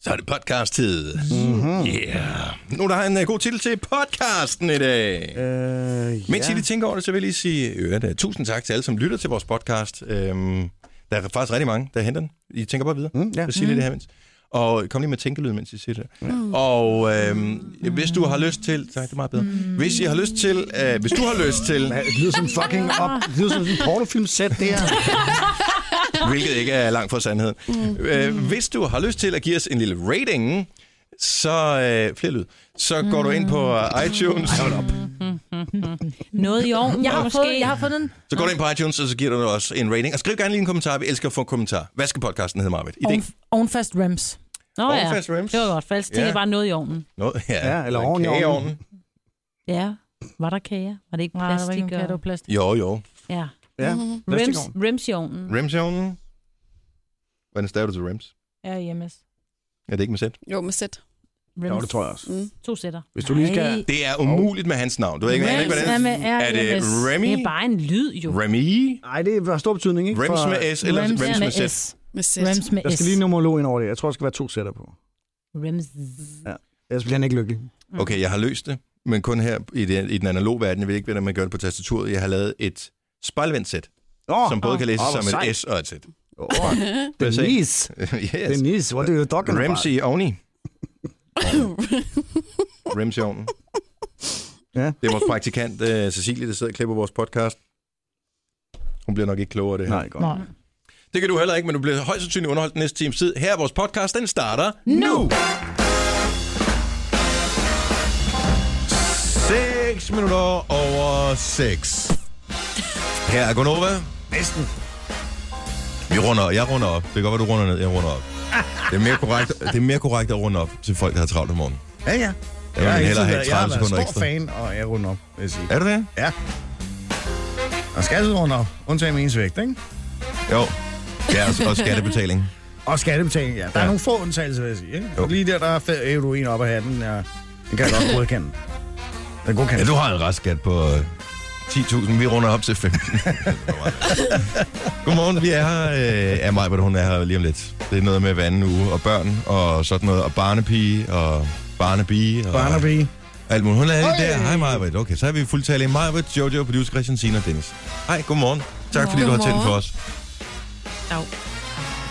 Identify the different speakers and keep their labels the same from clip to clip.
Speaker 1: Så er det podcast-tid.
Speaker 2: Mhm.
Speaker 1: Mm-hmm. Yeah. Nu der har en uh, god titel til podcasten i dag.
Speaker 2: Øh,
Speaker 1: Mens I lige tænker over det, så vil jeg lige sige øh, at, uh, tusind tak til alle, som lytter til vores podcast. Øhm, der er faktisk rigtig mange, der henter den. I tænker bare videre.
Speaker 2: Mm, ja.
Speaker 1: Jeg siger lige det her, mens. Og kom lige med tænkelyd, mens I siger det. Mm. Og øhm, hvis du har lyst til... Tak, det er meget bedre. Mm. Hvis I har lyst til... Øh, hvis du har lyst til...
Speaker 2: Ja, det lyder som fucking op. Det lyder som en pornofilmsæt, det her.
Speaker 1: hvilket ikke er langt fra sandheden. Mm. Øh, hvis du har lyst til at give os en lille rating, så øh, flere lyd, så går du ind på øh, iTunes. Hold op.
Speaker 3: Noget i år.
Speaker 4: Jeg har,
Speaker 3: måske.
Speaker 4: fået, jeg har fundet en
Speaker 1: Så går du ind på iTunes, og så giver du os en rating. Og skriv gerne lige en kommentar. Vi elsker at få kommentarer. Hvad skal podcasten hedde, Marvitt?
Speaker 4: oven,
Speaker 1: Idé?
Speaker 4: ovenfast rems.
Speaker 3: Nå ja,
Speaker 1: Overfast Rams.
Speaker 3: det var godt. For ellers tænkte
Speaker 1: Ja.
Speaker 3: jeg bare noget i ovnen.
Speaker 1: Nå, ja.
Speaker 2: Ja, eller
Speaker 1: En
Speaker 2: oven i
Speaker 1: kage i
Speaker 2: ovnen.
Speaker 1: ovnen.
Speaker 3: Ja. Var der kager? Var det ikke
Speaker 4: Nej, der var
Speaker 3: plastik?
Speaker 4: ikke nogen
Speaker 3: og-
Speaker 4: kat, og plastik.
Speaker 1: Jo, jo.
Speaker 3: Ja. Mm-hmm.
Speaker 2: Ja, næste
Speaker 3: Rims,
Speaker 2: gang.
Speaker 3: rims i ovnen.
Speaker 1: Rams i ovnen. Hvordan staver du til Rams?
Speaker 4: RMS.
Speaker 1: Er det ikke med sæt?
Speaker 5: Jo, med sæt.
Speaker 3: Rims.
Speaker 2: Jo, det tror jeg også.
Speaker 5: Mm.
Speaker 3: To sætter.
Speaker 2: Hvis du lige skal...
Speaker 4: Nej.
Speaker 1: Det er umuligt med hans navn. Du ved ikke, jeg aner ikke
Speaker 4: er
Speaker 1: hvordan.
Speaker 4: med
Speaker 1: Er det
Speaker 4: RMS.
Speaker 3: Det
Speaker 1: Øh, Remy?
Speaker 3: er bare en lyd, jo.
Speaker 1: Remy?
Speaker 2: Nej, det har stor betydning, ikke?
Speaker 1: Rams
Speaker 2: For-
Speaker 1: med S eller
Speaker 4: Rams
Speaker 1: Rams med
Speaker 3: med
Speaker 1: sæt?
Speaker 3: S.
Speaker 5: Med sæt.
Speaker 4: Rems med
Speaker 2: Der
Speaker 4: S.
Speaker 2: skal lige en numerolog ind over det. Jeg tror, der skal være to sætter på.
Speaker 3: Rims.
Speaker 2: Ellers bliver han ikke lykkelig.
Speaker 1: Mm. Okay, jeg har løst det, men kun her i, det, i den analoge verden. Jeg ved ikke, hvordan man gør det på tastaturet. Jeg har lavet et spejlvendt sæt,
Speaker 2: Oh,
Speaker 1: oh, som både kan læses
Speaker 2: Åh, hvor
Speaker 1: oh, som
Speaker 2: sejt.
Speaker 1: et S og et sæt.
Speaker 2: Oh,
Speaker 1: Hvad sagde
Speaker 2: Denise.
Speaker 1: yes.
Speaker 2: Denise, what are you talking about?
Speaker 1: Ramsey oveni. Ramsey ovnen.
Speaker 2: Ja.
Speaker 1: Det er vores praktikant, uh, Cecilie, der sidder og klipper vores podcast. Hun bliver nok ikke klogere af det her.
Speaker 2: Nej, godt.
Speaker 4: Nej.
Speaker 1: Det kan du heller ikke, men du bliver højst sandsynligt underholdt den næste times tid. Her er vores podcast, den starter nu. nu. 6 minutter over 6. Her er Gonova. Næsten. Vi runder, jeg runder op. Det kan godt være, du runder ned, jeg runder op. Det er mere korrekt, det er mere korrekt at runde op til folk, der har travlt om morgenen.
Speaker 2: Ja, ja.
Speaker 1: Jeg vil hellere have
Speaker 2: jeg har
Speaker 1: 30
Speaker 2: været
Speaker 1: sekunder
Speaker 2: stor
Speaker 1: ekstra.
Speaker 2: fan, og jeg runder op, vil jeg sige.
Speaker 1: Er du det?
Speaker 2: Ja. Og skal runde op, undtagen med ens vægt, ikke?
Speaker 1: Jo. Ja, og- og skattebetaling.
Speaker 2: Og skattebetaling, ja. Der er
Speaker 1: Ja.
Speaker 2: nogle få undtagelser, vil jeg sige. Ikke?
Speaker 1: Jo.
Speaker 2: Lige der, der er fed heroin op af hatten. Ja. Den kan jeg godt godkende. Den godkende.
Speaker 1: Ja, du har en restskat på øh, 10.000. Vi runder op til 15. Godmorgen, vi er her. Øh, er mig, hun er her lige om lidt. Det er noget med hver anden uge, og børn, og sådan noget, og barnepige, og barnebige, og
Speaker 2: Barnaby.
Speaker 1: alt muligt. Hun er lige der. Hej, Majbert. Okay, så er vi fuldtalige. Majbert, Jojo, producer Christian Sina og Dennis. Hej, godmorgen. Tak, fordi du har tændt for os.
Speaker 3: Au.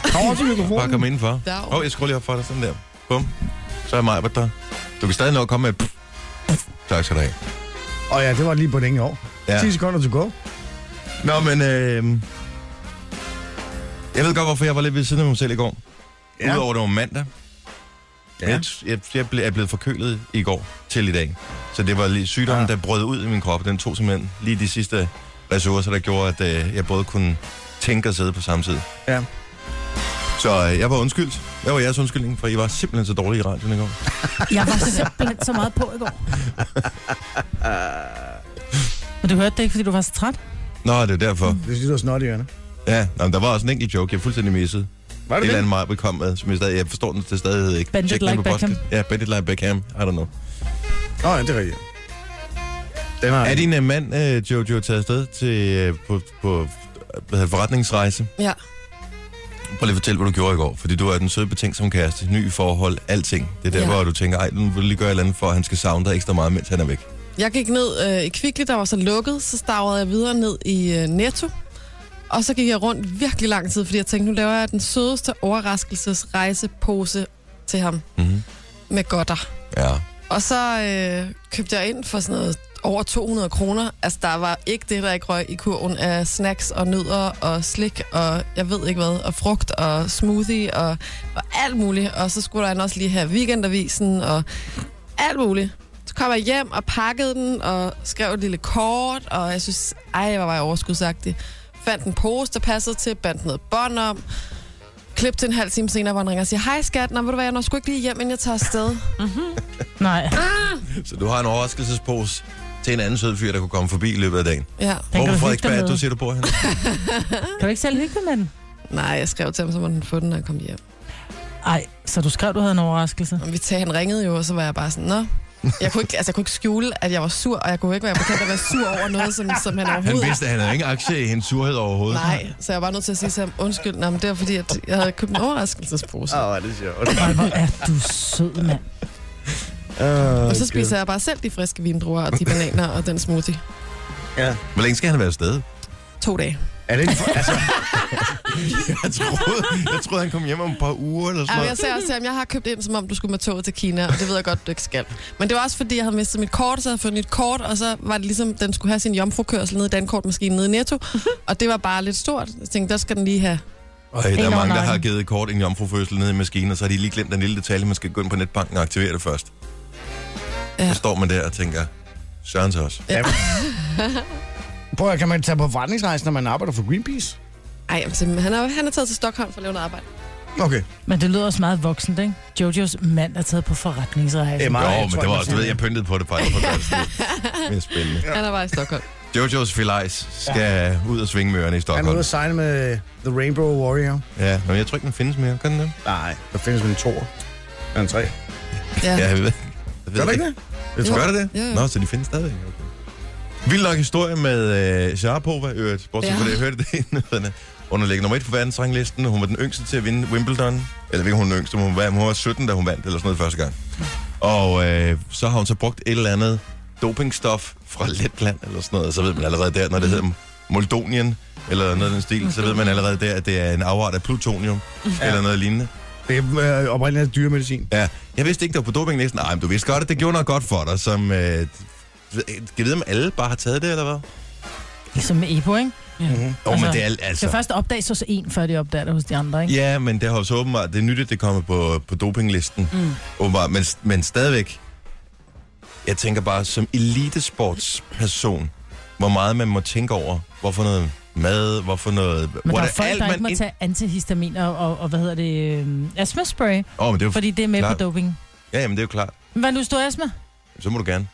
Speaker 2: Kom over til
Speaker 1: Bare kom
Speaker 2: mikrofonen.
Speaker 1: indenfor.
Speaker 5: Dag.
Speaker 1: Åh, oh, jeg skruer lige op for dig sådan der. Bum. Så er Majbert der. Du kan stadig nå at komme med. et pff, pff. Tak skal du have.
Speaker 2: Og ja, det var lige på den år.
Speaker 1: Ja.
Speaker 2: Ja. 10 sekunder to go.
Speaker 1: Nå, men øh, jeg ved godt, hvorfor jeg var lidt ved siden af mig selv i går. Ja. Udover det var mandag. Ja. Jeg, jeg, jeg ble, er blevet forkølet i går til i dag. Så det var lige sygdommen, ja.
Speaker 2: Ja.
Speaker 1: der brød ud i min krop. Den tog simpelthen lige de sidste ressourcer, der gjorde, at øh, jeg både kunne tænke og sidde på samme tid.
Speaker 2: Ja.
Speaker 1: Så øh, jeg var undskyldt. Hvad var jeres undskyldning? For I var simpelthen så dårlige i radioen i går.
Speaker 5: Jeg var simpelthen så meget på i går.
Speaker 2: Øh.
Speaker 5: Men du hørte det ikke, fordi du var så træt?
Speaker 1: Nå, det er derfor. Mm.
Speaker 2: Det synes du er snot i ørerne.
Speaker 1: Ja, nå, men der var også en enkelt joke, jeg fuldstændig missede.
Speaker 2: Var
Speaker 1: Et
Speaker 2: det
Speaker 1: eller
Speaker 2: det?
Speaker 1: andet meget kom med, som jeg, stadig, jeg forstår den til stadighed ikke.
Speaker 4: Bend it
Speaker 1: Tjek den
Speaker 4: like
Speaker 1: på podcast.
Speaker 4: Beckham.
Speaker 1: Ja, Bend it like Beckham. I don't know.
Speaker 2: Nå, ja, det er rigtigt. Den har
Speaker 1: Er din uh, mand, uh, Jojo, taget afsted til, uh, på, på øh, hvad hedder, det, forretningsrejse?
Speaker 5: Ja.
Speaker 1: Prøv lige at fortælle, hvad du gjorde i går. Fordi du er den søde betænksom kæreste, ny i forhold, alting. Det er der,
Speaker 5: Ja.
Speaker 1: hvor du tænker, ej, nu vil jeg lige gøre et eller andet, for at han skal savne dig ekstra meget, mens han er væk.
Speaker 5: Jeg gik ned øh, i Kvickly, der var så lukket, så stavrede jeg videre ned i øh, Netto. Og så gik jeg rundt virkelig lang tid, fordi jeg tænkte, nu laver jeg den sødeste overraskelsesrejsepose til ham
Speaker 1: Mm-hmm.
Speaker 5: med godter.
Speaker 1: Ja.
Speaker 5: Og så øh, købte jeg ind for sådan noget over 200 kroner. Altså, der var ikke det, der ikke røg i kurven af snacks og nødder og slik og jeg ved ikke hvad, og frugt og smoothie og, og alt muligt. Og så skulle der også lige have weekendavisen og alt muligt. Så kom jeg hjem og pakkede den og skrev et lille kort, og jeg synes, ej, hvor var jeg overskudsagtig. Fandt en pose, der passede til, bandt noget bånd om. Klip til en halv time senere, hvor han ringer og siger, hej skat, nå, ved du hvad, jeg når sgu ikke lige hjem, inden jeg tager afsted.
Speaker 4: Nej,
Speaker 1: Så du har en overraskelsespose til en anden sød fyr, der kunne komme forbi i løbet af dagen.
Speaker 5: Ja.
Speaker 4: den kan
Speaker 1: Hvorfor
Speaker 4: du hygge dig
Speaker 1: Frederiksberg,
Speaker 4: med.
Speaker 1: du siger, du bor her?
Speaker 4: Kan du ikke selv hygge dig med den?
Speaker 5: Nej, jeg skrev til ham, så måtte han få den, når han kom hjem.
Speaker 4: Ej, så du skrev, du havde en overraskelse.
Speaker 5: Og vi tag, han ringede jo, og så var jeg bare sådan, nå, Jeg kunne, ikke, altså, jeg kunne ikke skjule, at jeg var sur, og jeg kunne ikke være bekendt at være sur over noget, som, som han
Speaker 1: Han
Speaker 5: overhovedet...
Speaker 1: vidste, at han havde ingen aktie i hendes surhed overhovedet.
Speaker 5: Nej, så jeg var nødt til at sige til ham, undskyld, nej, men det var fordi, at jeg havde købt en overraskelsespose.
Speaker 2: Åh, oh, det er sjovt.
Speaker 4: Ej, hvor er du sød, mand.
Speaker 2: Oh,
Speaker 5: Og så spiser jeg bare selv de friske vindruer og de bananer og den smoothie.
Speaker 2: Ja.
Speaker 1: Hvor længe skal han være afsted?
Speaker 5: To dage.
Speaker 2: Er det ikke for, altså,
Speaker 1: Jeg troede, jeg troede, han kom hjem om et par uger eller sådan
Speaker 5: Jamen, jeg
Speaker 1: noget.
Speaker 5: ser også, at jeg har købt ind, som om du skulle med toget til Kina, og det ved jeg godt, du ikke skal. Men det var også, fordi jeg havde mistet mit kort, så jeg havde fået nyt kort, og så var det ligesom, den skulle have sin jomfrukørsel ned i Dankortmaskinen nede i Netto, og det var bare lidt stort. Jeg tænkte, der skal den lige have.
Speaker 1: Ej, der er
Speaker 4: En
Speaker 1: mange, der
Speaker 4: online.
Speaker 1: har givet kort en jomfrufødsel ned i maskinen, og så har de lige glemt den lille detalje, man skal gå ind på netbanken og aktivere det først.
Speaker 5: Ja.
Speaker 1: Så står man der og tænker, Søren til os.
Speaker 2: prøv at, kan man tage på forretningsrejse, når man arbejder for Greenpeace?
Speaker 5: Ej, jamen, simpelthen, han er, han er taget til Stockholm for at lave noget arbejde.
Speaker 2: Okay.
Speaker 4: Men det lyder også meget voksent, ikke? Jojos mand er taget på
Speaker 2: Det er
Speaker 4: forretningsrejse.
Speaker 2: meget,
Speaker 1: Altså, jo,
Speaker 2: jeg
Speaker 1: men
Speaker 2: tror,
Speaker 1: det var
Speaker 2: man
Speaker 1: også,
Speaker 2: siger.
Speaker 1: du ved, jeg pyntede på det faktisk. Det er spændende.
Speaker 5: Han er bare i Stockholm.
Speaker 1: Jojos Filajs skal ud og svinge mørerne i
Speaker 2: Han er
Speaker 1: Stockholm.
Speaker 2: ude at sejle med The Rainbow Warrior.
Speaker 1: Ja, men jeg tror ikke, den findes mere. Kan den det?
Speaker 2: Nej, der findes vel en toer. Eller en tre.
Speaker 5: Ja.
Speaker 1: Ja, jeg ved, jeg ved
Speaker 2: Gør der ikke det?
Speaker 1: Jeg tror,
Speaker 5: Jo.
Speaker 1: gør det det?
Speaker 5: Ja, ja.
Speaker 1: Nå, så de findes stadigvæk. Okay. Vild nok historie med øh, Sharapova, øvrigt. Bortset ja.
Speaker 5: Ja.
Speaker 1: fra det, jeg hørte det i nyhederne. Underlægger nummer et på verdensranglisten. Hun var den yngste til at vinde Wimbledon. Eller ikke, hun er den yngste, men hun var, hun var 17, da hun vandt, eller sådan noget første gang. Og øh, så har hun så brugt et eller andet dopingstof fra Letland, eller sådan noget. Så ved man allerede der,
Speaker 2: Mm.
Speaker 1: når det hedder Moldonien, eller noget af den stil, så ved man allerede der, at det er en afart af plutonium, ja. eller noget lignende.
Speaker 2: Det er øh, oprindeligt dyremedicin.
Speaker 1: Ja, jeg vidste ikke, det var på dopinglisten. Nej, men du vidste godt, at det gjorde noget godt for dig, som... Øh, ved- kan jeg vide, om alle bare har taget det, eller hvad? Jo,
Speaker 4: Ligesom med Ebo, ikke?
Speaker 2: Mhm.
Speaker 1: altså, men
Speaker 4: Altså,
Speaker 1: det er al-
Speaker 4: Det skal
Speaker 1: altså...
Speaker 4: først opdages hos en, før de opdager det hos de andre, ikke?
Speaker 1: Ja, men det har jo så åbenbart... Det er nyt, at det kommer på, på dopinglisten. Mm. Åbenbart, men, men stadigvæk... Jeg tænker bare, som elitesportsperson, hvor meget man må tænke over, hvorfor noget mad, hvorfor noget...
Speaker 4: Men
Speaker 1: hvor
Speaker 4: der er folk, der ikke må
Speaker 1: ind-
Speaker 4: tage antihistamin og, og, og hvad hedder det, øh, astmaspray,
Speaker 1: Åh, men det er jo...
Speaker 4: fordi det er med
Speaker 1: Klar.
Speaker 4: på doping.
Speaker 1: Ja, jamen, det er jo klart.
Speaker 4: Men Hvad nu, står astma?
Speaker 1: så må du gerne.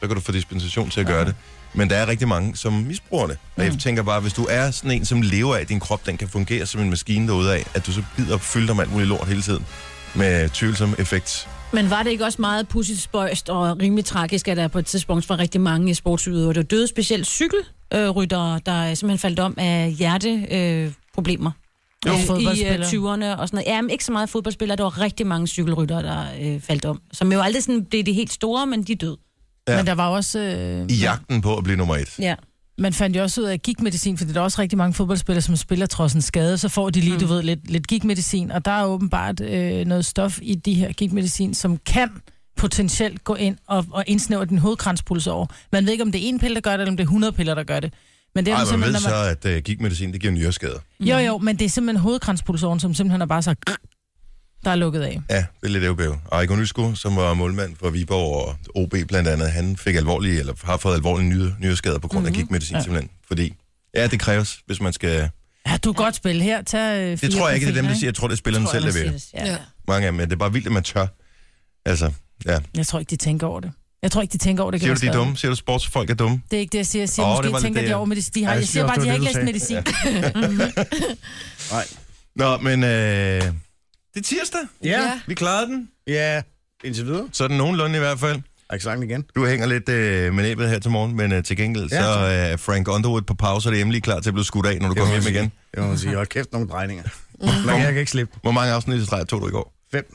Speaker 1: Så kan du få dispensation til at gøre det. Men der er rigtig mange, som misbruger det. Og
Speaker 4: Mm.
Speaker 1: jeg tænker bare, hvis du er sådan en, som lever af, at din krop den kan fungere som en maskine derude af, at du så gider fylde dig med alt muligt lort hele tiden med tvivlsom effekt.
Speaker 3: Men var det ikke også meget pudsigt spøjst og rimelig tragisk, at der på et tidspunkt var rigtig mange sportsudøvere, der døde specielt cykelryttere, der simpelthen faldt om af hjerteproblemer øh, problemer.
Speaker 4: Jo.
Speaker 3: Øh, I øh,
Speaker 4: Fodboldspillere.
Speaker 3: 20'erne og sådan noget. Ja, men ikke så meget fodboldspillere. Der var rigtig mange cykelryttere, der øh, faldt om. Som jo aldrig sådan blev de helt store, men de døde.
Speaker 1: Ja.
Speaker 4: Ja. Men der var også... Øh,
Speaker 1: I jagten på at blive nummer et.
Speaker 3: Ja.
Speaker 4: Man fandt jo også ud af gigtmedicin, fordi der er også rigtig mange fodboldspillere, som spiller trods en skade, så får de lige, mm. du ved, lidt, lidt gigtmedicin, og der er åbenbart øh, noget stof i de her gigtmedicin, som kan potentielt gå ind og, og indsnævre din hovedkranspuls over. Man ved ikke, om det er en pille, der gør det, eller om det er 100 piller, der gør det. Men det er
Speaker 1: Ej, man
Speaker 4: simpelthen,
Speaker 1: ved
Speaker 4: når
Speaker 1: så, at uh, gigmedicin, det giver nyreskader.
Speaker 4: man... Jo, jo, men det er simpelthen hovedkranspulsåren, som simpelthen er bare så... Der er lukket af.
Speaker 1: Ja, det er lidt ævbæv. Ejko Nysko, som var målmand for Viborg og OB blandt andet, han fik alvorlige, eller har fået alvorlige nyre, nyreskader på grund mm-hmm. af gigmedicin ja. simpelthen. Fordi, ja, det kræves, hvis man skal...
Speaker 4: Ja, du kan godt spille her. Tag, øh,
Speaker 1: Det
Speaker 4: fire
Speaker 1: tror jeg ikke, det er dem,
Speaker 4: koffeiner,
Speaker 1: der siger. Jeg tror, det er spillerne
Speaker 3: Tror
Speaker 1: selv,
Speaker 3: jeg,
Speaker 1: der
Speaker 3: man
Speaker 1: vil.
Speaker 3: siger det. Ja.
Speaker 5: Ja.
Speaker 1: mange af dem, men det er bare vildt, at man tør. Altså, ja.
Speaker 4: Jeg tror ikke, de tænker over det. Jeg tror ikke, de tænker over det. kan
Speaker 1: Siger
Speaker 4: være
Speaker 1: du, de er
Speaker 4: skadeligt.
Speaker 1: dumme? Siger du, sportsfolk er dumme?
Speaker 4: Det er ikke det, jeg siger. Jeg siger,
Speaker 1: Åh,
Speaker 4: oh,
Speaker 1: det var
Speaker 4: måske
Speaker 1: lidt
Speaker 4: tænker
Speaker 1: det,
Speaker 4: de
Speaker 1: ja.
Speaker 4: over med det. De
Speaker 2: Ja,
Speaker 4: har,
Speaker 2: jeg
Speaker 4: jeg
Speaker 2: synes
Speaker 4: siger bare,
Speaker 2: også,
Speaker 4: de har ikke
Speaker 2: det var
Speaker 4: læst
Speaker 2: det,
Speaker 4: medicin.
Speaker 2: Nej.
Speaker 1: Nå, men øh, det er tirsdag.
Speaker 2: Ja.
Speaker 5: Ja.
Speaker 1: Vi klarede den.
Speaker 2: Ja. Indtil videre.
Speaker 1: Sådan nogenlunde i hvert fald.
Speaker 2: Accenten igen.
Speaker 1: Du hænger lidt øh, med næbet her til morgen, men øh, til gengæld
Speaker 2: Ja,
Speaker 1: så er øh, Frank Underwood på pause, og det er lige klar til at blive skudt af, når du
Speaker 2: Det må
Speaker 1: kommer hjem
Speaker 2: man sige.
Speaker 1: igen.
Speaker 2: Det må man sige. Hold kæft, nogle drejninger. Mm. Jeg kan ikke slippe.
Speaker 1: Hvor mange afsnit i streg tog du i går?
Speaker 2: Fem.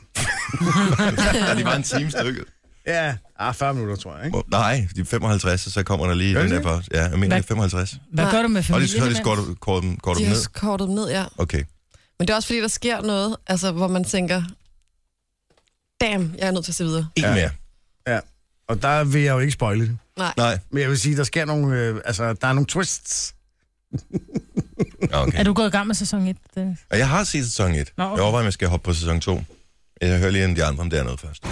Speaker 1: Ja, de var en time stykket.
Speaker 2: Ja, ah, 40 minutter, tror jeg, ikke?
Speaker 1: Hvor- Nej, de er 55, og så kommer der lige
Speaker 2: Er
Speaker 1: den
Speaker 2: det
Speaker 1: der pause. Ja, jeg mener
Speaker 4: Hvad?
Speaker 1: det er 55.
Speaker 4: Hvad gør du med
Speaker 1: Og
Speaker 4: familien?
Speaker 1: det så er det
Speaker 4: imens?
Speaker 1: skåret kort dem kort
Speaker 5: De
Speaker 1: dem
Speaker 5: har
Speaker 1: ned.
Speaker 5: skortet dem ned, ja.
Speaker 1: Okay.
Speaker 5: Men det er også fordi, der sker noget, altså, hvor man tænker, damn, jeg er nødt til at se videre.
Speaker 1: En
Speaker 2: Ja.
Speaker 1: mere.
Speaker 2: Og der vil jeg jo ikke spoile det.
Speaker 5: Nej.
Speaker 1: Nej.
Speaker 2: Men jeg vil sige, der sker nogle, øh, altså, der er nogle twists.
Speaker 1: Nå, Okay.
Speaker 4: Er du gået i gang med sæson 1? Dennis?
Speaker 1: Og jeg har set sæson 1.
Speaker 4: Nå,
Speaker 1: Nå,
Speaker 4: okay.
Speaker 1: okay. Jeg overvejer, om jeg skal hoppe på sæson 2. Jeg hører lige en af de andre, om det er noget først.
Speaker 6: Det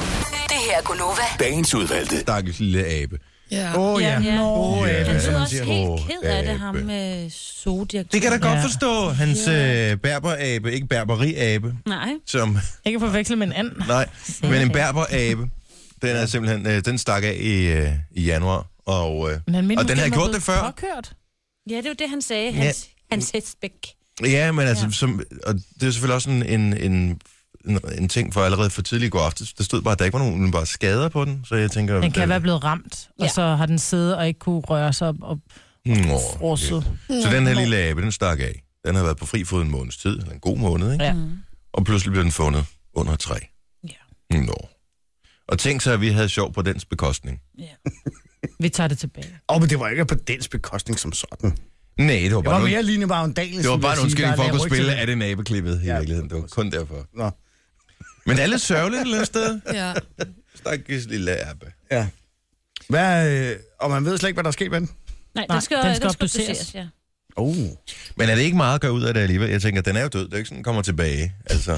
Speaker 6: her er Gunova.
Speaker 7: Dagens udvalgte.
Speaker 1: Stakkels lille abe.
Speaker 5: Ja.
Speaker 2: Åh, oh, ja.
Speaker 3: Ja.
Speaker 2: Åh, ja.
Speaker 3: Han
Speaker 1: Ja,
Speaker 3: så
Speaker 1: han
Speaker 3: også
Speaker 1: siger,
Speaker 3: helt
Speaker 1: "Åh,
Speaker 3: ked af det, ham
Speaker 1: abe."
Speaker 3: med sodiak.
Speaker 1: Det kan jeg da godt
Speaker 4: Ja.
Speaker 1: forstå. Hans øh, berberabe, ikke berberiabe,
Speaker 3: Nej.
Speaker 1: som...
Speaker 4: Jeg kan forveksle med en anden.
Speaker 1: Nej, men en berberabe, den er simpelthen... Øh, den stak af i, øh, i januar, og... Øh,
Speaker 4: Men han mente
Speaker 1: Og den
Speaker 4: måske, han
Speaker 1: havde
Speaker 4: var
Speaker 1: gjort det
Speaker 4: blevet
Speaker 1: før.
Speaker 4: Påkørt.
Speaker 3: Ja, det var det, han sagde.
Speaker 1: Ja.
Speaker 3: Hans, ja. hans hestbæk.
Speaker 1: ja, men altså,
Speaker 3: Ja.
Speaker 1: Som, og det er selvfølgelig også en, en, en en, en ting for allerede for tidlig i går aftes. Der stod bare, at der ikke var nogen umiddelbare skader på den, så jeg tænker... øh,
Speaker 4: Den kan være blevet ramt, og
Speaker 3: Ja.
Speaker 4: så har den siddet og ikke kunne røre sig op og
Speaker 1: Nå,
Speaker 4: frosset.
Speaker 1: okay. Så den her lille abe, den stak af. Den har været på fri fod en måneds tid, eller en god måned, ikke?
Speaker 4: Ja.
Speaker 1: Og pludselig blev den fundet under et træ. Ja. Nå. Og tænk så, at vi havde sjov på dens bekostning.
Speaker 4: Vi tager det tilbage.
Speaker 2: Åh, men det var ikke på dens bekostning som sådan.
Speaker 1: Nej, det var
Speaker 2: Det var
Speaker 1: bare,
Speaker 2: mere
Speaker 1: en,
Speaker 2: lignende Vagn Danielsen.
Speaker 1: det var
Speaker 2: vil
Speaker 1: bare
Speaker 2: ligesom jeg
Speaker 1: en
Speaker 2: sige,
Speaker 1: undskyldning for at
Speaker 2: der lagde
Speaker 1: kunne
Speaker 2: ryg til
Speaker 1: spille
Speaker 2: den.
Speaker 1: af det nabeklippet i
Speaker 2: Ja.
Speaker 1: virkeligheden. Det var kun derfor.
Speaker 2: Nå,
Speaker 1: Men det er lidt sørgeligt et eller andet sted.
Speaker 5: Ja.
Speaker 1: Stakkes lille abe.
Speaker 2: ja. Hvad, øh, og man ved slet ikke, hvad der er sket med den.
Speaker 3: Nej,
Speaker 4: Nej,
Speaker 3: den skal, den skal, obduceres. ja.
Speaker 2: Oh.
Speaker 1: Uh. Men er det ikke meget at gøre ud af det alligevel? Jeg tænker, den er jo død. Det er ikke sådan, den kommer tilbage. Altså,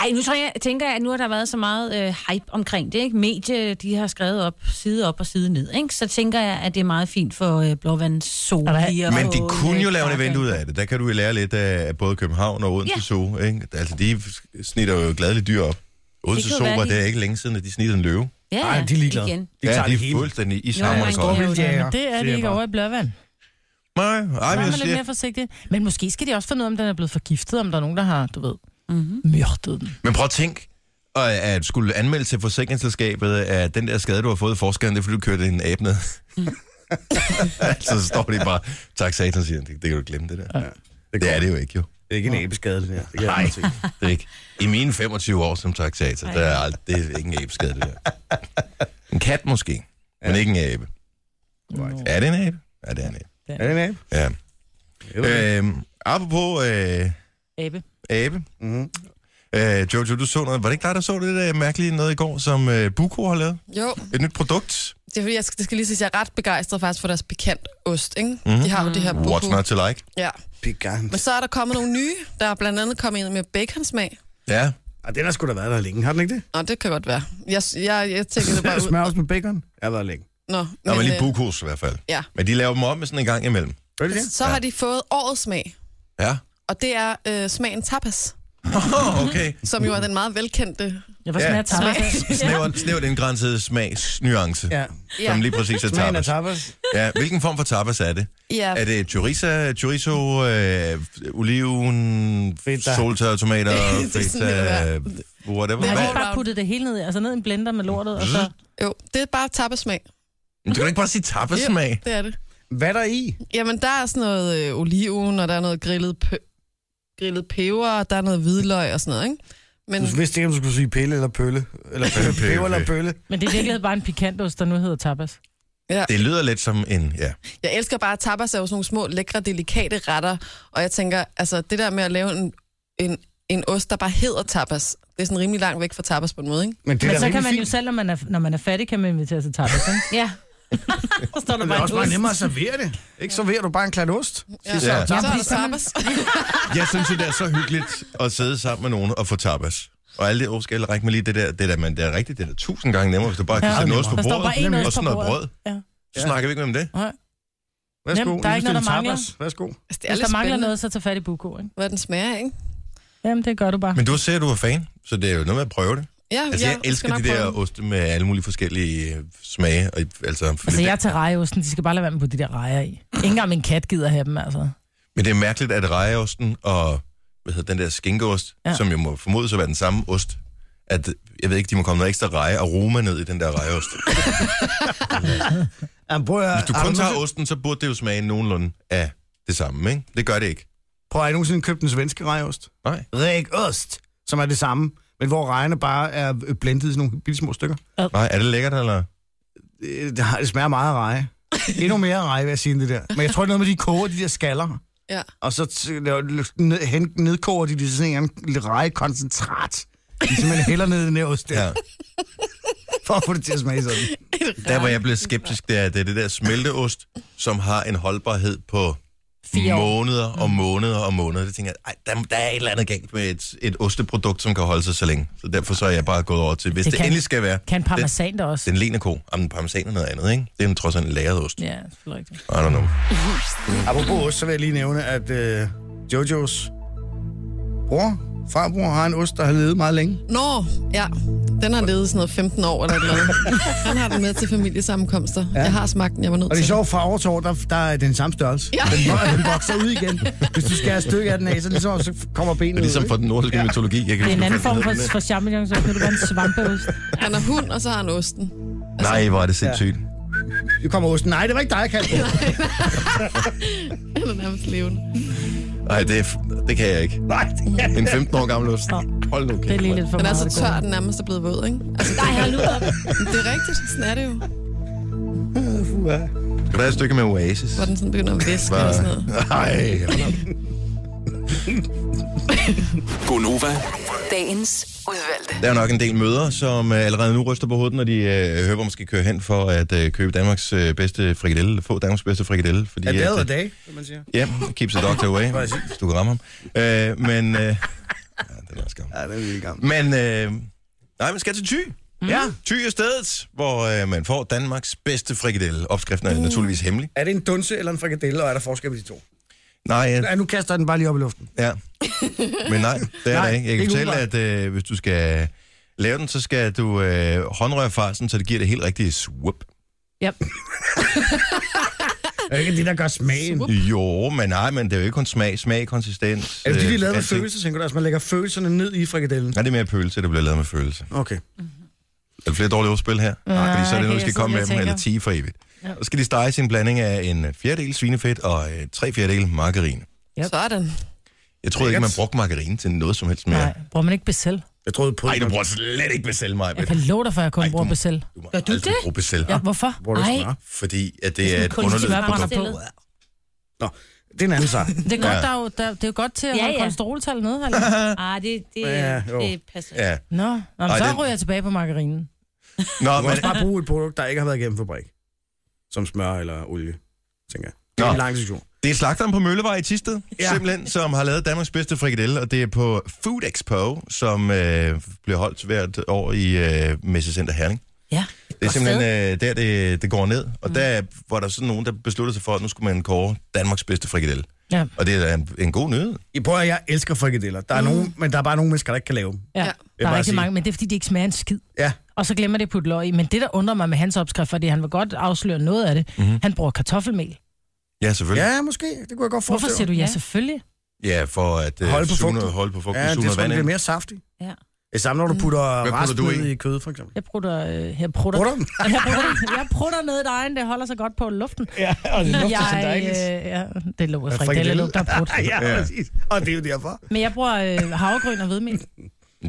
Speaker 3: Ej, nu tror jeg, tænker jeg, at nu har der været så meget øh, hype omkring det, ikke? Medie, de har skrevet op, side op og side ned, ikke? Så tænker jeg, at det er meget fint for øh, Blåvands sol.
Speaker 4: Er der-
Speaker 1: men
Speaker 3: øh,
Speaker 1: de kunne jo lave en event ud af det. Der kan du jo lære lidt af både København og Odense
Speaker 3: Ja.
Speaker 1: Zoo. Ikke? Altså, de snitter jo gladeligt dyr op. Odense
Speaker 3: Det kan jo
Speaker 1: Zoo
Speaker 3: være,
Speaker 1: var
Speaker 3: de-
Speaker 1: det ikke længe siden, at de snittede en løve.
Speaker 3: Ja,
Speaker 2: Nej, de er ligeglade.
Speaker 3: Igen.
Speaker 2: De tager
Speaker 1: ja, de
Speaker 2: det
Speaker 1: er
Speaker 2: hele.
Speaker 1: fuldstændig i
Speaker 3: Jo,
Speaker 1: samme
Speaker 3: man
Speaker 1: godt.
Speaker 3: går-
Speaker 2: Storvildtjæger.
Speaker 4: men det er
Speaker 2: siger
Speaker 4: det
Speaker 2: jeg
Speaker 4: ikke
Speaker 2: bare.
Speaker 4: over i Blåvand.
Speaker 1: Nej, ej,
Speaker 4: Så
Speaker 1: men
Speaker 4: er
Speaker 1: jeg
Speaker 4: man lidt
Speaker 1: siger,
Speaker 4: mere forsigtig. Men måske skal de også finde ud af, om den er blevet forgiftet, om der er nogen, der har, du ved, mm-hmm. myrdet den.
Speaker 1: Men prøv at tænk, og at skulle anmelde til forsikringsselskabet, at den der skade, du har fået i forskellen, det er, fordi du kørte en abe ned. så står de bare, tak satan, siger han. det, det kan du glemme det der. Ja, det, det er det jo ikke, jo.
Speaker 2: Det er ikke en æbeskade, det der. Det kan jeg
Speaker 1: Nej,
Speaker 2: godt se.
Speaker 1: det er ikke. I mine 25 år som taxator, der er ald- det er ikke en æbeskade, det der. En kat måske, men ikke en abe. Er det en abe? Ja, det er en abe.
Speaker 2: Er det en æbe?
Speaker 1: Ja.
Speaker 2: Jo.
Speaker 1: Øhm, apropos øh,
Speaker 4: Abe.
Speaker 1: abe. Mm-hmm. Øh, Jojo, du så noget. Var det ikke dig, der så det der mærkelige noget i går, som øh, Buko har lavet?
Speaker 5: Jo,
Speaker 1: Et nyt produkt.
Speaker 5: det er fordi, jeg skal, det skal lige sige, at jeg er ret begejstret faktisk for deres bekendt ost, ikke?
Speaker 1: Mhm.
Speaker 5: Mm-hmm. De har jo det her
Speaker 1: What's
Speaker 5: boku.
Speaker 1: not to like?
Speaker 5: Ja.
Speaker 2: Gigant.
Speaker 5: Men så er der kommet nogle nye, der er blandt andet kommet ind med baconsmag.
Speaker 1: Ja.
Speaker 2: Og Ah, den har sgu da været der længe, har den ikke det?
Speaker 5: Nå, Ah, det kan godt være. Jeg, jeg, jeg tænker det bare
Speaker 2: Det
Speaker 5: ud.
Speaker 2: smager også med bacon. Jeg har været længe.
Speaker 5: Nå,
Speaker 1: Nå, men lige
Speaker 5: øh,
Speaker 1: Bukos i hvert fald.
Speaker 5: Ja.
Speaker 1: Men de laver dem om sådan en gang imellem.
Speaker 2: Gør de det?
Speaker 5: Så har de fået årets smag,
Speaker 1: Ja.
Speaker 5: og det er øh, smagen tapas,
Speaker 1: Oh, okay.
Speaker 5: som jo er den meget velkendte.
Speaker 4: Jeg var
Speaker 1: Ja.
Speaker 4: sådan, ja.
Speaker 5: Smag.
Speaker 1: Snævert, snævert indgrænset smagsnuance, ja.
Speaker 2: Ja.
Speaker 1: som lige præcis er
Speaker 2: Smagen af
Speaker 1: tapas.
Speaker 2: tapas.
Speaker 1: Ja, hvilken form for tapas er det?
Speaker 5: Ja,
Speaker 1: Er det chorizo, chorizo øh, oliven,
Speaker 2: Feta.
Speaker 1: soltør, tomater,
Speaker 5: Det er sådan, det
Speaker 1: feta,
Speaker 5: er.
Speaker 1: whatever?
Speaker 4: Har de
Speaker 1: Hvad?
Speaker 4: ikke bare puttet det hele ned, i? altså ned i en blender med lortet, og så...
Speaker 5: jo, det er bare tapas-smag.
Speaker 1: Mm. Men Du kan ikke bare sige tapasmag.
Speaker 5: Det er det.
Speaker 2: Hvad er der i?
Speaker 5: Jamen, der er sådan noget øh, oliven, og der er noget grillet, p- grillet peber, og der er noget hvidløg og sådan noget, ikke? Men
Speaker 2: Du vidste ikke, om du skulle sige pille eller pølle. Eller
Speaker 1: Pille, pille,
Speaker 2: peber eller
Speaker 1: pille.
Speaker 2: pølle.
Speaker 4: Men det er i virkeligheden bare en pikantost, der nu hedder tapas.
Speaker 1: Det lyder lidt som en, ja.
Speaker 5: jeg elsker bare, at tapas er jo sådan nogle små, lækre, delikate retter, og jeg tænker, altså, det der med at lave en, en, en ost, der bare hedder tapas, det er sådan rimelig langt væk fra tapas på en måde, ikke?
Speaker 2: Men det er
Speaker 4: Men
Speaker 2: da
Speaker 4: så kan
Speaker 2: rigtig
Speaker 4: man jo
Speaker 2: fint.
Speaker 4: selv, når man er, når man er fattig, kan man invitere sig tapas, ikke?
Speaker 3: Ja. så står der
Speaker 2: Men det er også
Speaker 3: bare
Speaker 2: meget
Speaker 3: en
Speaker 2: nemmere at servere det. Ikke serverer du bare en klat ost.
Speaker 5: Ja.
Speaker 1: Ja.
Speaker 5: Så er der tapas.
Speaker 1: Jeg synes jo, det er så hyggeligt at sidde sammen med nogen og få tapas. Og alle det årskælde, række med lige det der, det der, men det er rigtigt, det er tusind gange nemmere, hvis du bare kan
Speaker 4: Ja.
Speaker 1: sætte noget på
Speaker 4: Der står
Speaker 1: bordet,
Speaker 4: bare en
Speaker 1: og
Speaker 4: ost på
Speaker 1: sådan noget brød.
Speaker 4: bordet. Ja.
Speaker 1: Så snakker vi ikke med om det.
Speaker 4: Nej.
Speaker 2: Værsgo.
Speaker 4: Nemt, der er
Speaker 2: nu
Speaker 4: ikke noget, der
Speaker 2: bestil en
Speaker 4: mangler.
Speaker 2: tapas. Værsgo.
Speaker 5: Altså, det er
Speaker 4: Hvis
Speaker 5: lidt
Speaker 4: der mangler
Speaker 5: spændende,
Speaker 4: noget, så tag fat i Buko, ikke?
Speaker 5: hvad den smager, ikke?
Speaker 4: Jamen, det gør du bare.
Speaker 1: Men du ser, at du er fan, så det er jo noget med at prøve det.
Speaker 5: Ja,
Speaker 1: Altså, jeg
Speaker 5: skal
Speaker 1: elsker
Speaker 5: nok
Speaker 1: de der
Speaker 5: prøve den.
Speaker 1: oste med alle mulige forskellige øh, smage. Og, altså,
Speaker 4: Altså,
Speaker 1: altså,
Speaker 4: jeg tager rejeosten. De skal bare lade være med på de der rejer i. Ikke engang min kat gider have dem, altså.
Speaker 1: Men det er mærkeligt, at rejeosten og hvad hedder, den der skinkeost, ja.
Speaker 4: Ja.
Speaker 1: som jo må formodes at være den samme ost, at jeg ved ikke, de må komme noget ekstra reje og roma ned i den der rejeost.
Speaker 2: Jamen, prøv at,
Speaker 1: Hvis du kun tager osten, så burde det jo smage nogenlunde af det samme, ikke? Det gør det ikke.
Speaker 2: Prøv at har I nogensinde købt den svenske rejost.
Speaker 1: Nej.
Speaker 2: Rækost, som er det samme, men hvor rejerne bare er blendet i sådan nogle bitte små stykker. Øh,
Speaker 1: Nej, er det lækkert, eller?
Speaker 2: Det, det har- det smager meget af reje. Endnu mere af reje, vil jeg sige, end det der. Men jeg tror, det er noget med, de koger de der skaller,
Speaker 5: Ja.
Speaker 2: og så t- laver- ned- hen- nedkoger de det til sådan en eller anden rejekoncentrat. De simpelthen hælder ned i den her ost der,
Speaker 1: Ja.
Speaker 2: ja. for at få det til at smage sådan.
Speaker 1: Der, hvor jeg blev skeptisk, det er, det er det der smelteost, som har en holdbarhed på
Speaker 4: Fire år. Mm.
Speaker 1: måneder og måneder og måneder. Det tænker jeg, ej, der, der er et eller andet galt med et, et osteprodukt, som kan holde sig så længe. Så derfor så er jeg bare gået over til, hvis det,
Speaker 4: Det
Speaker 1: det
Speaker 4: kan-
Speaker 1: endelig skal være,
Speaker 4: Kan parmesan der også?
Speaker 1: den lener ko. Jamen, parmesan er noget andet, ikke? Det er en trods alt en lagret ost.
Speaker 4: Ja, selvfølgelig rigtigt.
Speaker 1: I don't know.
Speaker 2: Apropos ost, så vil jeg lige nævne, at øh, Jojos bror farbror har en ost, der har levet meget længe.
Speaker 5: Nå, ja. Den har levet sådan noget 15 år eller noget. Han har den med til familiesammenkomster. Ja. Jeg har smagt den, jeg var nødt
Speaker 2: Og det
Speaker 5: til.
Speaker 2: er sjovt, fra år til år, der, der er den samme størrelse.
Speaker 5: Ja.
Speaker 2: Den, den vokser ud igen. Hvis du skærer et stykke af den af, så, ligesom, så kommer benet
Speaker 1: Det er ligesom
Speaker 2: ud.
Speaker 1: fra den nordiske mytologi. Jeg kan
Speaker 4: Det er en
Speaker 1: huske,
Speaker 4: anden
Speaker 1: hvad
Speaker 4: form
Speaker 1: den
Speaker 4: for,
Speaker 1: hedder.
Speaker 4: for champignon, så kan det være en svampeost.
Speaker 5: Han har hund, og så har han osten.
Speaker 1: Nej, hvor er det sindssygt.
Speaker 2: ikke? Nu kommer osten. Nej, det var ikke dig, Kasper.
Speaker 5: Han er nærmest levende.
Speaker 1: Nej, det, er f- det kan jeg ikke.
Speaker 2: Nej, det er
Speaker 1: En 15 år gammel ost. Hold nu
Speaker 4: Det er lige
Speaker 1: kæft.
Speaker 4: lidt for
Speaker 5: Den er
Speaker 4: meget.
Speaker 5: så
Speaker 4: det
Speaker 5: tør,
Speaker 4: går.
Speaker 5: at den nærmest er blevet våd, ikke? Altså,
Speaker 3: Nej, hold nu op.
Speaker 5: men det er rigtigt. Sådan er det jo.
Speaker 2: Uha.
Speaker 1: Skal du have et stykke med Oasis?
Speaker 5: Hvor den sådan begynder at væske
Speaker 1: Hvad?
Speaker 5: og sådan noget.
Speaker 1: Nej, hold op.
Speaker 6: Gonova,
Speaker 7: Dagens udvalgte.
Speaker 1: Der er nok en del møder, som øh, allerede nu ryster på hovedet, når de øh, hører, hvor man skal køre hen for at øh, købe Danmarks øh, bedste frikadelle, eller få Danmarks bedste frikadelle. Fordi,
Speaker 2: Er
Speaker 1: at,
Speaker 2: dag
Speaker 1: øh,
Speaker 2: og dag, som man siger.
Speaker 1: Ja, keeps the doctor away, hvis du kan ramme ham. Øh, men, øh, ja, det er også gammel.
Speaker 2: Ja, det er virkelig gammel.
Speaker 1: Men, øh, nej, man skal til Thy.
Speaker 2: Mhm.
Speaker 1: Mm. Ja, Thy er stedet, hvor øh, man får Danmarks bedste frikadelle. Opskriften er
Speaker 2: Uh.
Speaker 1: naturligvis hemmelig.
Speaker 2: Er det en dunse eller en frikadelle, og er der forskel på de to?
Speaker 1: Nej, øh,
Speaker 2: Ja, nu kaster jeg den bare lige op i luften.
Speaker 1: Ja. Men nej, det er der
Speaker 2: Nej,
Speaker 1: ikke. Jeg kan
Speaker 2: ikke
Speaker 1: fortælle, at øh, hvis du skal lave den, så skal du øh, håndrøre farsen, så det giver det helt rigtige swoop.
Speaker 4: Ja.
Speaker 2: Er det ikke det, der gør smagen?
Speaker 1: Jo, men nej, men det er jo ikke kun smag, smag, konsistens.
Speaker 2: Er det fordi,
Speaker 1: øh,
Speaker 2: de er lavet med
Speaker 1: alting.
Speaker 2: følelser, tænker du? Altså, man lægger følelserne ned i frikadellen.
Speaker 1: Nej, det er mere pølse, der bliver lavet med følelse.
Speaker 2: Okay.
Speaker 1: Er der flere dårlige ordspil her? Nej, fordi så er det
Speaker 4: okay,
Speaker 1: noget, vi
Speaker 4: jeg
Speaker 1: skal
Speaker 4: sidder lige
Speaker 1: komme med
Speaker 4: og
Speaker 1: dem,
Speaker 4: tænker.
Speaker 1: eller 10 for evigt. Ja. Så skal de stege sin blanding af en fjerdedel svinefedt og øh, tre fjerdedel margarine.
Speaker 4: Yep.
Speaker 5: Sådan.
Speaker 1: Jeg troede ikke, man brugte margarine til noget som helst mere.
Speaker 4: Nej,
Speaker 1: Nej,
Speaker 4: bruger man ikke besæl?
Speaker 2: Jeg troede på...
Speaker 1: du bruger slet ikke besæl, mig.
Speaker 4: Jeg kan love dig, for jeg kun
Speaker 1: Ej,
Speaker 4: Ej,
Speaker 1: du
Speaker 4: bruger
Speaker 1: må-
Speaker 4: besæl.
Speaker 1: Du må
Speaker 3: Gør
Speaker 2: Altså,
Speaker 3: du
Speaker 1: aldrig
Speaker 3: det?
Speaker 1: bruge besæl,
Speaker 4: Ja, hvorfor?
Speaker 2: Bruger du
Speaker 3: Ej.
Speaker 2: smør?
Speaker 1: fordi at det er et
Speaker 3: kunstigt
Speaker 1: underligt produkt.
Speaker 3: fremstillet.
Speaker 2: Nå, det er en anden sag.
Speaker 4: Det er godt, der er jo, der, det er jo godt til at
Speaker 3: Ja,
Speaker 4: ja, holde
Speaker 3: ja.
Speaker 4: ja. kolesteroltallet nede. Eller?
Speaker 3: Ah, det, det,
Speaker 2: Ja, jo.
Speaker 3: det passer ikke.
Speaker 1: Ja.
Speaker 4: Nå, Nå men
Speaker 1: Ej,
Speaker 4: så
Speaker 1: den-
Speaker 4: ryger jeg tilbage på margarinen.
Speaker 1: Nå,
Speaker 2: Du må
Speaker 1: men,
Speaker 2: også bare bruge et produkt, der ikke har været igennem fabrik. Som smør eller olie, tænker jeg. Det er
Speaker 1: Nå.
Speaker 2: en lang diskussion.
Speaker 1: det er slagteren på Møllevej i Tisted, ja.
Speaker 2: Ja.
Speaker 1: simpelthen, som har lavet Danmarks bedste frikadelle, og det er på Food Expo, som øh, bliver holdt hvert år i øh, Messecenter Herning.
Speaker 3: Ja.
Speaker 1: Det er simpelthen øh, der, det, det går ned, og mm. der var der sådan nogen, der besluttede sig for, at nu skulle man kåre Danmarks bedste frikadelle.
Speaker 4: Ja.
Speaker 1: Og det er da en, en god nyhed.
Speaker 2: I prøver, jeg elsker frikadeller. Der er mm. nogen, men der er bare nogle mennesker, der ikke kan lave dem.
Speaker 4: Ja,
Speaker 5: Ja.
Speaker 4: der
Speaker 2: bare
Speaker 4: er rigtig
Speaker 2: sige-
Speaker 4: mange, men det er fordi, de ikke smager en skid.
Speaker 2: Ja.
Speaker 4: Og så glemmer det at putte løg i. Men det, der undrer mig med hans opskrift, fordi han vil godt afsløre noget af det,
Speaker 2: Mhm.
Speaker 4: mm-hmm. han bruger kartoffelmel.
Speaker 1: Ja, selvfølgelig.
Speaker 2: Ja, måske. Det kunne jeg godt
Speaker 4: Hvorfor
Speaker 2: forestille
Speaker 4: siger du
Speaker 2: mig.
Speaker 4: ja, selvfølgelig?
Speaker 1: Ja, ja for at øh,
Speaker 2: Holde på
Speaker 1: suge
Speaker 2: fugten.
Speaker 1: noget- holde på fugten,
Speaker 2: Ja,
Speaker 1: ja, suge
Speaker 2: det
Speaker 1: noget
Speaker 2: tror jeg,
Speaker 1: vand
Speaker 2: det
Speaker 1: ind. Mm.
Speaker 2: bliver mere saftigt.
Speaker 3: Ja.
Speaker 2: Det er samme, når du putter
Speaker 1: Hvad
Speaker 2: rest
Speaker 1: putter du
Speaker 2: ned
Speaker 1: i?
Speaker 2: i kød, for eksempel.
Speaker 4: Jeg prutter, øh, her prutter.
Speaker 2: Bruger du dem?
Speaker 4: Jamen, Jeg prutter, jeg prutter ned i dejen, det holder sig godt på luften.
Speaker 2: Ja, og det
Speaker 4: jeg, øh, ja, det lå
Speaker 2: Ja,
Speaker 4: frikadelle,
Speaker 2: frikadelle.
Speaker 4: lugter af brudt.
Speaker 2: Ja, præcis. Og det er jo derfor.
Speaker 4: Men jeg bruger øh, havregryn og hvedemel.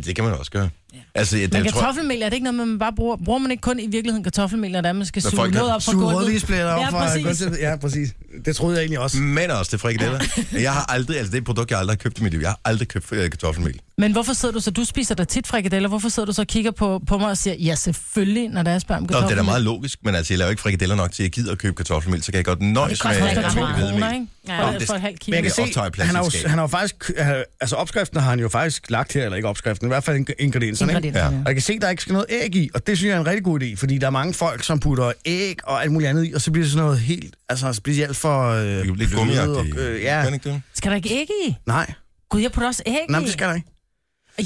Speaker 1: Det kan man også gøre. Ja. Altså, det,
Speaker 4: Men
Speaker 1: jeg tror,
Speaker 4: kartoffelmel, er det ikke noget, man bare bruger? Bruger man ikke kun i virkeligheden kartoffelmel, når det er, man skal
Speaker 1: Når
Speaker 4: suge
Speaker 1: folk
Speaker 4: noget
Speaker 1: kan
Speaker 4: op fra
Speaker 2: Suge
Speaker 4: gulvet?
Speaker 2: rødvinsblæder op
Speaker 4: Ja,
Speaker 2: fra
Speaker 4: præcis.
Speaker 2: gulvet. Ja, præcis. Det troede jeg egentlig også.
Speaker 1: mænd er også til frikadeller. jeg har aldrig, altså det er et produkt, jeg aldrig har købt i mit liv. Jeg har aldrig købt øh, kartoffelmel.
Speaker 4: Men hvorfor sidder du så? Du spiser da tit frikadeller. Hvorfor sidder du så og kigger på, på mig og siger, ja, selvfølgelig, når der er spørg om
Speaker 1: Nå, det er
Speaker 4: kartoffelmel?
Speaker 1: da meget logisk, men altså, jeg laver ikke frikadeller nok til, at jeg gider at købe kartoffelmel, så kan jeg godt
Speaker 4: Det
Speaker 1: nøjes med
Speaker 4: koster
Speaker 3: smager
Speaker 4: da
Speaker 3: af
Speaker 4: to
Speaker 3: almindelig
Speaker 4: kroner, ikke?
Speaker 3: Ja.
Speaker 4: For,
Speaker 1: Nå, det-
Speaker 4: for halv
Speaker 2: Men
Speaker 4: kilo.
Speaker 2: jeg
Speaker 1: Det
Speaker 2: kan
Speaker 1: optager i
Speaker 2: se, han har, jo,
Speaker 1: plastikskab.
Speaker 2: han har jo faktisk, øh, altså opskriften har han jo faktisk lagt her, eller ikke opskriften, i hvert fald ing- ingredienserne. Ikke?
Speaker 4: Ingredienserne,
Speaker 1: Ja.
Speaker 4: ja.
Speaker 2: Og jeg kan se, der ikke skal noget æg i, og det synes jeg er en rigtig god idé, fordi der er mange folk, som putter æg og alt muligt andet i, og så bliver det sådan noget helt, altså så bliver det alt for... Øh,
Speaker 1: Det er jo lidt
Speaker 2: bløde
Speaker 1: gummiagtigt.
Speaker 2: og, øh,
Speaker 1: Kan
Speaker 2: ja.
Speaker 1: det ikke det?
Speaker 4: Skal der ikke æg i?
Speaker 2: Nej,
Speaker 4: Gud, jeg putter også æg
Speaker 2: nej,
Speaker 4: i.
Speaker 2: men det skal der ikke.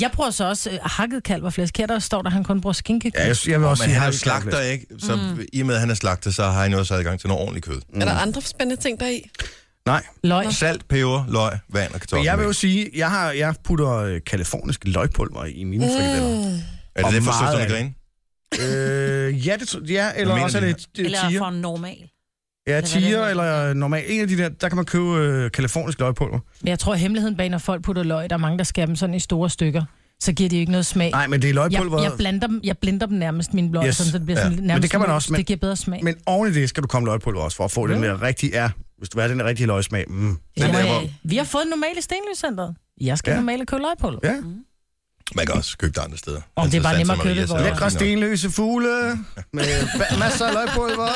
Speaker 4: Jeg bruger så også øh, hakket kalv og flæsk. Her der står der, at han kun bruger skinke.
Speaker 2: Ja, jeg, jeg vil også
Speaker 1: Men han
Speaker 2: sige,
Speaker 1: er jo
Speaker 2: har vi
Speaker 1: slagter,
Speaker 2: kalvet.
Speaker 1: ikke? Så mm. i og med, at han er slagter, så har han jo også adgang til noget ordentligt kød.
Speaker 5: Er der andre spændende ting der i?
Speaker 2: Mm. Nej,
Speaker 4: Løg.
Speaker 1: Salt, peber, løg, vand og
Speaker 2: men
Speaker 1: kartoffelmel.
Speaker 2: jeg vil jo sige, jeg, har, jeg putter øh, kalifornisk løgpulver i mine
Speaker 4: Mm.
Speaker 1: Mm.
Speaker 2: frikadeller.
Speaker 1: er det
Speaker 2: og
Speaker 1: det for
Speaker 2: meget
Speaker 1: søsterne
Speaker 2: af det.
Speaker 1: Grene?
Speaker 2: Øh, ja, det, tror- ja, eller
Speaker 1: mener
Speaker 2: også er
Speaker 1: de
Speaker 2: det et- et
Speaker 3: Eller for
Speaker 2: tiger.
Speaker 3: en normal.
Speaker 2: Ja,
Speaker 3: hvad det
Speaker 2: tiger
Speaker 3: hedder.
Speaker 2: eller normalt. En af de der, der kan man købe øh, kalifornisk løgpulver.
Speaker 4: Men jeg tror, at hemmeligheden bag, når folk putter løg, der er mange, der skærer dem sådan i store stykker, så giver de jo ikke noget smag.
Speaker 2: Nej, men det er
Speaker 4: jeg,
Speaker 2: løgpulveret.
Speaker 4: jeg, blander dem, jeg blinder dem nærmest, mine løg,
Speaker 2: Yes,
Speaker 4: yes. sådan, så det bliver sådan
Speaker 1: ja.
Speaker 4: lidt- nærmest...
Speaker 2: Men det kan man
Speaker 4: sådan-
Speaker 2: også, men-
Speaker 4: Det giver bedre smag.
Speaker 2: Men oven i det skal du komme løgpulver også, for at få den der rigtige, ja, hvis du vil have den rigtige løgsmag. Mm.
Speaker 1: Den
Speaker 4: Ja,
Speaker 1: der,
Speaker 4: ja.
Speaker 1: hvor-
Speaker 4: Vi har fået normale stenløscentret. Jeg skal
Speaker 2: Ja.
Speaker 4: ja. normale købe løgpulver.
Speaker 2: Ja.
Speaker 1: Man kan også købe det andre steder. Altså,
Speaker 4: Om det er bare nemmere at købe det, hvor-
Speaker 2: Lækre
Speaker 1: det
Speaker 2: stenløse fugle med ba- masser af løgpulver.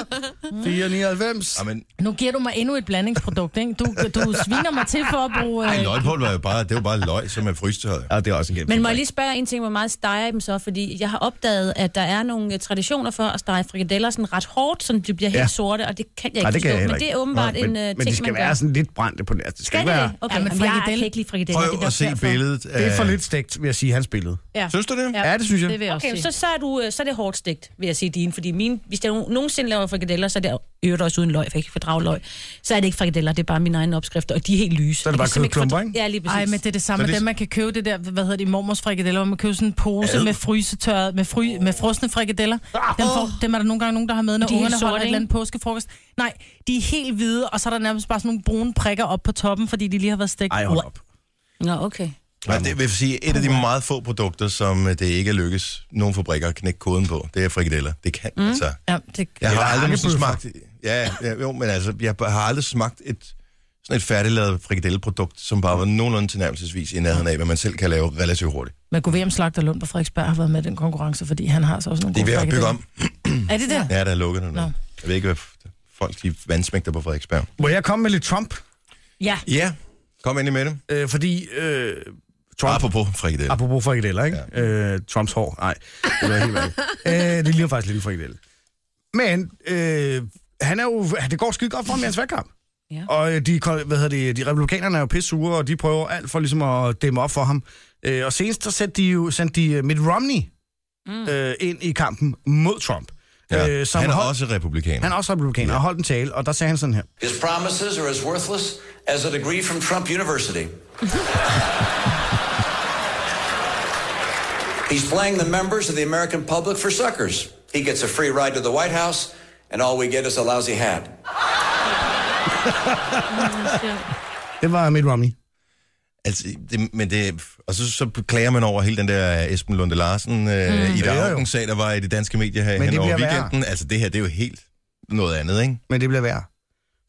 Speaker 2: 499.
Speaker 1: men,
Speaker 4: Nu giver du mig endnu et blandingsprodukt, ikke? Du, du sviner mig til for at bruge...
Speaker 1: ej,
Speaker 4: Øh,
Speaker 1: løgpulver var jo bare, det var bare løg, som er frystøjet.
Speaker 2: Ja, det er også en
Speaker 3: Men må jeg lige spørge en ting, hvor meget steger I dem så? Fordi jeg har opdaget, at der er nogle øh, traditioner for at stege frikadeller sådan ret hårdt, så de bliver helt
Speaker 2: Ja.
Speaker 3: ja. sorte, og det kan jeg ikke
Speaker 2: Nej, det kan jeg
Speaker 3: forstå.
Speaker 2: heller
Speaker 3: Men det er
Speaker 2: ikke.
Speaker 3: åbenbart
Speaker 2: Nå,
Speaker 3: en
Speaker 2: men,
Speaker 3: øh, ting,
Speaker 2: Men det skal
Speaker 3: man gør.
Speaker 2: være sådan lidt brændte på det. Altså, det
Speaker 3: Skal
Speaker 2: skal ikke
Speaker 3: det
Speaker 2: være...
Speaker 3: det? Okay,
Speaker 4: Ja,
Speaker 3: ja,
Speaker 4: men
Speaker 3: men jeg
Speaker 4: frikadelle-
Speaker 3: kan ikke lide frikadeller. det er
Speaker 1: Prøv at
Speaker 3: derfor.
Speaker 1: se billedet af...
Speaker 2: Det er for lidt stegt, vil jeg sige, hans billede.
Speaker 3: Ja.
Speaker 1: Synes du det?
Speaker 2: Ja, det synes jeg.
Speaker 4: Det vil jeg også
Speaker 3: Okay,
Speaker 4: sige.
Speaker 3: så, så, er du, øh, så er det hårdt stegt, vil jeg sige din. Fordi mine, hvis jeg no- nogensinde laver frikadeller, så er det i øvrigt også uden løg, for jeg kan ikke fordrage løg. Så er det ikke frikadeller, det er bare mine egne opskrifter, og de er helt lyse.
Speaker 2: er det
Speaker 3: Jeg
Speaker 2: bare
Speaker 3: kan simpelthen
Speaker 2: kødklumper,
Speaker 3: fordrage-
Speaker 2: ikke?
Speaker 3: Ligesom Ja, lige præcis.
Speaker 4: Ej, men det er det samme.
Speaker 1: Så det-
Speaker 4: Det... Dem, man kan købe det der, hvad hedder det, mormors frikadeller, hvor man køber sådan en pose med frysetørret, med, fry, med frosne frikadeller. Dem,
Speaker 1: Ah!
Speaker 4: får, dem er der nogle gange nogen, der har med, når
Speaker 3: De er helt
Speaker 4: ungerne
Speaker 3: sorte,
Speaker 4: holder et
Speaker 3: ikke?
Speaker 4: eller andet påskefrokost. Nej, de er helt hvide, og så er der nærmest bare sådan nogle brune prikker op på toppen, fordi de lige har været stegt.
Speaker 2: Ej, hold op.
Speaker 3: Nå, okay. Mm.
Speaker 1: Nej, det vil sige, et af de meget få produkter, som øh, det ikke er lykkes nogen fabrikker at knække koden på, det er frikadeller. Det kan mm. altså.
Speaker 4: Ja, det...
Speaker 1: Jeg har aldrig nogensinde
Speaker 2: hakkebøffer.
Speaker 1: smagt... Ja, ja, jo, men altså, jeg har aldrig smagt et sådan et færdiglavet frikadelleprodukt, som bare var nogenlunde tilnærmelsesvis i nærheden af, hvad man selv kan lave relativt hurtigt.
Speaker 4: Men kunne VM Slagter Lund på Frederiksberg har været med i den konkurrence, fordi han har så også nogle
Speaker 1: Det er
Speaker 4: gode
Speaker 1: ved at bygge om.
Speaker 4: Er det det?
Speaker 1: Ja, der er lukket nu.
Speaker 4: Nå.
Speaker 1: Jeg ved ikke, hvad f- folk de vandsmægter på Frederiksberg.
Speaker 2: Må jeg komme med lidt Trump?
Speaker 4: Ja.
Speaker 1: Ja, kom ind i med dem.
Speaker 2: Øh, fordi øh, Trump...
Speaker 1: Apropos frikadeller.
Speaker 2: Apropos frikadeller, ikke? Ja. Øh, Trumps hår. Nej, det var helt værdigt. øh, det ligner faktisk lidt en frikadelle. Men øh, han er jo, han- det går skide godt for ham i hans valgkamp.
Speaker 3: Ja.
Speaker 2: Og øh, de, kol- hvad hedder det, de republikanerne er jo pisse sure, og de prøver alt for ligesom at dæmme op for ham. Øh, og senest så sendte de jo sendte de øh, Mitt Romney mm. øh, ind i kampen mod Trump. Øh,
Speaker 1: Ja.
Speaker 2: som
Speaker 1: Han er
Speaker 2: hold-
Speaker 1: også republikaner.
Speaker 2: han er også republikaner, og holdt en tale, og der sagde han sådan her.
Speaker 6: His promises are as worthless as a degree from Trump University. He's playing the members of the American public for suckers. He gets a free ride to the White House, and all we get is a lousy hat.
Speaker 2: Det var Mitt Romney.
Speaker 1: Altså, det, men det, og så, så klager man over hele den der Esben Lunde Larsen, øh, mm. Ida
Speaker 2: jo.
Speaker 1: Auken sag, der var i de danske medier her
Speaker 2: Men
Speaker 1: hen
Speaker 2: det
Speaker 1: over
Speaker 2: bliver værre.
Speaker 1: weekenden. Værre. Altså, det her, det er jo helt noget andet, ikke?
Speaker 2: men det bliver værre.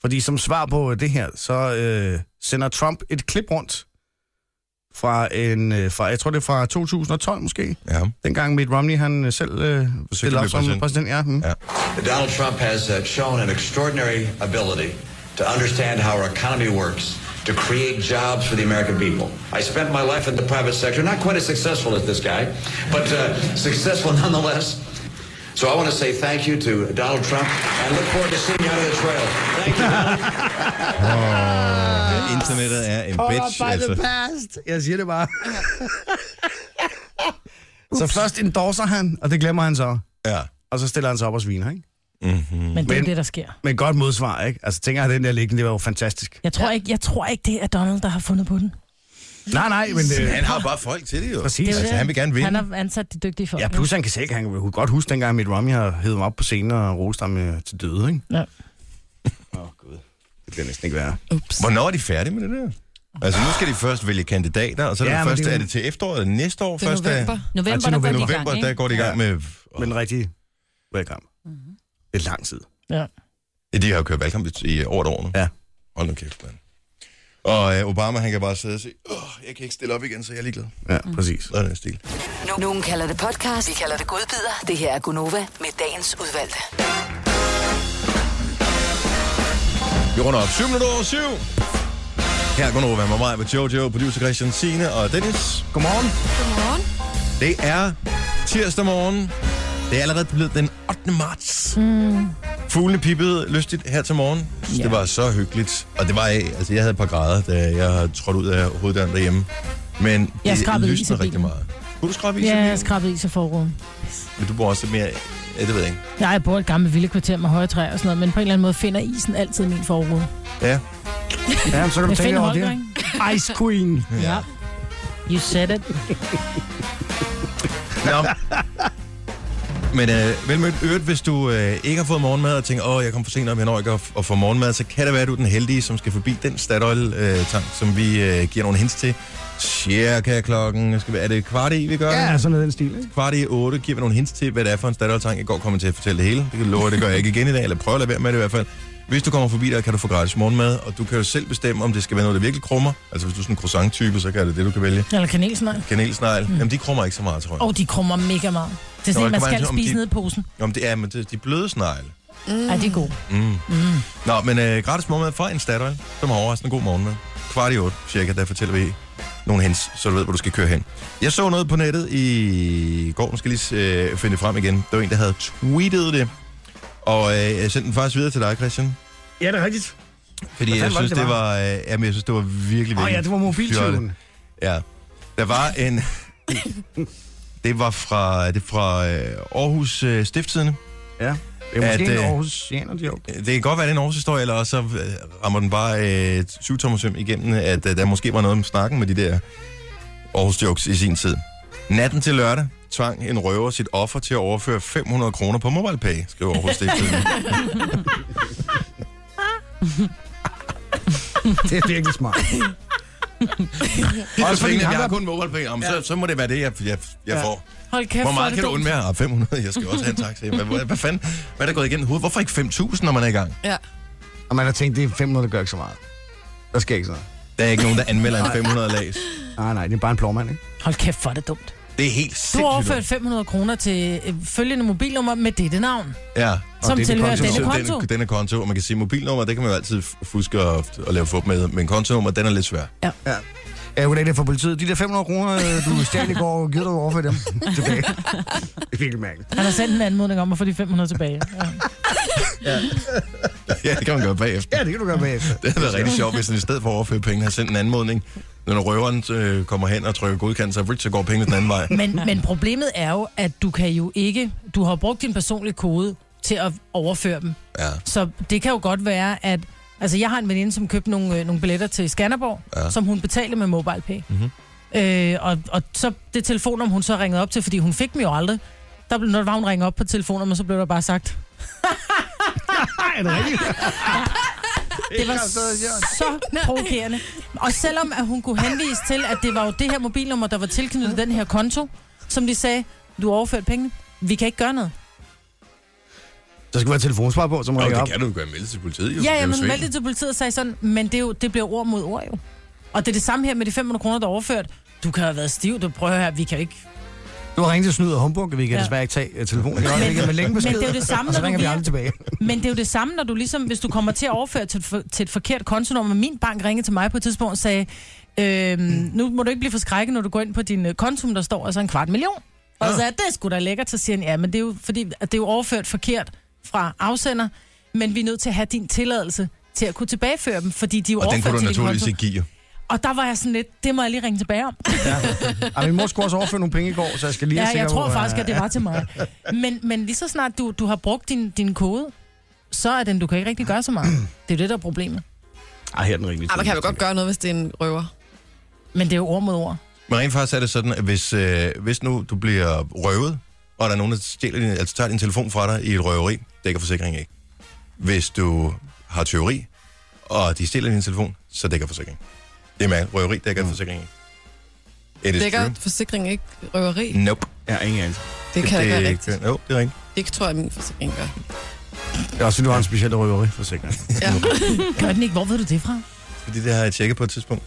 Speaker 2: Fordi som svar på øh, det her, så øh, sender Trump et klip rundt fra en, øh, fra, jeg tror det er fra 2012 måske,
Speaker 1: Ja.
Speaker 2: dengang Mitt Romney han øh, selv øh, stillede op
Speaker 1: blive
Speaker 2: som
Speaker 1: præsident.
Speaker 2: præsident. præsident ja, mm.
Speaker 1: Ja.
Speaker 2: ja.
Speaker 6: Donald Trump has uh, shown an extraordinary ability to understand how our economy works, to create jobs for the American people. I spent my life in the private sector, not quite as successful as this guy, but uh, successful nonetheless. So I want to say thank you to Donald Trump and look forward to seeing you out of the trail. Thank you.
Speaker 1: Ja, Internettet er en bitch, altså.
Speaker 2: past. Jeg siger det bare. så først endorser han, og det glemmer han så.
Speaker 1: Ja. Mhm.
Speaker 2: Og så stiller han sig op og sviner, ikke?
Speaker 4: Men det er jo
Speaker 2: Men-
Speaker 4: det, der sker.
Speaker 2: Men godt modsvar, ikke? Altså tænker jeg, den der liggende, det var jo fantastisk.
Speaker 4: Jeg tror, ikke, jeg tror ikke, det er Donald, der har fundet på den.
Speaker 2: Nej, nej, men... Øh,
Speaker 1: Han har bare folk til det, jo.
Speaker 2: Præcis. Det er
Speaker 1: Altså, han vil gerne vinde.
Speaker 4: Han har ansat de dygtige folk.
Speaker 2: ja, plus han kan selv, han kunne godt huske dengang Mitt Romney har hævet ham op på scenen og rost ham øh, til døde, ikke?
Speaker 4: Ja.
Speaker 2: Det bliver næsten ikke værre.
Speaker 5: Ups.
Speaker 1: Hvornår er de færdige med det der? Altså, nu skal de først vælge kandidater, og så er det,
Speaker 2: Ja,
Speaker 1: ja,
Speaker 2: men
Speaker 1: først,
Speaker 2: det er
Speaker 1: er
Speaker 2: jo-
Speaker 1: det til efteråret, eller næste år?
Speaker 5: Det er
Speaker 1: først er-
Speaker 5: november.
Speaker 3: November,
Speaker 2: til
Speaker 3: der går de i gang, ikke?
Speaker 1: november,
Speaker 3: Mhm.
Speaker 1: der går de i gang med... Åh,
Speaker 2: Men rigtig velkommen. Mm-hmm. Det er lang tid.
Speaker 4: ja.
Speaker 1: Ja, de har jo kørt valgkamp i- i over et år nu.
Speaker 2: Ja.
Speaker 1: Hold nu kæft, mand. Og øh, Obama, han kan bare sidde og sige, Åh, jeg kan ikke stille op igen, så jeg er ligeglad.
Speaker 2: Ja, mm. præcis.
Speaker 1: Sådan er det stil.
Speaker 7: Nu- Nogen kalder det podcast, vi kalder det godbider. Det her er Gunova med dagens udvalgte.
Speaker 1: Vi runder op 7 minutter over 7. Her går over med mig med Jojo, producer Christian Sine og Dennis. Godmorgen.
Speaker 5: Godmorgen.
Speaker 1: Det er tirsdag morgen. Det er allerede blevet den 8. marts. Mm. Fuglene pippede lystigt her til morgen. Ja. Det var så hyggeligt. Og det var, altså jeg havde et par grader, da jeg trådte ud af hoveddøren derhjemme. Men
Speaker 4: Jeg skrabede is i
Speaker 1: lysnede rigtig
Speaker 4: bilen.
Speaker 1: meget. Kunne du skrabe is i
Speaker 4: Ja,
Speaker 1: bilen?
Speaker 4: jeg skrabede is i forruden.
Speaker 1: Men du bor også mere... Ja, det ved jeg ikke.
Speaker 4: Nej, jeg bor i et gammelt villekvarter med høje træer og sådan noget, men på en eller anden måde finder isen altid min forrude.
Speaker 1: Ja.
Speaker 2: Ja, så kan
Speaker 4: Jeg
Speaker 2: du tænke
Speaker 4: finder
Speaker 2: over
Speaker 4: Holger,
Speaker 2: det.
Speaker 4: ikke?
Speaker 2: Ice Queen.
Speaker 4: Ja. You said it.
Speaker 1: Nå. Men øh, velmødt øret, hvis du øh, ikke har fået morgenmad og tænker, åh, jeg kom for sent op, jeg når ikke at, f- at få morgenmad, så kan det være, at du er den heldige, som skal forbi den Statoil-tank, som vi øh, giver nogle hints til. Cirka klokken, skal vi, er det kvart i, vi gør det?
Speaker 2: Ja, sådan noget i den stil, ikke?
Speaker 1: kvart i 8 giver vi nogle hints til, hvad det er for en standardtang. I går kommer jeg til at fortælle det hele. Det kan jeg love, at det gør jeg ikke igen i dag, eller prøv at lade være med det i hvert fald. Hvis du kommer forbi der, kan du få gratis morgenmad, og du kan jo selv bestemme, om det skal være noget, der virkelig krummer. Altså hvis du er sådan en croissant-type, så kan det det, du kan vælge.
Speaker 4: Eller kanelsnegl.
Speaker 1: Kanelsnegl, mm. jamen de krummer ikke så meget, tror jeg.
Speaker 4: Åh, oh, de krummer mega meget. Det er
Speaker 1: Nå,
Speaker 4: sådan,
Speaker 1: det
Speaker 4: en, man
Speaker 1: kommer
Speaker 4: skal
Speaker 1: an til, om
Speaker 4: spise
Speaker 1: de-
Speaker 4: ned i posen.
Speaker 1: Oh. Jamen det er med det, de bløde snegle.
Speaker 4: Mm. Ej, det er Mm. godt.
Speaker 1: Nå, men øh, gratis morgenmad fra en Statoil, som har overraskende god morgenmad. Kvart i 8, cirka, der fortæller vi nogle hints, så du ved, hvor du skal køre hen. Jeg så noget på nettet i går, nu skal jeg lige øh, finde det frem igen. Der var en, der havde tweetet det, og øh, jeg sendte den faktisk videre til dig, Christian.
Speaker 2: Ja, det er rigtigt.
Speaker 1: Fordi
Speaker 2: Hvad
Speaker 1: jeg
Speaker 2: fanden var
Speaker 1: synes,
Speaker 2: det,
Speaker 1: det,
Speaker 2: det
Speaker 1: var, øh, jamen, jeg synes, det var virkelig, virkelig
Speaker 2: Åh oh, ja, det var mobiltyven.
Speaker 1: fjollet. Ja. Der var en... det var fra, det er fra øh, Aarhus øh, Stiftstidende.
Speaker 2: Ja. Det er måske
Speaker 1: At,
Speaker 2: at, en
Speaker 1: øh,
Speaker 2: Aarhusianer, de har.
Speaker 1: Det kan godt være, det er en Aarhus-historie, eller også så øh, rammer den bare øh, syvtommersøm igennem, at øh, der måske var noget om snakken med de der Aarhus-jokes i sin tid. Natten til lørdag tvang en røver sit offer til at overføre 500 kroner på MobilePay, skriver Aarhus Stiftstidende.
Speaker 2: Det er virkelig smart.
Speaker 1: Også fordi,
Speaker 2: fordi
Speaker 1: jeg
Speaker 2: ham,
Speaker 1: har
Speaker 2: der-
Speaker 1: kun MobilePay, Jamen, så, så må det være det, jeg, jeg, jeg
Speaker 2: Ja.
Speaker 1: får.
Speaker 4: Hold kæft,
Speaker 1: Hvor
Speaker 4: hvor er
Speaker 1: meget
Speaker 4: det
Speaker 1: kan du
Speaker 4: dumt.
Speaker 1: undvære? Ah, 500, jeg skal også have en taxa. Hvad, hvad, hvad fanden? Hvad er der gået igennem hovedet? Hvorfor ikke 5.000, når man er i gang?
Speaker 5: Ja.
Speaker 2: Og man har tænkt, det er 500, der gør ikke så meget. Der sker ikke så meget.
Speaker 1: Der er ikke nogen, der anmelder en 500 lags.
Speaker 2: Nej, nej, det er bare en plovmand, ikke?
Speaker 4: Hold kæft, hvor er det dumt.
Speaker 1: Det er helt sindssygt.
Speaker 4: Du har overført 500 kroner til øh, følgende mobilnummer med dette navn,
Speaker 1: Ja.
Speaker 4: som
Speaker 2: denne
Speaker 4: tilhører
Speaker 2: konto.
Speaker 4: denne
Speaker 1: Så
Speaker 4: konto.
Speaker 1: Denne, denne konto, og man kan sige, mobilnummer, det kan man jo altid f- fuske og, og lave fup med, men kontonummer, den er lidt svær.
Speaker 2: Ja. Ja, goddag, det er for politiet. De der 500 kroner, øh, du stjal i går, gider du overfor dem tilbage. Det er virkelig mærkeligt.
Speaker 4: Han har sendt en anmodning om at få de 500 tilbage. Ja.
Speaker 1: ja, det kan man gøre bagefter.
Speaker 2: Ja, det kan du gøre bagefter.
Speaker 1: Det havde været rigtig sjovt, hvis han i stedet for at overføre penge, har sendt en anmodning. Når røveren øh, kommer hen og trykker godkendelse, af, så går pengene den anden vej.
Speaker 4: Men, men problemet er jo, at du kan jo ikke... Du har brugt din personlige kode til at overføre dem.
Speaker 1: Ja.
Speaker 4: Så det kan jo godt være, at... Altså, jeg har en veninde, som købte nogle, øh, nogle billetter til Skanderborg,
Speaker 1: Ja.
Speaker 4: ja. som hun betalte med MobilePay. Mm-hmm. Øh, og, og så det telefonnummer, hun så ringede op til, fordi hun fik dem jo aldrig. Der blev, når det var, hun ringede op på telefonnummer, så blev der bare sagt,
Speaker 2: Nej, det er rigtigt.
Speaker 4: det var så provokerende. Og selvom at hun kunne henvise til, at det var jo det her mobilnummer, der var tilknyttet den her konto, som de sagde, du har overført pengene, vi kan ikke gøre noget.
Speaker 2: Der skal være telefonsvar på, som
Speaker 1: Nå,
Speaker 2: ringer
Speaker 1: det
Speaker 2: op.
Speaker 1: kan du jo gøre melde til politiet. Jo.
Speaker 4: Ja,
Speaker 1: Det er
Speaker 4: ja,
Speaker 1: jo
Speaker 4: men
Speaker 1: svindel.
Speaker 4: meldte til politiet og sagde sådan, men det, er jo, det bliver ord mod ord jo. Og det er det samme her med de 500 kroner, der er overført. Du kan have været stiv, du prøver her, vi kan jo ikke...
Speaker 2: Du har ringet til snyd og humbug, vi kan
Speaker 4: Ja.
Speaker 2: desværre ikke tage øh, telefonen. Vi kan ikke med længe
Speaker 4: men
Speaker 2: besked,
Speaker 4: det er jo det samme,
Speaker 2: og så
Speaker 4: når du
Speaker 2: ringer vi
Speaker 4: giver-
Speaker 2: aldrig tilbage.
Speaker 4: Men det er jo det samme, når du ligesom, hvis du kommer til at overføre til, et for- til et forkert kontonummer. Min bank ringede til mig på et tidspunkt og sagde, øhm, nu må du ikke blive forskrækket, når du går ind på din øh, konto, der står altså en kvart million.
Speaker 1: Ah.
Speaker 4: Og så sagde jeg, det skulle da lækkert, så siger han, ja, men det er jo, fordi, at det er jo overført forkert fra afsender, men vi er nødt til at have din tilladelse til at kunne tilbageføre dem, fordi de er jo
Speaker 1: Og den
Speaker 4: overført
Speaker 1: kunne du
Speaker 4: til din
Speaker 1: naturligvis
Speaker 4: konto.
Speaker 1: ikke give. jo.
Speaker 4: Og der var jeg sådan lidt, det må jeg lige ringe tilbage om.
Speaker 2: Ej, min mor skulle også overføre nogle penge i går, så jeg skal lige
Speaker 4: Ja,
Speaker 2: være
Speaker 4: jeg
Speaker 2: sikker
Speaker 4: tror
Speaker 2: på,
Speaker 4: faktisk, at det var til mig. Men, men lige så snart du, du har brugt din, din kode, så er den, du kan ikke rigtig gøre så meget. Det er jo det, der er problemet.
Speaker 2: Ej, her er den rimelige.
Speaker 5: Ej, man kan
Speaker 2: tid.
Speaker 5: vel godt gøre noget, hvis det er en røver.
Speaker 4: Men det er jo ord mod ord.
Speaker 1: Men rent faktisk er det sådan, at hvis, øh, hvis nu du bliver røvet, og der er nogen, der stjæler din, altså tager din telefon fra dig i et røveri, dækker forsikringen ikke. Hvis du har teori, og de stjæler din telefon, så dækker forsikringen. Det er mærkeligt. Røveri dækker mm. forsikringen ikke. It is
Speaker 5: Dækker
Speaker 1: true.
Speaker 5: forsikringen ikke røveri?
Speaker 1: Nope.
Speaker 2: Ja, ingen anelse.
Speaker 5: Det kan da ikke være rigtigt.
Speaker 1: Jo, det er rigtigt.
Speaker 5: Det tror jeg, min forsikring gør.
Speaker 2: Det er også, fordi du har en speciel røveriforsikring.
Speaker 5: Ja.
Speaker 4: Gør den ikke? Hvor ved du det fra?
Speaker 1: Fordi det har jeg tjekket på et tidspunkt.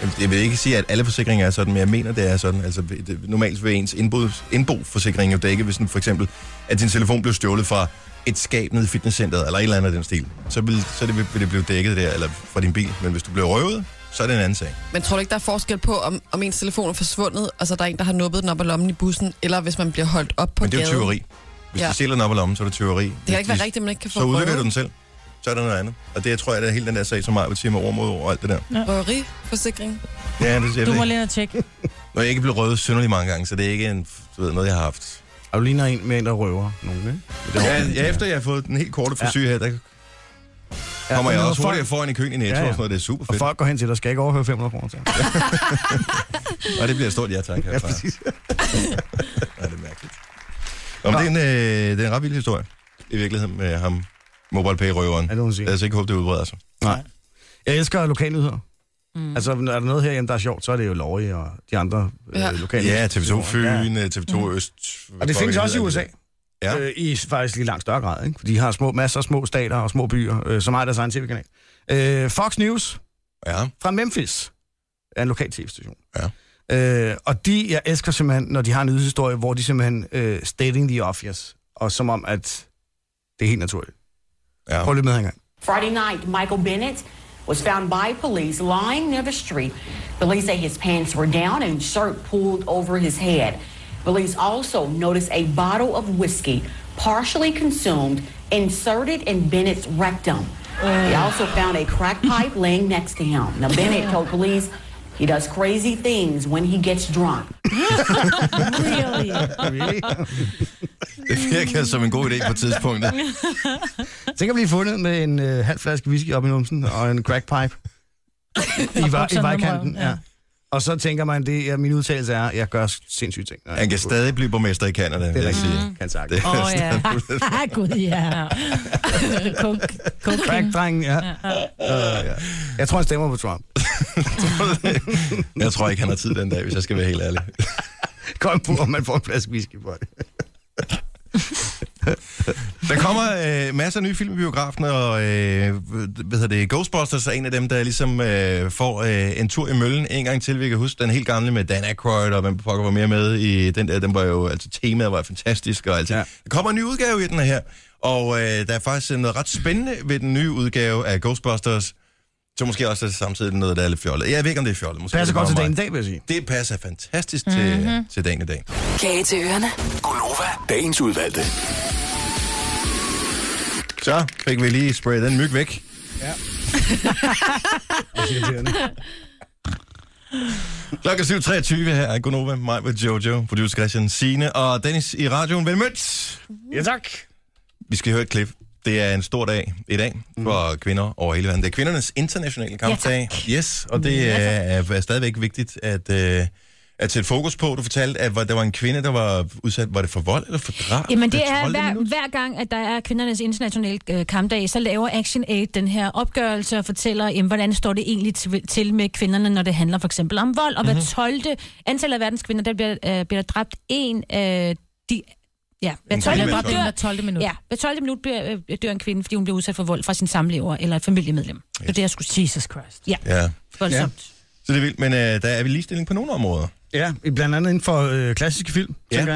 Speaker 1: Jamen, Jeg vil ikke sige, at alle forsikringer er sådan, men jeg mener, det er sådan. Altså, det- normalt vil ens indbo, indboforsikring jo dække, hvis den for eksempel, at din telefon blev stjålet fra et skab nede i fitnesscenteret, eller et eller andet af den stil. Så vil, så det, vil det blive dækket der, eller fra din bil. Men hvis du blev røvet, så er det en anden sag.
Speaker 5: Men tror du ikke, der er forskel på, om, om ens telefon er forsvundet, og så er der en, der har nuppet den op af lommen i bussen, eller hvis man bliver holdt op på
Speaker 1: Men det er jo
Speaker 5: gaden?
Speaker 1: tyveri. Hvis ja.
Speaker 5: Ja.
Speaker 1: du stjæler den op af lommen, så er det tyveri.
Speaker 5: Det kan ikke være rigtigt, at man ikke kan få
Speaker 1: Så udleverer du
Speaker 5: røvet.
Speaker 1: den selv. Så er der noget andet. Og det, jeg tror jeg, det er hele den der sag, som mig vil sige med ord mod ord og alt det der.
Speaker 5: Røveriforsikring.
Speaker 1: Ja, det siger
Speaker 4: Du
Speaker 1: jeg
Speaker 4: må
Speaker 1: ikke.
Speaker 4: lige ind og tjekke.
Speaker 1: Når jeg ikke blev røvet synderligt mange gange, så det er ikke en, du ved, noget, jeg har haft.
Speaker 2: Og du ligner en med en, der røver nogen, ikke?
Speaker 1: Ja, ja, efter jeg har fået den helt korte frisyr her, der kommer jeg
Speaker 2: men
Speaker 1: også
Speaker 2: når
Speaker 1: hurtigere foran i køen i Netto
Speaker 2: Ja,
Speaker 1: ja,
Speaker 2: ja.
Speaker 1: ja. og sådan noget. Det er super
Speaker 2: Og
Speaker 1: fedt.
Speaker 2: folk går hen til dig, skal ikke overhøre 500 kroner til.
Speaker 1: Og det bliver et stort ja tak herfra.
Speaker 2: præcis.
Speaker 1: Ja, det er mærkeligt. Nå, men det, er en, øh, det er en ret vild historie, i virkeligheden, med ham, MobilePay-røveren.
Speaker 2: Ja, det må man sige.
Speaker 1: Lad os ikke håbe, det udbreder sig.
Speaker 2: Nej. Jeg elsker lokalnyheder. Mm. Altså, når der er noget herhjemme, der er sjovt, så er det jo Norge og de andre øh,
Speaker 5: Ja.
Speaker 2: lokale.
Speaker 1: Ja, TV2 Fyn, øh, TV2 Øst.
Speaker 2: Og det findes også i USA.
Speaker 1: Ja.
Speaker 2: Øh, I faktisk i langt større grad, ikke? For de har små, masser af små stater og små byer, øh, som har deres egen tv-kanal. Øh, Fox News
Speaker 1: Ja.
Speaker 2: fra Memphis er en lokal tv-station.
Speaker 1: Ja.
Speaker 2: Øh, og de, jeg elsker simpelthen, når de har en nyhedshistorie, hvor de simpelthen øh, stating the obvious, og som om, at det er helt naturligt.
Speaker 1: Ja.
Speaker 2: Prøv lige med her engang.
Speaker 8: Friday night, Michael Bennett was found by police lying near the street. Police say his pants were down and shirt pulled over his head. Police also noticed a bottle of whiskey partially consumed inserted in Bennett's rectum. They also found a crack pipe laying next to him. Now Bennett told police he does crazy things when he gets drunk.
Speaker 3: Really?
Speaker 1: Det virker som en god idé på tidspunktet.
Speaker 2: Tænk at blive fundet med en øh, halv flaske whisky op i numsen og en crackpipe. I, var, I
Speaker 4: bukserne
Speaker 2: vejkanten,
Speaker 4: på røven, ja.
Speaker 2: ja. Og så tænker man, det er, min udtalelse er, at jeg gør sindssyge ting. når jeg
Speaker 1: Han kan
Speaker 2: er på-
Speaker 1: stadig blive borgmester i Canada, vil
Speaker 2: Det er
Speaker 1: jeg sige.
Speaker 2: rigtigt, kan sagt.
Speaker 1: Det er
Speaker 3: Åh, oh, ja.
Speaker 4: Gud, ja. Kok, kok,
Speaker 2: Crack-drengen, ja. Øh, ja. Jeg tror, han stemmer på Trump.
Speaker 1: Jeg tror ikke, han har tid den dag, hvis jeg skal være helt ærlig.
Speaker 2: Kom på, om man får en flaske whisky på det.
Speaker 1: Der kommer øh, masser af nye film i biografen, og øh, hvad hedder det, Ghostbusters er en af dem, der ligesom øh, får øh, en tur i møllen en gang til. Vi kan huske den helt gamle med Dan Aykroyd, og hvem pokker var mere med i den der. Den var jo, altså temaet var fantastisk og alt ja.
Speaker 2: Ja.
Speaker 1: Der kommer en ny udgave i den her, og øh, der er faktisk noget ret spændende ved den nye udgave af Ghostbusters, som måske også er samtidig noget, der er lidt fjollet. Jeg ved ikke, om det er fjollet. Måske er
Speaker 2: Passer
Speaker 1: det
Speaker 2: godt til
Speaker 1: bare
Speaker 2: dagen i
Speaker 1: mig.
Speaker 2: dag, vil jeg sige.
Speaker 1: Det passer fantastisk mm-hmm. til, til dagen i dag.
Speaker 7: Kage til ørerne.
Speaker 9: Gunova, dagens udvalgte.
Speaker 1: Så fik vi lige sprayet den myg væk. Klokken er 7.23 her er Gunova, mig med Jojo, producer Christian Sine og Dennis i radioen. Velmødt!
Speaker 2: Ja, tak.
Speaker 1: Vi skal høre et klip. Det er en stor dag i dag for mm. kvinder over hele verden. Det er kvindernes internationale kampdag. Ja, yes, og det ja, er, er stadigvæk vigtigt at, øh, at sætte fokus på. Du fortalte, at var- der var en kvinde, der var udsat. Var det for vold eller for drab?
Speaker 3: Jamen det er
Speaker 1: troldede
Speaker 3: hver,
Speaker 1: minut.
Speaker 3: hver gang, at der er kvindernes internationale øh, kampdag, så laver Action Aid den her opgørelse og fortæller, jamen, hvordan står det egentlig til- til med kvinderne, når det handler for eksempel om vold, og
Speaker 1: Mhm.
Speaker 3: hver 12. antallet af verdens kvinder, der bliver, øh, bliver der dræbt en øh, de, ja, hver
Speaker 1: En
Speaker 3: 12.
Speaker 1: kvinde
Speaker 3: minut
Speaker 1: hver
Speaker 3: dør,
Speaker 4: 12. minut.
Speaker 3: ja, hver 12. minut bliver, øh, dør en kvinde, fordi hun bliver udsat for vold fra sin samlever eller et familiemedlem. Det er det, jeg skulle sige.
Speaker 4: Jesus Christ.
Speaker 1: Ja,
Speaker 3: Voldsomt.
Speaker 1: så det er vildt. Men øh, der er vi ligestilling på nogle områder.
Speaker 2: Ja, i- blandt andet inden for øh, klassiske film,
Speaker 1: Ja.
Speaker 2: ja. tænker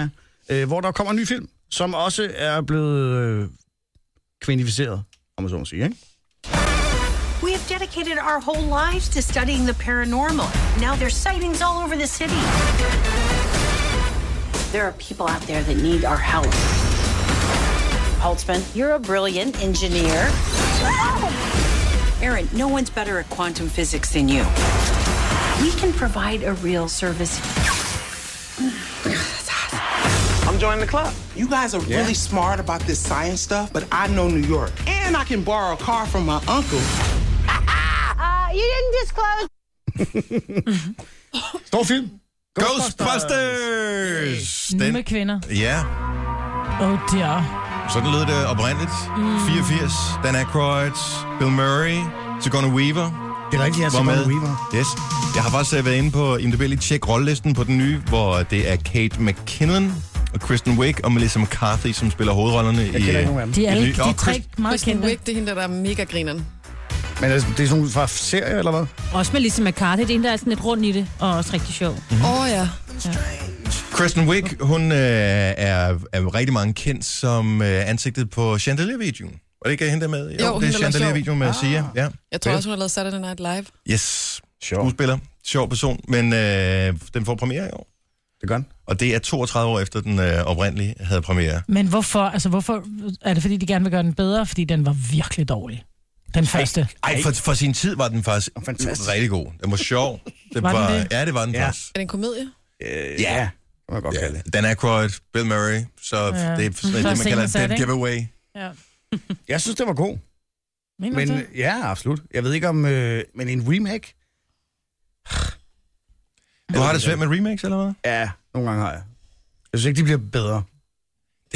Speaker 2: jeg. Øh, hvor der kommer en ny film, som også er blevet øh, kvindificeret, om man så må sige, ikke?
Speaker 10: We have dedicated our whole lives to studying the paranormal. Now there's sightings all over the city.
Speaker 8: There are people out there that need our help. Holtzman, you're a brilliant engineer.
Speaker 10: Aaron, no one's better at quantum physics than you. We can provide a real service.
Speaker 11: I'm joining the club. You guys are really smart about this science stuff, but I know New York. And I can borrow a car from my uncle.
Speaker 2: Stor film.
Speaker 1: Ghostbusters!
Speaker 4: Nu
Speaker 1: Den,
Speaker 4: med kvinder.
Speaker 1: ja,
Speaker 4: Oh dear.
Speaker 1: sådan lød det oprindeligt.
Speaker 4: Mm.
Speaker 1: 84, Dan Aykroyd, Bill Murray, Sigourney Weaver
Speaker 2: Det er rigtigt, jeg
Speaker 1: var
Speaker 2: Sigourney
Speaker 1: med.
Speaker 2: Weaver.
Speaker 1: Yes. Jeg har faktisk øh, været inde på IMDb lige tjek rollelisten på den nye, hvor det er Kate McKinnon og Kristen Wiig og Melissa McCarthy, som spiller hovedrollerne
Speaker 2: Jeg kender
Speaker 1: i...
Speaker 2: ikke nogen af dem.
Speaker 4: De er alle
Speaker 1: Det er ny-
Speaker 4: de
Speaker 1: Åh,
Speaker 4: tre
Speaker 1: Chris-
Speaker 4: meget
Speaker 5: Kristen
Speaker 4: kendte.
Speaker 5: Wiig, det er hende, der der er mega grineren.
Speaker 2: Men altså, det er sådan fra serie, eller hvad?
Speaker 3: Også med Lisa McCarthy, det er en, der er sådan lidt rundt i det, og også rigtig sjov.
Speaker 1: Mhm.
Speaker 5: Åh oh, ja.
Speaker 1: Kristen Wiig, hun øh, er, er rigtig mange kendt som øh, ansigtet på Chandelier-videoen. Var det ikke hende der med?
Speaker 5: Jo,
Speaker 1: det
Speaker 5: hende,
Speaker 1: er
Speaker 5: der var sjov.
Speaker 1: Chandelier-videoen med ah. Sia. Ja.
Speaker 5: Jeg tror også, hun har lavet Saturday Night Live.
Speaker 1: Yes.
Speaker 2: Sjov.
Speaker 1: Skuespiller. Sjov person. Men øh, den får premiere i år.
Speaker 2: Det gør den.
Speaker 1: Og det er 32 år efter, den øh, oprindelige havde premiere.
Speaker 4: Men hvorfor, altså hvorfor, er det fordi, de gerne vil gøre den bedre? Fordi den var virkelig dårlig. Den første.
Speaker 1: Ej, for, for sin tid var den faktisk
Speaker 2: Fantastisk.
Speaker 1: rigtig god. Den var sjov. Det
Speaker 4: Var
Speaker 1: var,
Speaker 4: den
Speaker 1: var
Speaker 4: det?
Speaker 1: Ja, det var den ja.
Speaker 2: Ja. Øh,
Speaker 1: faktisk.
Speaker 5: Er det en komedie?
Speaker 2: Ja. Det må jeg godt kalde
Speaker 1: Ja.
Speaker 2: det.
Speaker 1: Dan Aykroyd, Bill Murray, så ja.
Speaker 4: Ja.
Speaker 1: det er sådan, det,
Speaker 4: Så
Speaker 1: man
Speaker 4: scenen
Speaker 1: kalder
Speaker 4: sat,
Speaker 1: et dead
Speaker 4: ikke?
Speaker 1: giveaway.
Speaker 4: Ja.
Speaker 2: Jeg synes, det var god.
Speaker 4: Mener
Speaker 2: Men øh,
Speaker 4: du
Speaker 1: øh,
Speaker 4: det?
Speaker 2: ja, absolut. Jeg ved ikke om... Øh, men en remake?
Speaker 1: Du har det svært med remakes, eller hvad?
Speaker 2: Ja, nogle gange har jeg. Jeg synes ikke, de bliver bedre.
Speaker 1: Det er
Speaker 4: Og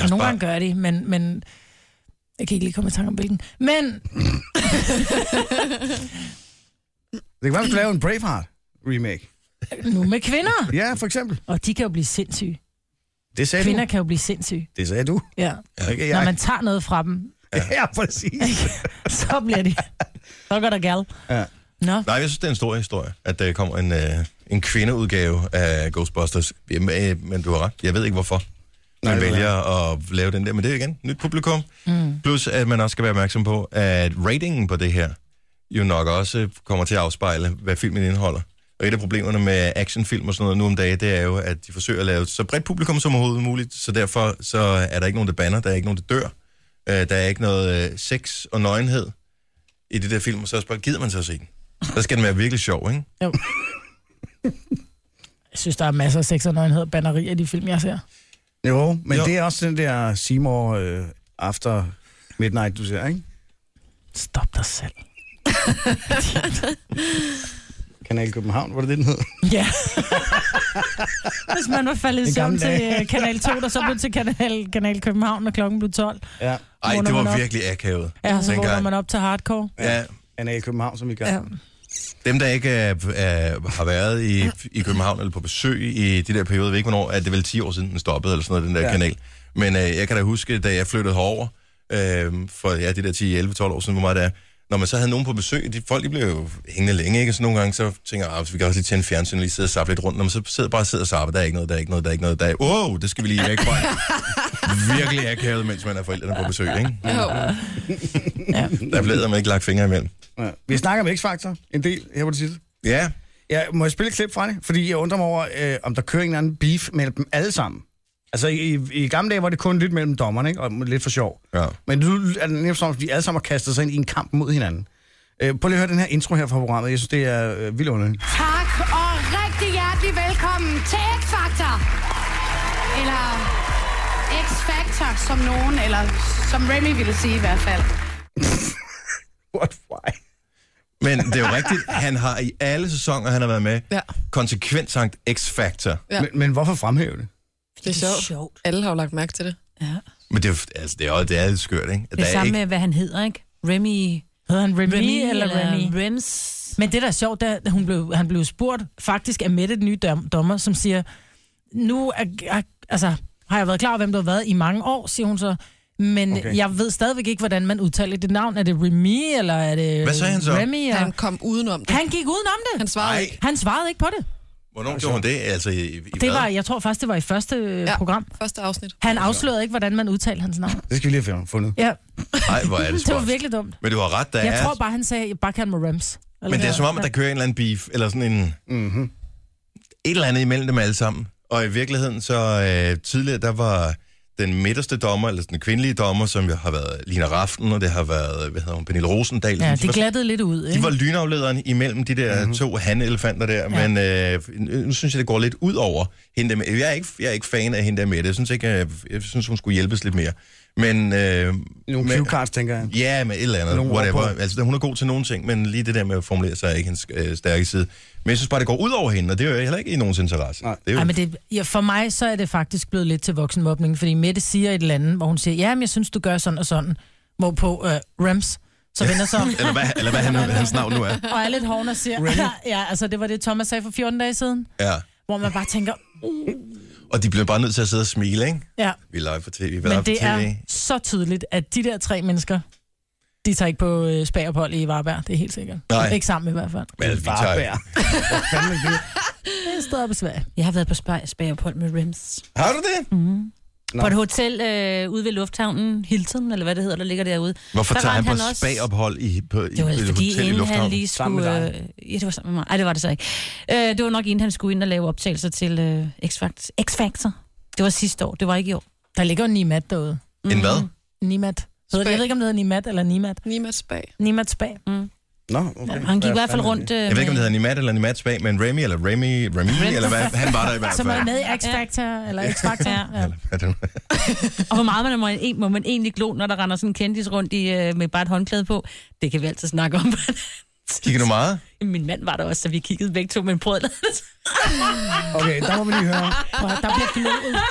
Speaker 1: også
Speaker 4: nogle
Speaker 1: bare-
Speaker 4: gange gør de, men, men jeg kan ikke lige komme i tanke om hvilken. Men...
Speaker 2: Det kan være, at lave en Braveheart remake.
Speaker 4: nu med kvinder.
Speaker 2: Ja, for eksempel.
Speaker 4: Og de kan jo blive sindssyge.
Speaker 2: Det sagde
Speaker 4: Kvinder
Speaker 2: du.
Speaker 4: kan jo blive sindssyge.
Speaker 2: Det sagde du.
Speaker 4: Ja.
Speaker 2: Ikke
Speaker 4: Når
Speaker 2: jeg.
Speaker 4: man tager noget fra dem,
Speaker 2: Ja, præcis.
Speaker 4: så bliver de... Så går der gal.
Speaker 1: Ja.
Speaker 4: Nå.
Speaker 1: Nej, jeg synes, det er en stor historie, at der kommer en, øh, en kvindeudgave af Ghostbusters. Jamen, øh, men du har ret. Jeg ved ikke, hvorfor man
Speaker 2: det er
Speaker 1: vælger at lave den der. Men det er igen nyt publikum. Mm. Plus, at man også skal være opmærksom på, at ratingen på det her jo nok også kommer til at afspejle, hvad filmen indeholder. Og et af problemerne med actionfilm og sådan noget nu om dagen, det er jo, at de forsøger at lave et så bredt publikum som overhovedet muligt, så derfor så er der ikke nogen, der banner, der er ikke nogen, der dør, øh, der er ikke noget øh, sex og nøgenhed i det der film, og så er spørgsmålet, gider man så at se den? Der skal den være virkelig sjov, ikke?
Speaker 4: Jo. Jeg synes, der er masser af sex og nøgenhed og bannerier i de film, jeg ser.
Speaker 2: Jo, men jo. det er også den der Seymour øh, After Midnight, du ser, ikke?
Speaker 4: Stop dig selv.
Speaker 2: Kanal København, var det det, den hed?
Speaker 4: Ja. Hvis man var faldet i
Speaker 2: En
Speaker 4: søvn
Speaker 2: gammel
Speaker 4: til
Speaker 2: dame.
Speaker 4: øh, Kanal 2, der så blev til Kanal, Kanal København, når klokken blev 12.
Speaker 2: Ja.
Speaker 1: Ej,
Speaker 4: Vågner
Speaker 1: det
Speaker 4: man
Speaker 1: var
Speaker 4: op.
Speaker 1: virkelig akavet.
Speaker 4: Ja, så
Speaker 1: dengang.
Speaker 4: vågner man op til hardcore.
Speaker 1: Ja,
Speaker 2: Kanal København, som vi gør.
Speaker 4: Ja.
Speaker 2: Ja.
Speaker 1: dem, der ikke er, er, har været i, i København eller på besøg i de der perioder, jeg ved ikke hvornår, at det er vel 10 år siden, den stoppede, eller sådan noget, den der ja.
Speaker 2: Ja.
Speaker 1: kanal. Men øh, jeg kan da huske, da jeg flyttede herover, øh, for ja, de der 10, 11, 12 år siden, hvor meget det er, når man så havde nogen på besøg, de, folk de blev jo hængende længe, ikke? Så nogle gange så tænker jeg, "Ah, vi kan også lige tænde fjernsynet, lige sidde og sappe lidt rundt. Når man så sidder bare og sidder og sappe, der er ikke noget, der er ikke noget, der er ikke noget, der er... Åh, oh, det skal vi lige væk fra. Virkelig akavet, mens man er forældrene på besøg, ikke?
Speaker 5: Jo.
Speaker 1: Der blev man ikke lagt fingre imellem.
Speaker 2: Ja. Vi snakker om X-Factor en del her på det sidste.
Speaker 1: Ja,
Speaker 2: Ja, må jeg spille et klip fra det? Fordi jeg undrer mig over, øh, om der kører en eller anden beef mellem dem alle sammen. Altså, i, i, i gamle dage var det kun lidt mellem dommerne, ikke? Og lidt for sjov.
Speaker 1: ja.
Speaker 2: Men nu er det nærmest som, om, at de alle sammen har kastet sig ind i en kamp mod hinanden. Øh, prøv lige at høre den her intro her fra programmet. Jeg synes, det er øh, vildt underligt.
Speaker 12: Tak, og rigtig hjertelig velkommen til X-Factor. Eller X-Factor, som nogen, eller som Remy ville sige i hvert fald.
Speaker 2: What, why?
Speaker 1: Men det er jo rigtigt, han har i alle sæsoner, han har været med,
Speaker 5: Ja.
Speaker 1: konsekvent sagt X-Factor.
Speaker 5: Ja.
Speaker 2: Men, men hvorfor fremhæve det?
Speaker 5: Det er sjovt.
Speaker 3: sjovt.
Speaker 5: Alle har jo lagt mærke til det.
Speaker 1: Men det er, jo- altså, det er, jo- det er lidt skørt, ikke? At
Speaker 3: Det
Speaker 1: der
Speaker 3: er
Speaker 1: er
Speaker 3: samme
Speaker 1: ikke
Speaker 3: med, hvad han hedder, ikke? Remy...
Speaker 4: Hedder han Remy, Remy eller Remy?
Speaker 3: Rems.
Speaker 4: Men det, der er sjovt, det er, at hun blev, han blev spurgt faktisk af Mette, den nye dom, dommer, som siger, nu er, er, altså, har jeg været klar over, hvem du har været i mange år, siger hun så. Men okay.
Speaker 2: Okay.
Speaker 4: jeg ved stadigvæk ikke, hvordan man udtaler dit navn. Er det Remy, eller er det
Speaker 1: Hvad sagde han så?
Speaker 4: Remy? Og...
Speaker 5: Han
Speaker 4: Han...
Speaker 5: kom udenom det.
Speaker 4: han gik udenom det.
Speaker 5: Han
Speaker 4: Han...
Speaker 5: svarede
Speaker 1: Ej.
Speaker 5: ikke.
Speaker 4: han svarede ikke på det.
Speaker 1: Hvornår gjorde hun det? Altså, i, i
Speaker 4: Det
Speaker 1: hvad?
Speaker 4: var, jeg tror faktisk, det var i første ja.
Speaker 5: Ja.
Speaker 4: program.
Speaker 5: Første afsnit.
Speaker 4: Han afslørede ikke, hvordan man udtalte hans navn.
Speaker 2: Det skal vi lige have fun- fundet.
Speaker 4: Ja,
Speaker 1: Ej, hvor er det
Speaker 4: det var
Speaker 1: spøjst.
Speaker 4: virkelig dumt.
Speaker 1: Men du har ret, der
Speaker 4: Jeg
Speaker 1: er...
Speaker 4: tror bare, han sagde, bare kald mig Rems. Eller
Speaker 1: Men det er
Speaker 4: noget.
Speaker 1: som om, at der kører en eller anden beef, eller sådan en... Mm-hmm. Et eller andet imellem dem alle sammen. Og i virkeligheden, så øh, tidligere, der var den midterste dommer, eller den kvindelige dommer, som jo har været Lina Raften, og det har været, hvad hedder hun, Pernille Rosendal.
Speaker 4: Ja,
Speaker 1: Sådan,
Speaker 4: det
Speaker 1: var-
Speaker 4: glattede lidt ud, ikke?
Speaker 1: De var lynaflederen imellem de der
Speaker 2: Mhm.
Speaker 1: mm-hmm. to handelefanter der, ja. men øh, nu synes jeg, det går lidt ud over hende der med. Jeg er ikke, jeg er ikke fan af hende der med det. Jeg synes, ikke, jeg, jeg synes hun skulle hjælpes lidt mere. Men, øh,
Speaker 2: Nogle
Speaker 1: men-
Speaker 2: cue cards, tænker jeg.
Speaker 1: Ja, med et eller andet,
Speaker 2: Nogle ord
Speaker 1: whatever.
Speaker 2: på.
Speaker 1: Altså, hun er god til nogle ting, men lige det der med at formulere sig er ikke hendes øh, stærke side. Men jeg synes bare, det går ud over hende, og det er jo heller ikke i nogens interesse.
Speaker 2: Nej.
Speaker 1: Det er jo,
Speaker 4: Ej, men det, ja, for mig så er det faktisk blevet lidt til voksenmobning, fordi Mette siger et eller andet, hvor hun siger, ja, men jeg synes, du gør sådan og sådan, hvorpå øh, Rems så vender sig om
Speaker 1: eller, hvad, eller hvad han, hans navn nu er.
Speaker 4: og er lidt hård og siger, ja, altså det var det, Thomas sagde for 14 dage siden,
Speaker 1: Ja.
Speaker 4: hvor man bare tænker,
Speaker 1: Og de bliver bare nødt til at sidde og smile, ikke?
Speaker 4: ja,
Speaker 1: Vi er live på tv, vi er live på
Speaker 4: men
Speaker 1: tv.
Speaker 4: det er så tydeligt, at de der tre mennesker, de tager ikke på øh, spagerpold i Varberg, det er helt sikkert.
Speaker 1: Nej.
Speaker 4: Ikke sammen i hvert fald.
Speaker 1: Men, vi tager...
Speaker 2: Barbær. Hvad fanden er det?
Speaker 4: Det er stadig besvær.
Speaker 3: Jeg har været på spag- spagerpold med Rems.
Speaker 1: Har du det?
Speaker 2: Nå.
Speaker 3: På et hotel øh, ude ved lufthavnen, Hilton, eller hvad det hedder, der ligger derude.
Speaker 1: Hvorfor
Speaker 3: Der
Speaker 1: tager han,
Speaker 3: rendte
Speaker 1: på
Speaker 3: han også-
Speaker 1: spagophold i, på, i
Speaker 3: Det var
Speaker 1: et
Speaker 3: altså fordi,
Speaker 1: hotel i
Speaker 3: inden han
Speaker 1: Lufthavn?
Speaker 3: lige
Speaker 2: Sammen med
Speaker 3: skulle... Øh, ja, det var sammen med mig. Ej, det var det så ikke. Øh, det var nok inden han skulle ind og lave optagelser til øh, X-Factor. X-Factor. Det var sidste år, det var ikke i år.
Speaker 4: Der ligger jo Nimat derude. Mm.
Speaker 3: øh,
Speaker 1: En hvad?
Speaker 4: Nimat. Hedder det- Jeg ved ikke, om det hedder Nimat eller Nimat. Mm.
Speaker 5: Nimas bag.
Speaker 4: Nimat Spag.
Speaker 2: Nå, okay.
Speaker 3: Han gik i
Speaker 2: Hvad
Speaker 3: hvert fald
Speaker 2: fanden er
Speaker 3: rundt...
Speaker 2: det?
Speaker 3: Øh,
Speaker 1: Jeg ved ikke, om det hedder Nimat eller Nimat Spag, men Remy eller Remy, Remy eller hvad? Han var der i hvert
Speaker 3: Altså,
Speaker 1: fald.
Speaker 4: Som Altså, er med i X-Factor, eller X-Factor.
Speaker 3: Ja.
Speaker 4: Ja.
Speaker 3: Og hvor meget man må, må man egentlig glo, når der render sådan en kendis rundt i, øh, med bare et håndklæde på. Det kan vi altid snakke om.
Speaker 1: Kigger du meget?
Speaker 3: Min mand var der også, så vi kiggede begge to med en brød.
Speaker 2: Okay, der må vi lige høre.
Speaker 4: Prøv at høre, Der bliver glødet.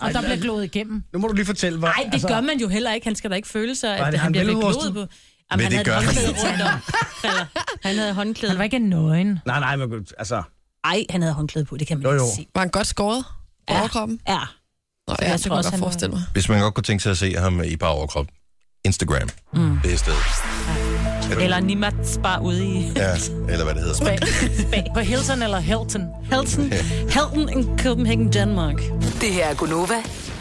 Speaker 3: og der bliver glået igennem.
Speaker 2: Nu må du lige fortælle, hvor...
Speaker 3: Nej, det altså, gør man jo heller ikke. Han skal da ikke føle sig,
Speaker 2: Var
Speaker 3: at
Speaker 2: det
Speaker 3: han,
Speaker 2: ham
Speaker 3: han bliver
Speaker 2: veludrustet?
Speaker 3: glået på.
Speaker 2: Men
Speaker 3: Jamen, han
Speaker 2: det
Speaker 3: havde
Speaker 2: gør
Speaker 3: et
Speaker 2: han.
Speaker 3: håndklæde rundt om. Falder. Han havde håndklæde. Han var ikke nøgen.
Speaker 2: Nej, nej, men altså...
Speaker 3: Ej, han havde håndklæde på, det kan man
Speaker 2: Jo,
Speaker 3: jo,
Speaker 2: jo.
Speaker 3: jo. ikke sige.
Speaker 5: Var han godt skåret?
Speaker 3: Ja. Overkroppen? Ja.
Speaker 5: Nå,
Speaker 3: Så
Speaker 5: ja,
Speaker 3: jeg
Speaker 5: det
Speaker 3: tror
Speaker 5: kunne jeg
Speaker 3: også,
Speaker 5: godt
Speaker 3: han var-
Speaker 5: forestille mig.
Speaker 1: Hvis man godt kunne tænke sig at se ham i bare overkrop. Instagram. Mm. Det er stedet. Ja.
Speaker 3: Eller Nimat Spa ude i...
Speaker 1: Ja, eller hvad det hedder.
Speaker 3: Spa. På Hilton eller Hilton? Hilton. Hilton in Copenhagen, Danmark.
Speaker 7: Det her er Gunova.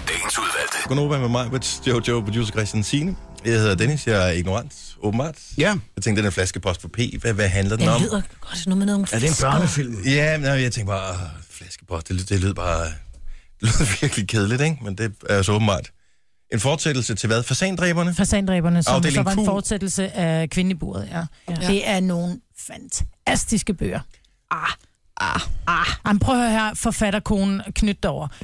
Speaker 1: Dagens udvalgte. Godnova med mig, med Jojo, producer Christian Signe. Jeg hedder Dennis, jeg er ignorant, åbenbart.
Speaker 2: Ja.
Speaker 1: Jeg tænkte, den er flaske post på P. Hvad, hvad handler den
Speaker 3: Den
Speaker 1: om?
Speaker 3: lyder godt, noget med nogle fiskere.
Speaker 1: Ja, men jeg tænkte bare, "Åh, flaskepost, det, lyder- det lød bare... Det lød virkelig kedeligt, ikke? Men det er jo så åbenbart. En fortsættelse til hvad? Fasandræberne?
Speaker 4: Fasandræberne, som
Speaker 1: Afdeling
Speaker 4: så var en
Speaker 1: Q.
Speaker 4: fortsættelse af Kvindeburet, ja. ja. Det er nogle fantastiske bøger. Ah, ah, ah. Jamen, prøv at høre her, forfatterkonen knytter over.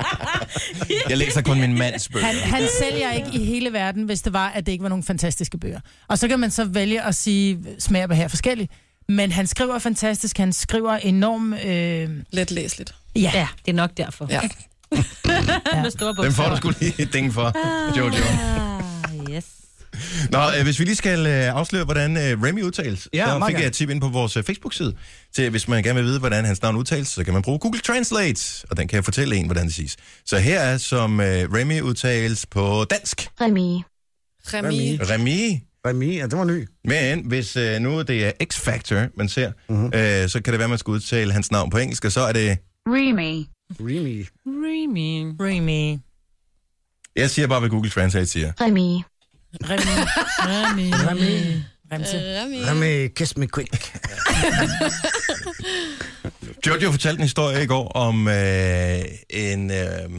Speaker 1: Jeg læser kun min mands bøger.
Speaker 4: Han, han sælger ikke i hele verden, hvis det var, at det ikke var nogle fantastiske bøger. Og så kan man så vælge at sige, smager på her forskelligt. Men han skriver fantastisk, han skriver enormt... Øh...
Speaker 5: Let læsligt.
Speaker 4: Ja.
Speaker 3: ja, det er nok derfor.
Speaker 5: Ja.
Speaker 3: Med store
Speaker 1: Den får
Speaker 3: bogstaver.
Speaker 1: du sgu lige et ding for, Jojo.
Speaker 3: Ah, yes.
Speaker 1: Nå, øh, hvis vi lige skal øh, afsløre, hvordan øh, Remy udtales,
Speaker 2: Ja,
Speaker 1: så
Speaker 2: meget
Speaker 1: fik jeg
Speaker 2: gerne.
Speaker 1: et tip ind på vores øh, Facebook-side, til hvis man gerne vil vide, hvordan hans navn udtales, så kan man bruge Google Translate, og den kan jeg fortælle en, hvordan det siges. Så her er, som øh, Remy udtales på dansk.
Speaker 13: Remi.
Speaker 5: Remi.
Speaker 1: Remy.
Speaker 2: Remy, ja, det var ny.
Speaker 1: Men hvis øh, nu det er X-Factor, man ser, mm-hmm.
Speaker 2: Mhm.
Speaker 1: øh, så kan det være, man skal udtale hans navn på engelsk, og så er det...
Speaker 13: Remy.
Speaker 2: Remy.
Speaker 3: Remy.
Speaker 4: Remy.
Speaker 1: Jeg siger bare, hvad Google Translate siger.
Speaker 13: Remy.
Speaker 4: Remy. Remy.
Speaker 2: Remy.
Speaker 4: Remse.
Speaker 2: Remy, kiss me quick.
Speaker 1: Jojo fortalte en historie i går om øh, en øh,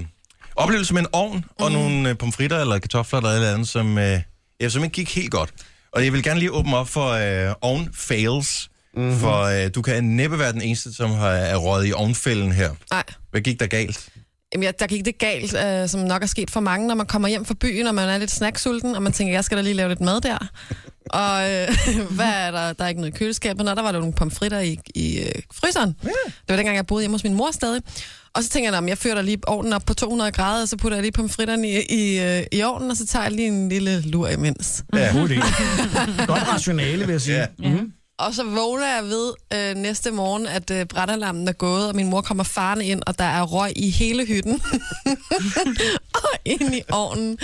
Speaker 1: oplevelse med en ovn mm. og
Speaker 5: Mhm.
Speaker 1: nogle øh, pomfritter eller kartofler eller et eller andet, som, øh, ja, som ikke gik helt godt. Og jeg vil gerne lige åbne op for øh, ovn fails, mm-hmm. for øh, du kan næppe være den eneste, som har er røget i ovnfælden her.
Speaker 5: Nej.
Speaker 1: Hvad gik der galt?
Speaker 5: Jamen, ja, der gik det galt, øh, som nok er sket for mange, når man kommer hjem fra byen, og man er lidt snacksulten, og man tænker, jeg skal da lige lave lidt mad der. Og øh, hvad er der? Der er ikke noget i køleskabet. Nå, der var der nogle pomfritter i, i øh, fryseren. Yeah. Det var dengang, jeg boede hjemme hos min mor stadig. Og så tænker jeg, "Nå, men jeg fører da lige ovnen op på 200 grader, og så putter jeg lige pomfritterne i, i, øh, i ovnen, og så tager jeg lige en lille lur imens.
Speaker 1: Ja.
Speaker 2: God idé. Godt rationale, vil jeg sige. Ja. Mm-hmm.
Speaker 5: Og så vågner jeg ved øh, næste morgen, at øh, brandalarmen er gået, og min mor kommer farne ind, og der er røg i hele hytten. og ind i ovnen,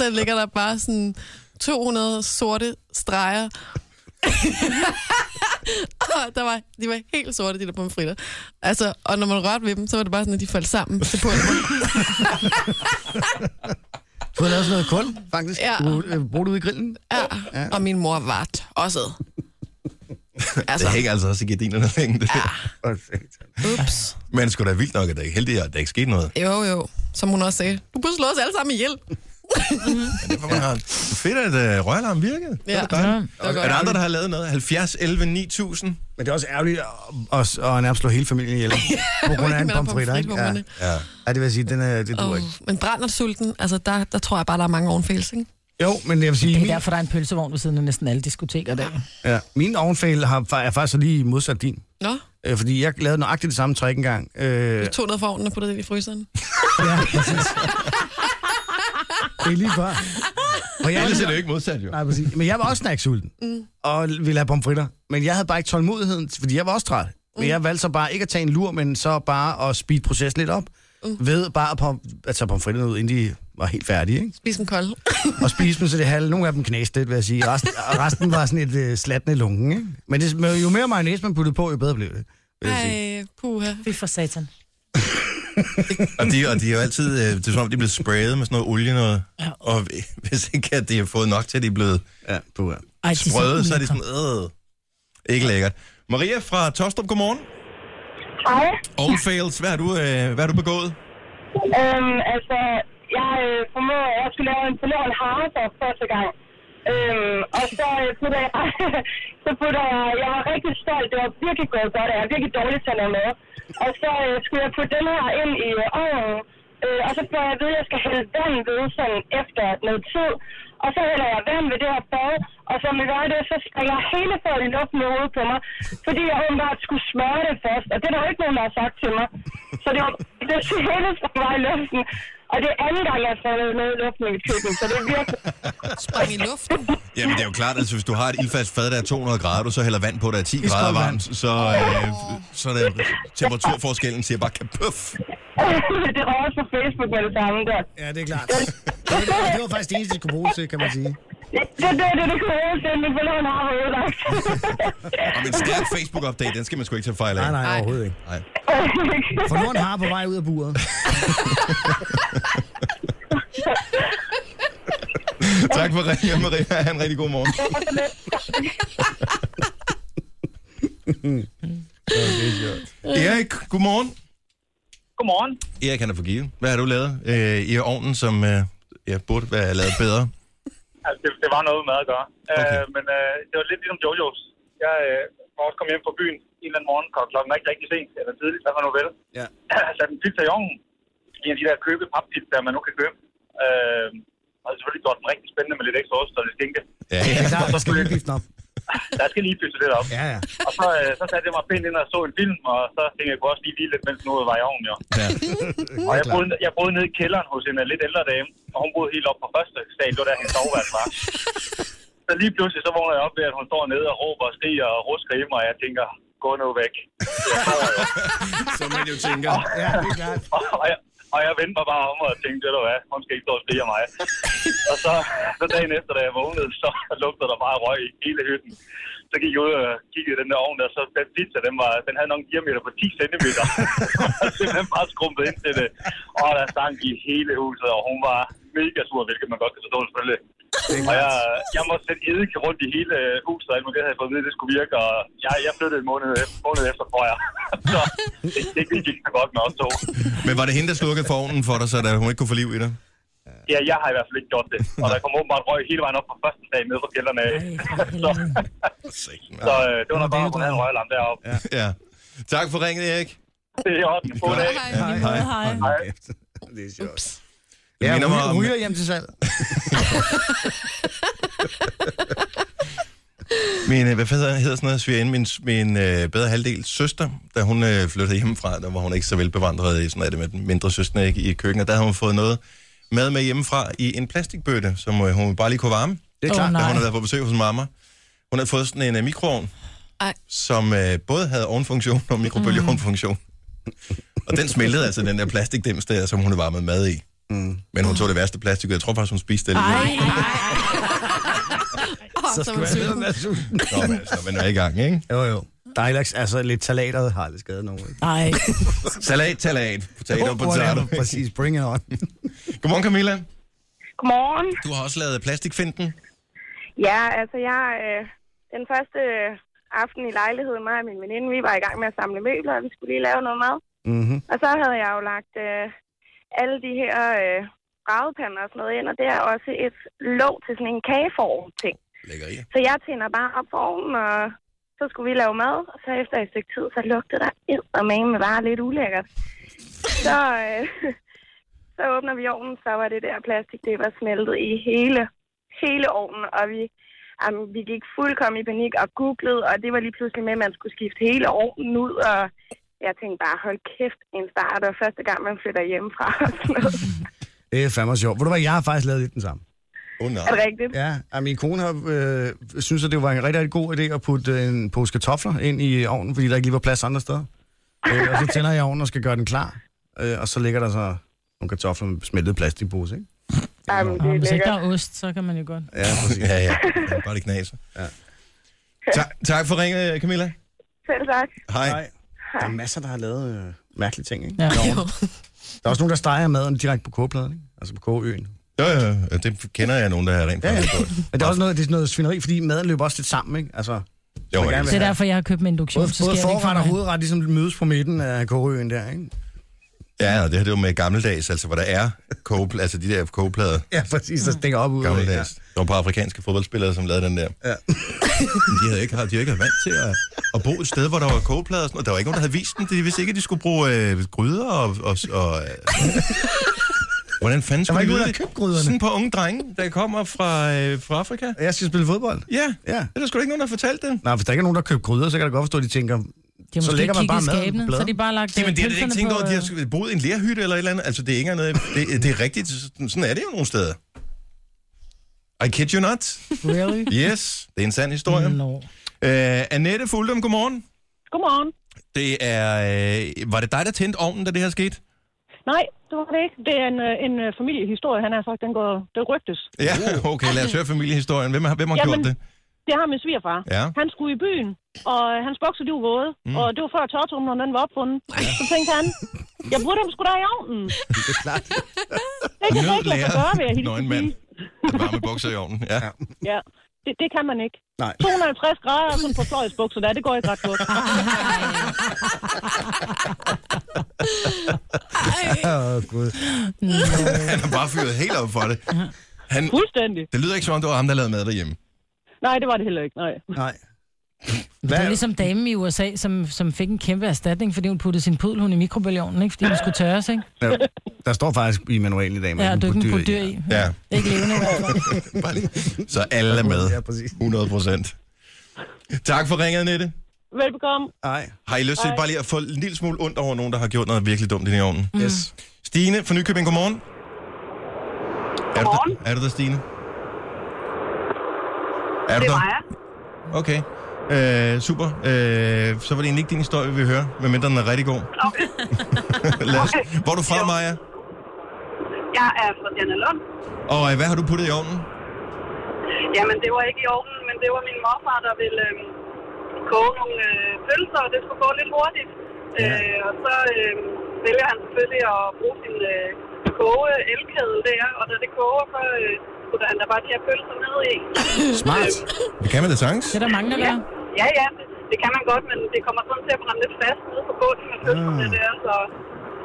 Speaker 5: der ligger der bare sådan 200 sorte streger. og der var, de var helt sorte, de der pomfritter. Altså, og når man rørte ved dem, så var det bare sådan, at de faldt sammen til pulver.
Speaker 2: Du har lavet sådan noget kul, faktisk.
Speaker 5: Ja.
Speaker 2: Du øh, brugte ud i grillen.
Speaker 5: Ja. Og min mor var tosset.
Speaker 1: Altså. Det hænger altså også i gardinerne længe, det der.
Speaker 5: Ah. Ups.
Speaker 1: Men sgu da vildt nok, at det er heldigt, at der ikke skete noget.
Speaker 5: Jo, jo. Som hun også sagde, du burde slå os alle sammen ihjel.
Speaker 1: Derfor man har... Fedt, at øh, røgalarm virkede.
Speaker 5: Ja.
Speaker 1: Det var dejligt.
Speaker 5: Ja, det var
Speaker 1: er der andre, der har lavet noget? 70, 11, 9000?
Speaker 2: Men det er også ærgerligt at, at, at nærmest slå hele familien ihjel. På grund af en
Speaker 5: Med
Speaker 2: pomfritter, ikke? Ja.
Speaker 5: pomfrithummerne.
Speaker 1: Ja.
Speaker 2: ja, det vil jeg sige, den er, det duer
Speaker 5: Oh,
Speaker 2: ikke.
Speaker 5: men brændersulten, altså der, der tror jeg bare, der er mange ovenfælles, ikke?
Speaker 2: Jo, men jeg vil sige,
Speaker 4: Det er
Speaker 2: min,
Speaker 4: derfor, der er en pølsevogn ved siden af næsten alle diskoteker der.
Speaker 2: ja, min ovenfæl har, er faktisk lige modsat din.
Speaker 5: Nå,
Speaker 2: Øh, fordi jeg lavede nøjagtigt det samme trick engang. Øh,
Speaker 5: du tog noget fra ovnen og puttede det i fryseren.
Speaker 2: ja, præcis. det er lige før. Og jeg,
Speaker 1: Ellers er det jo ikke modsat, jo.
Speaker 2: Nej, præcis. Men jeg var også snacksulten. Mm. Og ville have pomfritter. Men jeg havde bare ikke tålmodigheden, fordi jeg var også træt. Men jeg valgte så bare ikke at tage en lur, men så bare at speede processen lidt op. Mm. Ved bare at, pom- at tage pomfritterne ud, inden de var helt færdige, ikke?
Speaker 5: Spis en kold.
Speaker 2: Og spise dem, så det halve. Nogle af dem knæste lidt, vil jeg sige. Resten, og resten var sådan et øh, slatne lunken, ikke? Men det, men jo mere mayonnaise man puttede på, jo bedre blev det. Vil jeg sige.
Speaker 5: Ej, puha.
Speaker 4: Vi for satan.
Speaker 1: Og de, og de er jo altid, øh, det er som om, de er blevet sprayet med sådan noget olie noget. Og hvis ikke, at de har fået nok til, at de er blevet
Speaker 2: Ja, puha.
Speaker 4: Ej, de er så
Speaker 1: sprøde, så er de
Speaker 4: ulækre.
Speaker 1: sådan, øh, ikke lækkert. Maria fra Tostrup, godmorgen.
Speaker 14: Hej.
Speaker 1: Own fails, hvad har du, øh, hvad har du begået?
Speaker 14: Øhm, altså, jeg øh, formår, jeg skulle lave en forlorn hare for første gang. Øhm, og så øh, putter jeg, så putter jeg, jeg var rigtig stolt, det var virkelig gået godt, og jeg er virkelig dårlig til at lave mad. Og så øh, skulle jeg putte den her ind i øh, ovnen, øh, og så får jeg at vide, at jeg skal hælde vand ved sådan efter noget tid. og så hælder jeg vand ved det her bad, og som jeg gør det, så springer hele folden op med hovedet på mig, fordi jeg åbenbart skulle smøre det fast, og det er der jo ikke nogen, der har sagt til mig. Så det var det hele som var i luften, og det er anden gang, jeg har fået noget i luften i mit køkken, så det er virkelig... Spring i luften?
Speaker 1: Jamen, det er jo klart, altså hvis du har et ildfast fad, der er 200 grader, du så hælder vand på, der er 10
Speaker 2: Iskoldt
Speaker 1: grader
Speaker 2: vand.
Speaker 1: varmt, så, øh, så er det temperaturforskellen siger bare kapuff.
Speaker 14: det var også på Facebook med det samme der.
Speaker 2: Ja, det er klart. Det var, det var faktisk det eneste, jeg kunne bruge til, kan man sige.
Speaker 14: Det det er det, det kunne jeg sende, for lån har været ødelagt.
Speaker 1: Og en stærk Facebook-update, den skal man sgu ikke tage fejl af.
Speaker 2: Nej, nej, overhovedet ikke.
Speaker 1: Nej.
Speaker 2: For nu er en har på vej ud af buret.
Speaker 1: Tak for ringen, Maria. Ha' en rigtig god morgen. Øh. Erik, godmorgen.
Speaker 13: Godmorgen.
Speaker 1: Erik, han er for Give. Hvad har du lavet øh, i ovnen, som øh, jeg burde være lavet bedre?
Speaker 13: Altså, det, det var noget med mad at gøre. Okay. Øh, men øh, det var lidt ligesom Jojos. Jeg øh, var også kommet hjem fra byen en eller anden morgen, kom klokken rigtig, rigtig sent, eller tidligt, hvad man nu vil.
Speaker 2: Ja.
Speaker 13: Jeg satte en pizza i ovnen, en af de der købe pappizzaer, man nu kan købe. Øh, og selvfølgelig gjort den rigtig spændende med lidt ekstra ost og lidt skinke.
Speaker 2: Ja, ja. Der, der skal lige giften op.
Speaker 13: Der skal lige pysse lidt op.
Speaker 2: Ja, ja.
Speaker 13: Og så, øh, så satte jeg mig pænt ind og så en film, og så tænkte jeg, jeg kunne også lige hvile lidt, mens noget var i ovnen, jo.
Speaker 1: Ja.
Speaker 13: Og jeg boede, jeg boede nede i kælderen hos en øh, lidt ældre dame, og hun boede helt op på første sal, det var der hendes soveværelse var. Så lige pludselig så vågner jeg op ved, at hun står nede og råber og skriger og rusker i mig, og jeg tænker, gå nu væk.
Speaker 1: Som man jo tænker.
Speaker 2: Ja, det er klart.
Speaker 13: Og jeg, og jeg vendte mig bare om og tænkte, ved du hvad, hun skal ikke stå og skrige af mig. og så, så dagen efter, da jeg vågnede, så lugtede der bare røg i hele hytten. Så gik jeg ud og kiggede i den der ovn, der, så den pizza, den, var, den havde nok en diameter på 10 cm. og simpelthen bare skrumpet ind til det. Og der sang i hele huset, og hun var mega sur, hvilket man godt kan forstå selvfølgelig. Og jeg, jeg måtte sætte eddike rundt i hele huset, og alt muligt, det havde jeg fået at vide, det skulle virke, og jeg, jeg flyttede en måned, efter- måned efter, tror jeg. så det, det gik ikke så godt med os to.
Speaker 1: Men var det hende, der slukkede for ovnen for dig, så der, hun ikke kunne få liv i dig?
Speaker 13: Ja, jeg har i hvert fald ikke gjort det. Og der kom åbenbart røg hele vejen op fra første dag ned fra kælderne. af. så så øh, det var nok bare, at hun havde en røgalarm deroppe. Ja.
Speaker 1: Ja. Tak for ringen, Erik.
Speaker 13: Det er i orden. God dag.
Speaker 1: Hej. Hej. Hej.
Speaker 2: Hej. Det er sjovt.
Speaker 1: Jeg
Speaker 2: Ja,
Speaker 1: minder mig
Speaker 2: ryger,
Speaker 1: om-
Speaker 2: ryger hjem til salg.
Speaker 1: Min, øh, hvad fanden hedder sådan noget, svigerinde, min, min øh, bedre halvdel søster, da hun øh, flyttede hjemmefra, der var hun ikke så velbevandret i sådan noget, det med den mindre søster ikke, i køkkenet, der havde hun fået noget mad med hjemmefra i en plastikbøtte, som øh, hun bare lige kunne varme.
Speaker 2: Det er klart.
Speaker 1: Da
Speaker 2: Åh, nej.
Speaker 1: hun havde været på besøg hos mamma. Hun havde fået sådan en øh, mikroovn,
Speaker 5: Ej.
Speaker 1: som øh, både havde ovnfunktion og mikrobølgeovnfunktion. og den smeltede altså den der plastikdims der, som hun havde varmet mad i. Mm. Men hun tog det værste plastik, og jeg tror faktisk, hun spiste det alligevel.
Speaker 2: Så skal man
Speaker 5: sulten.
Speaker 2: sidde med sulten.
Speaker 1: Nå, men altså, man er i gang, ikke?
Speaker 2: Jo, jo. Dejlags, altså lidt salater har lidt skadet nogen. ikke?
Speaker 4: Nej.
Speaker 1: Salat, salat, potato,
Speaker 2: Jo, whatever.
Speaker 1: potato.
Speaker 2: Præcis, bring it on.
Speaker 1: Godmorgen, Camilla.
Speaker 14: Godmorgen.
Speaker 1: Du har også lavet plastikfinten.
Speaker 14: Ja, altså jeg... Øh, den første øh, aften i lejligheden, mig og min veninde, vi var i gang med at samle møbler, og vi skulle lige lave noget mad.
Speaker 2: Mm-hmm.
Speaker 14: Og så havde jeg jo lagt øh, alle de her øh, bragepander og sådan noget ind, og det er også et låg til sådan en kageform-ting.
Speaker 1: Lækker i.
Speaker 14: Så jeg tænder bare op for ovnen, og så skulle vi lave mad, og så efter et stykke tid, så lugtede der eddermame med bare lidt ulækkert. Så, øh, så åbner vi ovnen, så var det der plastik, det var smeltet i hele, hele ovnen, og vi, jamen, vi gik fuldkommen i panik og googlede, og det var lige pludselig med, at man skulle skifte hele ovnen ud, og jeg tænkte bare, hold kæft, en start, og første gang, man flytter hjemmefra. og sådan noget.
Speaker 2: Det er fandme sjovt. Ved du hvad, jeg har faktisk lavet lidt den samme.
Speaker 1: Oh, nej.
Speaker 14: er det rigtigt?
Speaker 2: Ja, og min kone har, øh, synes, at det var en rigtig, rigtig god idé at putte øh, en pose kartofler ind i ovnen, fordi der ikke lige var plads andre steder. Øh, og så tænder jeg ovnen og skal gøre den klar, øh, og så ligger der så nogle kartofler med smeltet plastikpose, ikke?
Speaker 14: Jamen,
Speaker 4: Og
Speaker 14: det er
Speaker 4: hvis ikke
Speaker 14: lækkert.
Speaker 4: der er ost, så kan man jo godt.
Speaker 2: Ja, præcis.
Speaker 1: Ja, ja. Bare det knaser.
Speaker 2: Ja.
Speaker 1: Tak, tak for ringet, Camilla.
Speaker 14: Selv tak.
Speaker 1: Hej.
Speaker 2: Hej. Der er masser, der har lavet øh, mærkelige ting, ikke?
Speaker 4: Ja.
Speaker 2: Derovre. Der er også nogen, der steger maden direkte på kogepladen, ikke? Altså på kogeøen.
Speaker 1: Jo, jo, jo, det kender jeg nogen, der har rent
Speaker 2: Ja, ja.
Speaker 1: faktisk gjort.
Speaker 2: Men det er også noget, det er sådan noget svineri, fordi maden løber også lidt sammen, ikke? Altså,
Speaker 1: Jo,
Speaker 2: man gerne
Speaker 1: det
Speaker 4: Det
Speaker 2: vil
Speaker 4: er
Speaker 2: have-
Speaker 4: derfor, jeg har købt min induktion.
Speaker 2: Både,
Speaker 4: så
Speaker 2: både
Speaker 4: sker det ikke for
Speaker 2: forret og
Speaker 4: mig.
Speaker 2: hovedret ligesom mødes på midten af kogeøen der, ikke?
Speaker 1: Ja, og det her det er jo med gammeldags, altså hvor der er kogeplader, altså de der kogeplader,
Speaker 2: Ja, præcis, der stikker op ud af det. Ja.
Speaker 1: gammeldags. Der var et par afrikanske fodboldspillere, som lavede den der.
Speaker 2: Ja.
Speaker 1: Men De havde ikke, de havde ikke været vant til at, at, bo et sted, hvor der var kogeplader og sådan noget. Der var ikke nogen, der havde vist dem. De vidste ikke, at de skulle bruge øh, gryder og... og, og øh, Hvordan fanden
Speaker 2: Jeg var
Speaker 1: skulle de vide
Speaker 2: ikke ude og
Speaker 1: det?
Speaker 2: købe gryderne.
Speaker 1: Sådan på unge drenge, der kommer fra, øh, fra Afrika.
Speaker 2: Jeg skal spille fodbold.
Speaker 1: Ja,
Speaker 2: ja.
Speaker 1: det er der sgu da ikke nogen, der har fortalt det.
Speaker 2: Nej, hvis der ikke er nogen, der køber krydder, så kan jeg da godt forstå, at de tænker,
Speaker 4: er
Speaker 2: så
Speaker 4: måske
Speaker 2: lægger man
Speaker 4: kigget
Speaker 2: bare
Speaker 4: i
Speaker 2: maden
Speaker 4: skabene,
Speaker 2: på
Speaker 4: så de
Speaker 2: pladen.
Speaker 4: bare lagt, øh,
Speaker 1: Jamen, det har jeg da
Speaker 4: pølserne
Speaker 1: ikke tænkt
Speaker 4: på,
Speaker 1: over. De
Speaker 4: øh,
Speaker 1: har sgu boet i en lerhytte eller et eller andet. Altså, det er ikke andet. Det, det er rigtigt. Sådan- Sådan er det jo nogle steder. I kid you not.
Speaker 4: Really? Mm,
Speaker 1: Yes, det er en sand historie.
Speaker 4: No.
Speaker 1: Øh, Annette Fuldum, godmorgen.
Speaker 15: Godmorgen.
Speaker 1: Det er... Øh, var det dig, der tændte ovnen, da det her skete?
Speaker 15: Nej, det var det ikke. Det er en, øh, en øh, familiehistorie, han har sagt, den går, det rygtes.
Speaker 1: Ja, okay, lad os høre familiehistorien. Hvem har, hvem har
Speaker 15: Oh. Jamen,
Speaker 1: gjort det?
Speaker 15: Det har min svigerfar.
Speaker 1: Ja.
Speaker 15: Han skulle i byen, og øh, hans bukser, de var våde.
Speaker 1: Mm.
Speaker 15: Mm. Og det var før tørretumleren, den var opfundet. Så tænkte han, jeg burde dem sgu da i ovnen.
Speaker 1: Det er klart.
Speaker 15: Det kan jeg ikke lade sig gøre, vil jeg hilse
Speaker 1: Nøgen
Speaker 15: at
Speaker 1: mand.
Speaker 15: sige.
Speaker 1: Der varme bukser i ovnen, ja.
Speaker 15: Ja, det, det kan man ikke.
Speaker 1: Nej.
Speaker 15: 250 grader og sådan på fløjsbukser der, det går ikke ret godt.
Speaker 2: Åh, oh, Gud.
Speaker 16: Mm.
Speaker 1: Han har bare fyret helt op for det. Han,
Speaker 15: Fuldstændig.
Speaker 1: Det lyder ikke som om, det var ham, der lavede mad derhjemme.
Speaker 15: Nej, det var det heller ikke, nej.
Speaker 2: Nej.
Speaker 4: Det er ligesom damen i USA, som, som fik en kæmpe erstatning, fordi hun puttede sin pudelhund i mikrobølgeovnen, ikke? fordi hun skulle tørres, ikke?
Speaker 2: Der, der står faktisk i manualen i dag, man
Speaker 4: Ja,
Speaker 2: kan
Speaker 4: du
Speaker 2: putte
Speaker 4: kan
Speaker 2: dyr
Speaker 4: putte dyr i.
Speaker 1: Ja.
Speaker 4: Ikke levende.
Speaker 1: Bare lige. Så alle er med. Ja, præcis. 100 procent. Tak for ringet, Nette.
Speaker 15: Velbekomme.
Speaker 2: Nej.
Speaker 1: Har I lyst til
Speaker 15: Ej.
Speaker 1: bare lige at få en lille smule ondt over nogen, der har gjort noget virkelig dumt i den ovnen?
Speaker 15: Mm. Yes.
Speaker 1: Stine fra Nykøbing, godmorgen. Er du, der, er du der, Stine? Er du
Speaker 16: det
Speaker 1: der?
Speaker 16: var jeg.
Speaker 1: Okay. Øh, super. Øh, så var det egentlig ikke din historie, vi vil høre, medmindre den er rigtig god.
Speaker 16: Okay.
Speaker 1: Lad os. Hvor er du fra, Maja?
Speaker 16: Jeg er fra Diana Lund.
Speaker 1: Og øh, hvad har du puttet i ovnen?
Speaker 16: Jamen, det var ikke i ovnen, men det var min morfar, der ville øh, koge nogle øh, pølser, og det skulle gå lidt hurtigt. Ja. Øh, og så øh, vælger han selvfølgelig at bruge sin øh, koge elkedel der, og da det koger, så øh, putter han da bare de her pølser ned i.
Speaker 1: Smart. Det kan man da sagtens. Det
Speaker 4: er der mange, der
Speaker 16: ja, ja, ja det, det kan man godt, men det kommer sådan til at brænde lidt fast nede på bunden med pølserne
Speaker 1: Ah.
Speaker 16: der, så,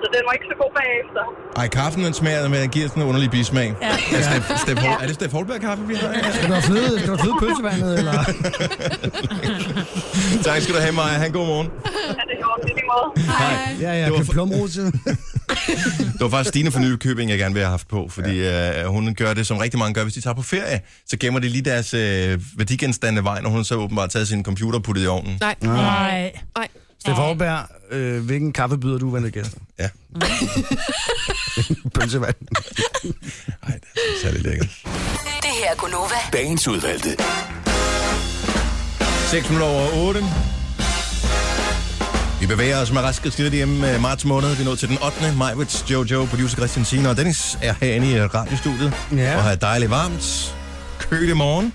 Speaker 16: så den var ikke så god bagefter.
Speaker 1: Ej, kaffen den smager, men den giver sådan en underlig bismag. Ja. Er, Steff, Steff, Hol- er det Steff Holberg-kaffe, vi har?
Speaker 2: Skal du have fløde, skal du have fløde pølsevandet, eller?
Speaker 1: tak skal du have, Maja. Ha' en god morgen.
Speaker 16: Er det i orden? Det er lige måde. Hej.
Speaker 2: Ja, ja, køb plumrose.
Speaker 1: Det var faktisk Stine fra Nykøbing, jeg gerne ville have haft på, fordi ja. øh, hun gør det, som rigtig mange gør. Hvis de tager på ferie, så gemmer de lige deres øh, værdigenstande af vejen, og hun har så åbenbart taget sin computer og puttet i ovnen.
Speaker 5: Nej.
Speaker 4: Nej.
Speaker 5: Nej.
Speaker 2: Stefan Aarberg, Ah. øh, hvilken kaffe byder du uventede gæster?
Speaker 1: Ja.
Speaker 2: Pølsevand.
Speaker 1: Særligt lækkert.
Speaker 7: Det her er Gunova.
Speaker 9: Dagens udvalgte.
Speaker 1: 6 minutter over 8. Vi bevæger os med raske skridt hjemme øh, marts måned. Vi er nået til den 8. maj, Vits, Jojo, producer Christian Sina og Dennis er herinde i øh, radiostudiet.
Speaker 2: Ja.
Speaker 1: Og har dejligt varmt. Køl i morgen.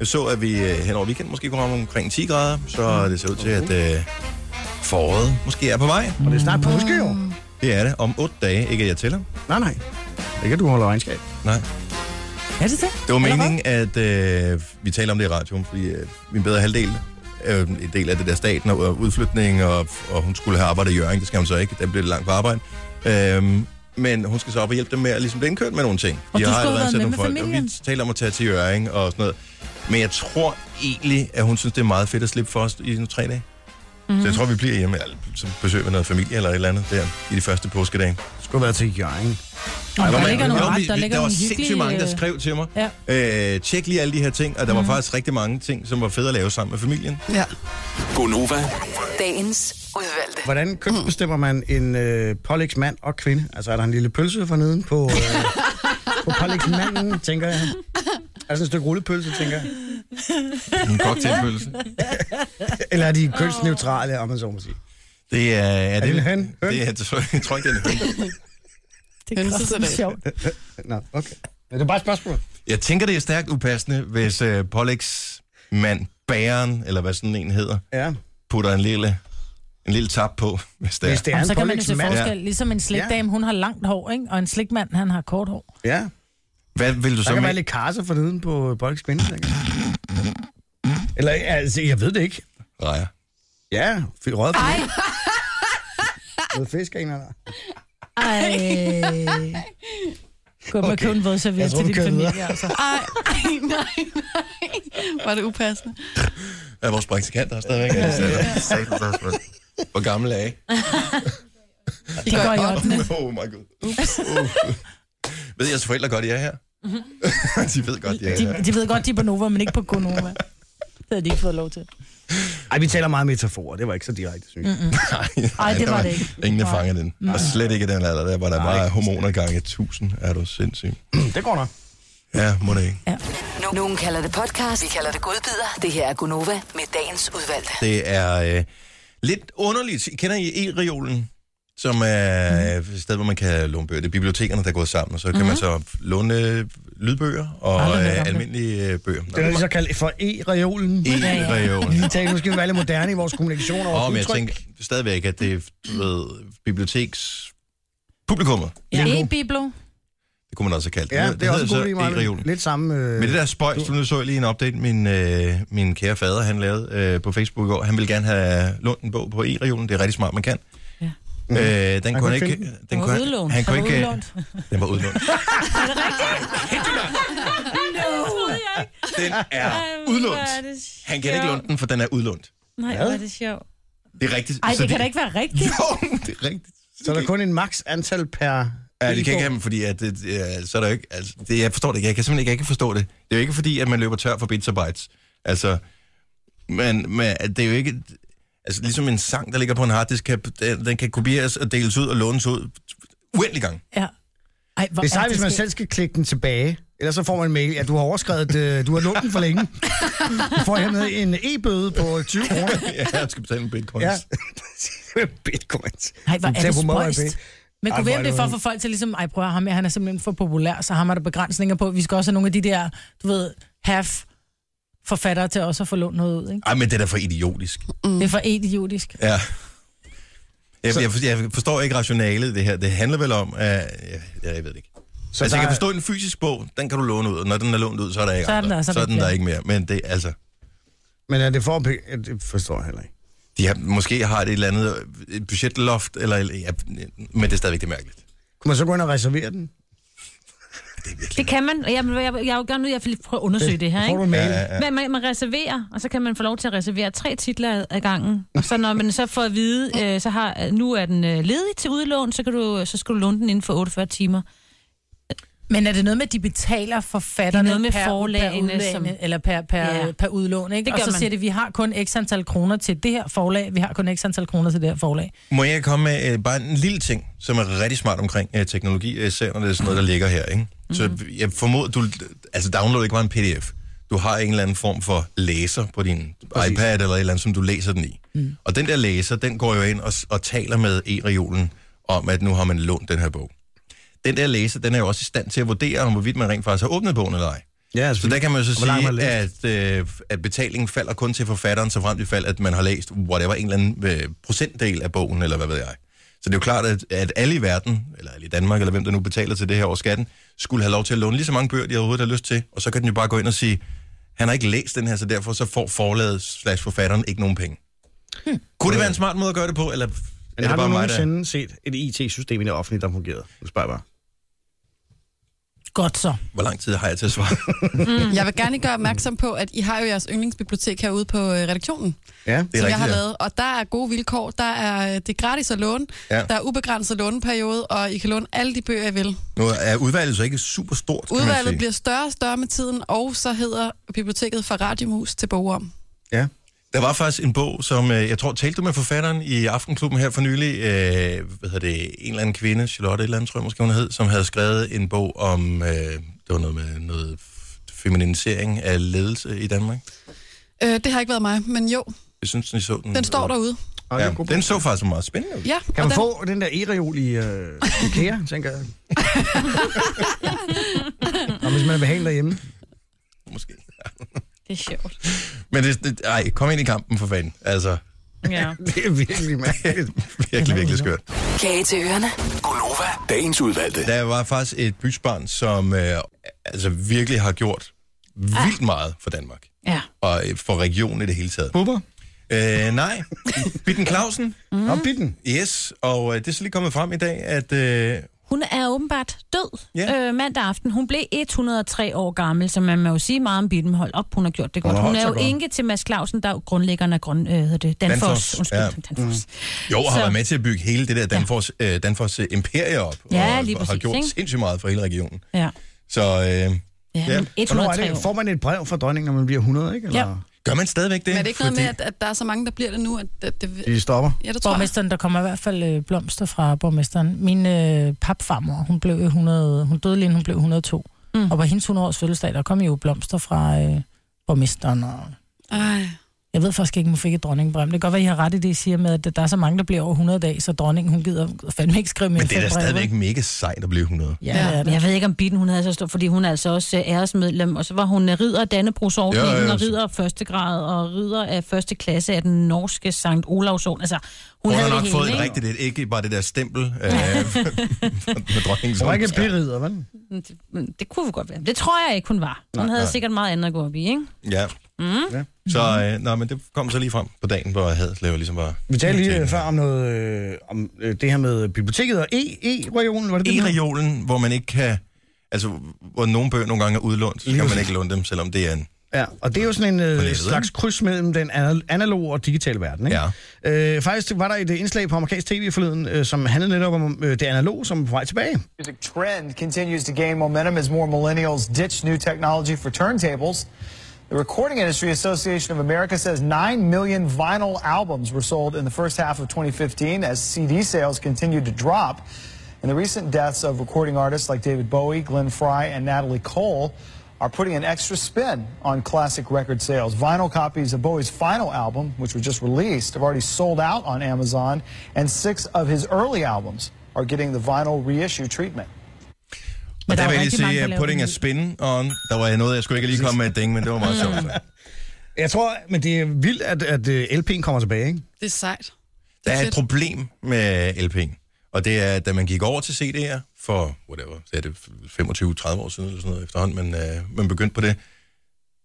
Speaker 1: Jeg så, at vi øh, hen over weekenden måske kunne ramme omkring 10 grader,
Speaker 2: Mm.
Speaker 1: så det ser ud til, at øh, foråret måske er på vej.
Speaker 2: Og det er snart påske, jo.
Speaker 1: Det er det. Om 8 dage, ikke at jeg tæller.
Speaker 2: Nej, nej. Ikke at du holder regnskab.
Speaker 1: Nej.
Speaker 4: Er det det?
Speaker 1: Det var meningen, at øh, vi taler om det i radioen, fordi øh, min bedre halvdel er jo en del af det der staten og og udflytning, og, og hun skulle have arbejdet i Jørgen, det skal hun så ikke, der bliver det langt på arbejde. Øhm, men hun skal så op og hjælpe dem med at ligesom blive indkørt med nogle ting.
Speaker 17: Og
Speaker 1: De
Speaker 17: du skulle have
Speaker 1: allerede
Speaker 17: været
Speaker 1: ansat
Speaker 17: med
Speaker 1: nogle
Speaker 17: med
Speaker 1: og vi
Speaker 17: familien.
Speaker 1: taler om at tage til Jørgen og sådan noget. Men jeg tror egentlig, at hun synes, det er meget fedt at slippe for os i nogle tre dage. Mm-hmm. Så jeg tror, vi bliver hjemme, eller så besøger vi noget familie eller et eller andet der i de første påskedage.
Speaker 2: Skulle være til Jørgen.
Speaker 1: Ej,
Speaker 4: der
Speaker 1: hvor
Speaker 4: ligger
Speaker 1: mange-
Speaker 4: nogle
Speaker 1: Jo,
Speaker 4: ret,
Speaker 1: vi-
Speaker 4: der
Speaker 1: vi-
Speaker 4: ligger
Speaker 1: Der var
Speaker 4: nogle
Speaker 1: sindssygt
Speaker 4: hyggelige,
Speaker 1: mange, der
Speaker 4: øh,
Speaker 1: skrev til mig.
Speaker 4: Ja. Mm.
Speaker 1: Øh, tjek lige alle de her ting, og der var faktisk rigtig mange ting, som var fede at lave sammen med familien.
Speaker 5: Ja.
Speaker 1: Gonova.
Speaker 7: Dagens udvalgte.
Speaker 2: Hvordan kønsbestemmer man en øh, pålægs mand og kvinde? Altså, er der en lille pølse for neden på, øh, på pålægs manden, tænker jeg? Er der sådan et stykke rullepølse, tænker jeg?
Speaker 1: En cocktailpølse.
Speaker 2: Eller er de kønsneutrale, om man så må sige?
Speaker 1: Det er... Er
Speaker 2: det en høn? Høn?
Speaker 1: Det er, jeg tror ikke, det er en høn.
Speaker 4: Det er kraftigt sjovt.
Speaker 2: Nå, okay. Men det er bare et spørgsmål.
Speaker 1: Jeg tænker, det er stærkt upassende, hvis øh, Pollex mand, bæren, eller hvad sådan en hedder,
Speaker 2: ja.
Speaker 1: putter en lille, en lille tap på, hvis det er.
Speaker 2: Hvis det er
Speaker 4: Og så kan man jo se forskel. Ligesom en
Speaker 1: Ja.
Speaker 4: slikdame, hun har langt hår, ikke? og en slikmand, han har kort hår.
Speaker 2: Ja.
Speaker 1: Hvad vil du
Speaker 2: der
Speaker 1: så
Speaker 2: kan
Speaker 1: med-
Speaker 2: være lidt karse for neden på øh, pålægs kvinde, tænker jeg. Eller, altså, jeg ved det ikke.
Speaker 1: Rejer.
Speaker 2: Ja, f- røget for neden. Noget fisk, en eller
Speaker 4: Ej. Gå op og
Speaker 2: Okay.
Speaker 4: købe en
Speaker 2: Jeg
Speaker 4: vådserviet
Speaker 2: tror,
Speaker 4: til
Speaker 2: vi
Speaker 4: din
Speaker 2: kører
Speaker 4: familie,
Speaker 2: videre.
Speaker 4: altså.
Speaker 5: Ej, ej, nej, nej. Var det upassende?
Speaker 1: Ja, vores praktikant der er stadigvæk ansat. Hvor gammel er I?
Speaker 5: I går i ottende.
Speaker 1: Oh my god.
Speaker 5: Ups.
Speaker 1: Uh. Ved jeres forældre godt, I er her? de ved godt, de er her.
Speaker 4: De, de ved godt, de er på Nova, men ikke på Gonova. Det havde de ikke fået lov til.
Speaker 2: Ej, vi taler meget metaforer. Det var ikke så direkte, synes jeg.
Speaker 4: Mm-mm. Ej, det
Speaker 1: der
Speaker 4: var det ikke.
Speaker 1: Ingen, der
Speaker 4: Nej.
Speaker 1: fangede den.
Speaker 4: Nej.
Speaker 1: Og slet ikke i den alder, der var der bare hormoner gange 1000. Er du sindssyg?
Speaker 2: Det går nok.
Speaker 1: Ja, må det ikke.
Speaker 7: Nu- Nogen kalder det podcast, vi kalder det godbider. Det her er Gunova med dagens udvalgte.
Speaker 1: Det er øh, lidt underligt. Kender I e-reolen? Som er
Speaker 2: Mhm.
Speaker 1: mm. et sted, hvor man kan låne bøger. Det er bibliotekerne, der går sammen, og så kan mm. man så låne lydbøger og
Speaker 2: Aldrig hørt om
Speaker 1: øh,
Speaker 2: det.
Speaker 1: almindelige øh, bøger. Nå,
Speaker 2: Det er lige så kaldt for E-reolen.
Speaker 1: E-reolen.
Speaker 2: Lige tale, nu skal vi være lidt moderne i vores kommunikation og
Speaker 1: Åh,
Speaker 2: vores
Speaker 1: men jeg
Speaker 2: udtryk.
Speaker 1: tænker stadigvæk, at det er du ved, biblioteks... Publikummet.
Speaker 4: Ja. E-biblo.
Speaker 1: Det kunne man også have kaldt det.
Speaker 2: Ja,
Speaker 1: Det
Speaker 2: det, er
Speaker 1: hedder
Speaker 2: også en god
Speaker 1: så
Speaker 2: idé, Marvin.
Speaker 1: e-reolen.
Speaker 2: Lidt samme... Øh...
Speaker 1: Men det der spøjs, nu så jeg lige en update, min, øh, min kære fader, han lavede øh, på Facebook i går. Han ville gerne have lånt en bog på e-regionen. Det er rigtig smart, man kan.
Speaker 3: Ja.
Speaker 1: Øh,
Speaker 3: Mm.
Speaker 1: den
Speaker 3: Han
Speaker 1: kunne
Speaker 3: kunne
Speaker 1: han ikke...
Speaker 3: finde den. Den
Speaker 1: Den
Speaker 3: var
Speaker 1: kunne
Speaker 4: Øh.
Speaker 3: udlånt.
Speaker 1: Han kunne
Speaker 3: Den var udlånt.
Speaker 1: ikke... øh, Den var udlånt.
Speaker 3: Er det rigtigt? Det troede jeg ikke.
Speaker 1: Den er
Speaker 3: Ej, hvor
Speaker 1: udlånt.
Speaker 3: er det
Speaker 1: Han kan ikke
Speaker 3: sjovt.
Speaker 1: låne den, for den er udlånt.
Speaker 3: Nej, hvor er det sjovt.
Speaker 1: Det er rigtigt.
Speaker 3: Ej,
Speaker 1: Så
Speaker 3: det kan da ikke være rigtigt.
Speaker 1: Jo, det er rigtigt.
Speaker 2: Så er der kun en maks antal per...
Speaker 1: Ja, det kan ikke have dem, fordi at, det, det, så er der jo ikke, altså, det, jeg forstår det ikke. Jeg kan simpelthen ikke, jeg kan forstå det. Det er jo ikke fordi, at man løber tør for bits og bytes. Altså, men, men det er jo ikke... Altså, ligesom en sang, der ligger på en harddisk, kan, den, den kan kopieres og deles ud og lånes ud uendelig gang.
Speaker 4: Ja. Ej, hvor
Speaker 2: det er
Speaker 4: er
Speaker 2: sejt, hvis man
Speaker 4: skægt.
Speaker 2: selv skal klikke den tilbage. Ellers så får man en mail, at du har overskrevet, øh, du har lånt den for længe. Du får hermed en e-bøde på 20 kroner.
Speaker 1: ja, jeg skal betale en bitcoin.
Speaker 2: Ja.
Speaker 1: Ja.
Speaker 2: Bitcoins.
Speaker 4: Nej, hvor er
Speaker 2: Tag
Speaker 4: det
Speaker 2: på mobile
Speaker 4: spøjst.
Speaker 2: pay.
Speaker 4: Men
Speaker 2: Ej,
Speaker 4: kunne
Speaker 2: hvor er
Speaker 4: være, det er for at få
Speaker 2: underligt.
Speaker 4: folk til ligesom, ej, prøv at høre, ham her, han er simpelthen for populær, så ham er der begrænsninger på. Vi skal også have nogle af de der, du ved, have forfattere til også at få lånt noget ud, ikke?
Speaker 1: Ej, men det er da for idiotisk.
Speaker 4: Mm. Det er for idiotisk.
Speaker 1: Ja. Jeg, jeg, for- jeg forstår ikke rationalet i det her. Det handler vel om, at... Jeg, jeg ved det ikke.
Speaker 2: Så
Speaker 1: Så altså, jeg kan
Speaker 2: der er-
Speaker 1: forstå en fysisk bog, den kan du låne ud, og når den er lånt ud, så er der ikke
Speaker 4: Så er den altså
Speaker 1: andre.
Speaker 4: der, så er
Speaker 1: så er
Speaker 4: det
Speaker 1: den
Speaker 4: ikke
Speaker 1: der
Speaker 4: mere.
Speaker 1: ikke mere. Men det, altså,
Speaker 2: Men er det for... at pe- ja, Det forstår jeg heller ikke.
Speaker 1: de har, måske har det et eller andet øh, et budgetloft, eller, ja, men det er stadigvæk det er mærkeligt.
Speaker 2: Kunne man så gå ind og reservere den?
Speaker 3: Det kan man, og jeg, jeg, jeg, jeg er jo gerne ud, jeg vil lige prøve at undersøge
Speaker 2: Det-
Speaker 3: det her.
Speaker 2: får
Speaker 3: Ikke?
Speaker 2: du en mail. Ja, ja, ja.
Speaker 3: Men man, man reserverer, og så kan man få lov til at reservere tre titler ad gangen. Og så når man så får at vide, øh, så har, nu er den øh, ledig til udlån, så, kan du, så skal du låne den inden for 48 timer.
Speaker 4: Men er det noget med, at de betaler forfatterne
Speaker 3: Det er noget med
Speaker 4: per,
Speaker 3: forlagene,
Speaker 4: per, udlån,
Speaker 3: som-
Speaker 4: eller per, per,
Speaker 3: Ja.
Speaker 4: per udlån, ikke?
Speaker 3: Det
Speaker 4: og
Speaker 3: gør
Speaker 4: så
Speaker 3: man.
Speaker 4: siger det, vi har kun x antal kroner til det her forlag, vi har kun x antal kroner til det her forlag.
Speaker 1: Må jeg komme med øh, bare en lille ting, som er rigtig smart omkring øh, teknologi, især når det er sådan noget, der ligger her, ikke? Så jeg formoder, du... Altså, download ikke bare en pdf. Du har en eller anden form for læser på din Præcis. iPad eller et eller andet, som du læser den i. Mm. Og den der læser, den går jo ind og, s- og taler med e-reolen om, at nu har man lånt den her bog. Den der læser, den er jo også i stand til at vurdere, om hvorvidt man rent faktisk har åbnet bogen eller ej.
Speaker 2: Ja, altså,
Speaker 1: Så der kan man jo så
Speaker 2: Hvor langt man
Speaker 1: sige, at, øh, at betalingen falder kun til forfatteren, så frem til fald, at man har læst whatever, en eller anden øh, procentdel af bogen, eller hvad ved jeg. Så det er jo klart, at, at alle i verden, eller alle i Danmark, eller hvem der nu betaler til det her over skatten, skulle have lov til at låne lige så mange bøger, de overhovedet har lyst til, og så kan den jo bare gå ind og sige, han har ikke læst den her, så derfor så får forlaget slash forfatteren ikke nogen penge. Hmm. Kunne det være en smart måde at gøre det på, eller er
Speaker 2: Men
Speaker 1: det
Speaker 2: har du
Speaker 1: bare mig, der...
Speaker 2: nogensinde set et IT-system i det offentlige, der fungerede? Nu spørger jeg bare.
Speaker 4: Godt så.
Speaker 1: Hvor lang tid har jeg til at svare?
Speaker 5: Mm. Jeg vil gerne lige gøre opmærksom på, at I har jo jeres yndlingsbibliotek herude på øh, redaktionen,
Speaker 2: Ja,
Speaker 5: som jeg har lavet. Og der er gode vilkår. Der er, øh, det er gratis at låne.
Speaker 1: Ja.
Speaker 5: Ja. Der er ubegrænset låneperiode, og I kan låne alle de bøger, I vil.
Speaker 1: Nu er udvalget så ikke super stort, kan man
Speaker 5: Udvalget
Speaker 1: sige.
Speaker 5: bliver større og større med tiden, og så hedder biblioteket fra Radiomus til Bogom.
Speaker 2: Ja.
Speaker 1: Der var faktisk en bog, som øh, jeg tror, talte du med forfatteren i Aftenklubben her for nylig. Øh, hvad hedder det? En eller anden kvinde, Charlotte et eller andet, tror jeg måske hun hed, som havde skrevet en bog om, øh, det var noget med noget f- feminisering af ledelse i Danmark.
Speaker 5: Øh, det har ikke været mig, men jo,
Speaker 1: Jeg synes, den så den.
Speaker 5: den står derude.
Speaker 1: Ja, den så faktisk meget spændende. ud.
Speaker 5: Ja,
Speaker 2: Kan
Speaker 5: og
Speaker 2: man
Speaker 5: den-
Speaker 2: få den der e-reol i øh, IKEA, tænker jeg. Og hvis man vil have en derhjemme.
Speaker 1: Måske.
Speaker 3: Det er sjovt.
Speaker 1: Men det, det, ej, kom ind i kampen for fanden. Altså,
Speaker 3: Ja.
Speaker 2: det er virkelig mærkeligt.
Speaker 1: virkelig, virkelig skørt.
Speaker 7: Kage til ørerne.
Speaker 9: Gunova, dagens udvalgte.
Speaker 1: Der var faktisk et bysbarn, som øh, altså virkelig har gjort vildt
Speaker 5: Ah.
Speaker 1: meget for Danmark.
Speaker 3: Ja.
Speaker 1: Og øh, for regionen i det hele taget.
Speaker 2: Bubber?
Speaker 1: Øh, nej. Bitten Clausen.
Speaker 2: Mm. Og bitten.
Speaker 1: Yes, og øh, det er så lige kommet frem i dag, at øh,
Speaker 3: Hun er åbenbart død yeah. øh, mandag aften. Hun blev 103 år gammel, så man må jo sige meget om Bitten. Hold op, hun har gjort det
Speaker 1: Hun
Speaker 3: godt.
Speaker 1: har
Speaker 3: Hun,
Speaker 1: holdt
Speaker 3: er
Speaker 1: sig
Speaker 3: jo
Speaker 1: godt.
Speaker 3: enke til Mads Clausen, der er jo grundlæggeren af grund, øh, hedder det, Danfoss. Danfoss. Undskyld, ja. Danfoss.
Speaker 1: Mm. Jo, og har
Speaker 3: Så-
Speaker 1: været med til at bygge hele det der Danfors, øh, Danfors øh, imperie op.
Speaker 3: Ja,
Speaker 1: og,
Speaker 3: lige
Speaker 1: og har
Speaker 3: præcis,
Speaker 1: gjort
Speaker 3: ikke?
Speaker 1: sindssygt meget for hele regionen.
Speaker 3: Ja.
Speaker 1: Så øh, ja,
Speaker 2: Hvornår er det? Får man et brev fra dronningen, når man bliver 100, ikke? Eller?
Speaker 1: Ja. Gør man stadigvæk
Speaker 17: Men er det ikke noget med, at, at der er så mange, der bliver det nu, at, at det...
Speaker 2: De stopper.
Speaker 17: Ja, det tror jeg.
Speaker 4: Borgmesteren, der kommer i hvert fald øh, blomster fra borgmesteren. Min øh, papfarmor, hun, blev 100, hun døde lige inden hun blev 102. Mm. Og på hendes 100-års fødselsdag, der kom jo blomster fra øh, borgmesteren. Og...
Speaker 17: Ej.
Speaker 4: Jeg ved faktisk ikke, om hun fik et dronningbrev. men Det kan godt være, I har ret i det, I siger med, at der er så mange, der bliver over 100 dage, så dronningen, hun gider fandme ikke skrive mere
Speaker 1: Men det er da
Speaker 4: fem breve.
Speaker 1: stadigvæk mega sejt at blive 100.
Speaker 4: Ja, det er
Speaker 3: Ja,
Speaker 4: det.
Speaker 3: men jeg ved ikke, om Bitten hun havde så stor, fordi hun er altså også øh, æresmedlem, og så var hun øh, ridder af Dannebrogsordningen,
Speaker 1: Ja,
Speaker 3: ja,
Speaker 1: ja,
Speaker 3: ja,
Speaker 1: ja.
Speaker 3: og ridder af første grad, og ridder af første klasse af den norske Sankt Olavsorden. Altså, hun,
Speaker 1: Hun,
Speaker 3: havde
Speaker 1: har nok
Speaker 3: det
Speaker 1: fået
Speaker 3: hele,
Speaker 1: et
Speaker 3: ikke?
Speaker 1: rigtigt et, ikke bare det der stempel øh, med dronningens
Speaker 2: Hun var ikke en
Speaker 1: underskrift.
Speaker 2: birider, vel?
Speaker 3: Men Det kunne godt være. Det tror jeg ikke, hun var. Hun nej,
Speaker 1: Nej,
Speaker 3: havde
Speaker 1: nej.
Speaker 3: nej. sikkert meget andet at gå op i, ikke?
Speaker 1: Ja.
Speaker 3: Mm.
Speaker 2: ja.
Speaker 1: Så øh, nej, men det kom så lige frem på dagen, hvor jeg havde lavet ligesom bare...
Speaker 2: Vi talte lige øh, før om, noget, øh, om øh, det her med biblioteket og E- E-regionen, var det det? den hed?
Speaker 1: E-reolen, hvor man ikke kan... Altså, hvor nogle bøger nogle gange er udlånt, så kan man ikke låne dem, selvom det er en...
Speaker 2: Ja, og det er jo sådan en øh,
Speaker 1: nettet,
Speaker 2: slags
Speaker 1: ikke?
Speaker 2: kryds mellem den anal- analoge og digitale verden, ikke? Ja. Øh, faktisk var der et øh, indslag på amerikansk tv forleden, øh, som handlede netop om øh, det analoge, som er på vej tilbage.
Speaker 18: Music trend continues to gain momentum as more millennials ditch new technology for turntables. The Recording Industry Association of America says 9 million vinyl albums were sold in the first half of 2015 as CD sales continued to drop. And the recent deaths of recording artists like David Bowie, Glenn Fry, and Natalie Cole are putting an extra spin on classic record sales. Vinyl copies of Bowie's final album, which was just released, have already sold out on Amazon, and six of his early albums are getting the vinyl reissue treatment. der
Speaker 1: Og der
Speaker 18: er
Speaker 1: vil
Speaker 18: jo
Speaker 1: jeg lige
Speaker 18: rigtig mange,
Speaker 1: sige,
Speaker 18: der
Speaker 1: at
Speaker 18: laver
Speaker 1: putting er
Speaker 18: dem.
Speaker 1: spin on. Der var noget, jeg skulle ikke lige komme med et ding, men det var meget sjovt.
Speaker 18: Mm.
Speaker 1: så.
Speaker 2: Jeg tror, men det er vildt, at, at øh, LP'en kommer tilbage, ikke?
Speaker 17: Det er sejt.
Speaker 1: Der er et problem med LP'en, og det er, at da man gik over til CD'er for, whatever, så er det 25-30 år siden eller sådan noget efterhånden, men øh, man begyndte på det,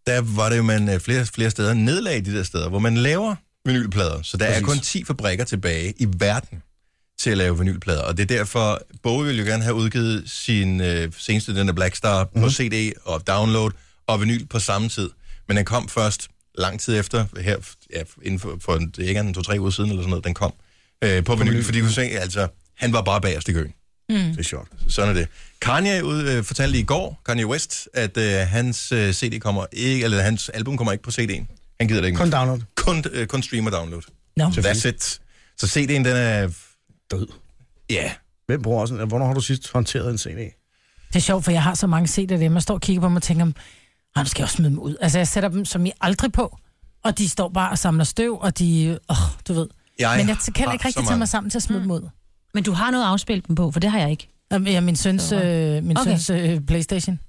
Speaker 1: der var det, jo, man øh, flere, flere steder nedlagde de der steder, hvor man laver vinylplader. Så der Præcis. er kun 10 fabrikker tilbage i verden til at lave vinylplader, og det er derfor, Bowie ville jo gerne have udgivet sin øh, seneste, den der Black Star, mm-hmm.
Speaker 2: Mhm.
Speaker 1: på CD og download og vinyl på samme tid. Men den kom først lang tid efter, her ja, inden for, for det er ikke andet end to-tre uger siden eller sådan noget, den kom øh, på vinyl, fordi du kunne se, altså, han var bare bagerst i køen.
Speaker 2: Mm.
Speaker 1: Det er sjovt. Sådan er det. Kanye ud, øh, fortalte i går, Kanye West, at øh, hans øh, CD kommer ikke, eller hans album kommer ikke på CD'en. Han gider det ikke.
Speaker 2: Kun
Speaker 1: mere.
Speaker 2: download.
Speaker 1: Kun, øh, kun stream og download.
Speaker 4: No.
Speaker 1: That's it. Så CD'en, den er...
Speaker 2: Død.
Speaker 1: Ja. Yeah.
Speaker 2: Hvem bruger sådan? øh, Hvornår har du sidst håndteret en CD?
Speaker 4: Det er sjovt, for jeg har så mange set af dem, og står og kigger på dem og tænker, "Ah, nu skal jeg også smide dem ud. Altså, jeg sætter dem som I aldrig på, og de står bare og samler støv, og de, åh, oh, du ved.
Speaker 3: Jeg
Speaker 4: Men jeg
Speaker 3: har
Speaker 4: kan ikke
Speaker 3: så
Speaker 4: rigtig tage
Speaker 3: mange.
Speaker 4: mig sammen til at smide mm. dem ud.
Speaker 3: Men du har noget at afspille dem på, for det har jeg ikke.
Speaker 4: Ja, min søns, øh, min
Speaker 3: Okay.
Speaker 4: okay. søns øh, Playstation.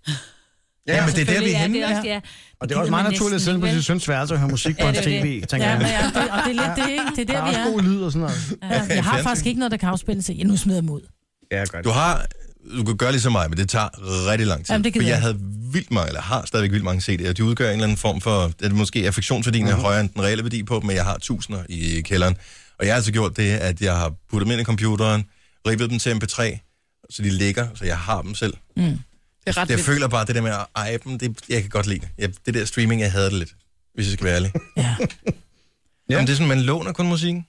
Speaker 2: Ja, men det er der,
Speaker 3: selvfølgelig,
Speaker 2: vi er
Speaker 3: ja,
Speaker 2: henne.
Speaker 3: det er også- ja.
Speaker 2: Og det
Speaker 3: Det
Speaker 2: er også
Speaker 3: gider
Speaker 2: meget
Speaker 3: man
Speaker 2: naturligt at
Speaker 3: næsten
Speaker 2: sidde på
Speaker 3: ikke,
Speaker 2: sin
Speaker 3: vel?
Speaker 2: søns værelse og høre musik på
Speaker 4: Ja,
Speaker 2: en
Speaker 4: det er jo
Speaker 2: tv,
Speaker 4: det.
Speaker 2: tænker
Speaker 4: Ja, men
Speaker 2: jeg.
Speaker 4: ja, det- og det er lidt det, ikke? Det er der,
Speaker 2: der er
Speaker 4: vi
Speaker 2: også
Speaker 4: er.
Speaker 2: god lyd og sådan noget.
Speaker 4: Ja, jeg har faktisk ikke noget, der kan afspille sig. Ja, nu smider jeg dem ud.
Speaker 2: Ja, godt.
Speaker 1: Du har... Du kan gøre ligesom mig, men det tager rigtig lang tid.
Speaker 4: Jamen, det gider
Speaker 1: for jeg
Speaker 4: jeg
Speaker 1: havde vildt mange, eller har stadigvæk vildt mange CD'er. De udgør en eller anden form for... At det måske er fiktionsværdien er højere end den reelle værdi på dem, men jeg har tusinder i kælderen. Og jeg har altså gjort det, at jeg har puttet dem ind i computeren, rippet dem til MP3, så de ligger, så jeg har dem selv.
Speaker 4: Mm. Det
Speaker 17: er
Speaker 1: jeg føler bare, at det der med at eje dem, det, jeg kan godt lide det. Jeg, det der streaming, jeg havde det lidt, hvis jeg skal være ærlig. ja. Jamen, det er sådan, man låner kun musikken.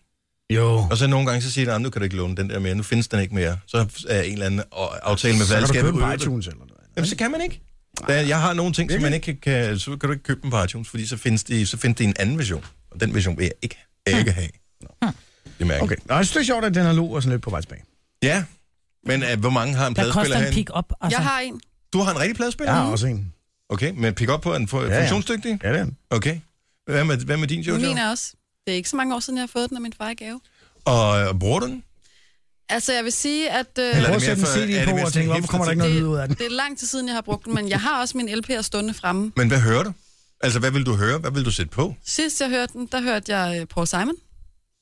Speaker 2: Jo.
Speaker 1: Og så nogle gange, så siger de, "Ah, nu kan du ikke låne den der mere, nu findes den ikke mere. Så er en eller anden og- aftale med
Speaker 2: Så kan du
Speaker 1: valgskabet.
Speaker 2: købe den på iTunes eller noget.
Speaker 1: Jamen, så kan man ikke. Der, jeg har nogle ting, som man ikke kan, kan, så kan du ikke købe dem på iTunes, fordi så findes, de, så findes de en anden version. Og den version vil jeg ikke, ikke have. Det mærker
Speaker 2: Okay. Nå, jeg synes, det er sjovt, at den analog er sådan lidt på vej tilbage.
Speaker 1: Ja, men uh, hvor mange har en pladespiller herinde?
Speaker 4: pick-up.
Speaker 17: Altså. Jeg har en.
Speaker 1: Du har en rigtig pladespiller?
Speaker 2: Jeg har også en.
Speaker 1: Okay, men pick-up på er den for, ja,
Speaker 2: ja.
Speaker 1: funktionsdygtig?
Speaker 2: Ja, det er den.
Speaker 1: Okay. Hvad med, hvad med din, Jojo?
Speaker 17: Min er også. Det er ikke så mange år siden, jeg har fået den af min far i gave.
Speaker 1: Og øh, bruger du den?
Speaker 17: Altså, jeg vil sige, at... Øh,
Speaker 1: Eller er det Prøv at mere sætte en for- CD er det på mere og sådan tænke, hvorfor kommer der ikke noget
Speaker 17: Det-
Speaker 1: lyd ud af den?
Speaker 17: Det er lang tid siden, jeg har brugt den, men jeg har også min LP'er stående fremme.
Speaker 1: Men hvad hører du? Altså, hvad vil du høre? Hvad vil du sætte på?
Speaker 17: Sidst jeg hørte den, der hørte jeg øh, Paul Simon,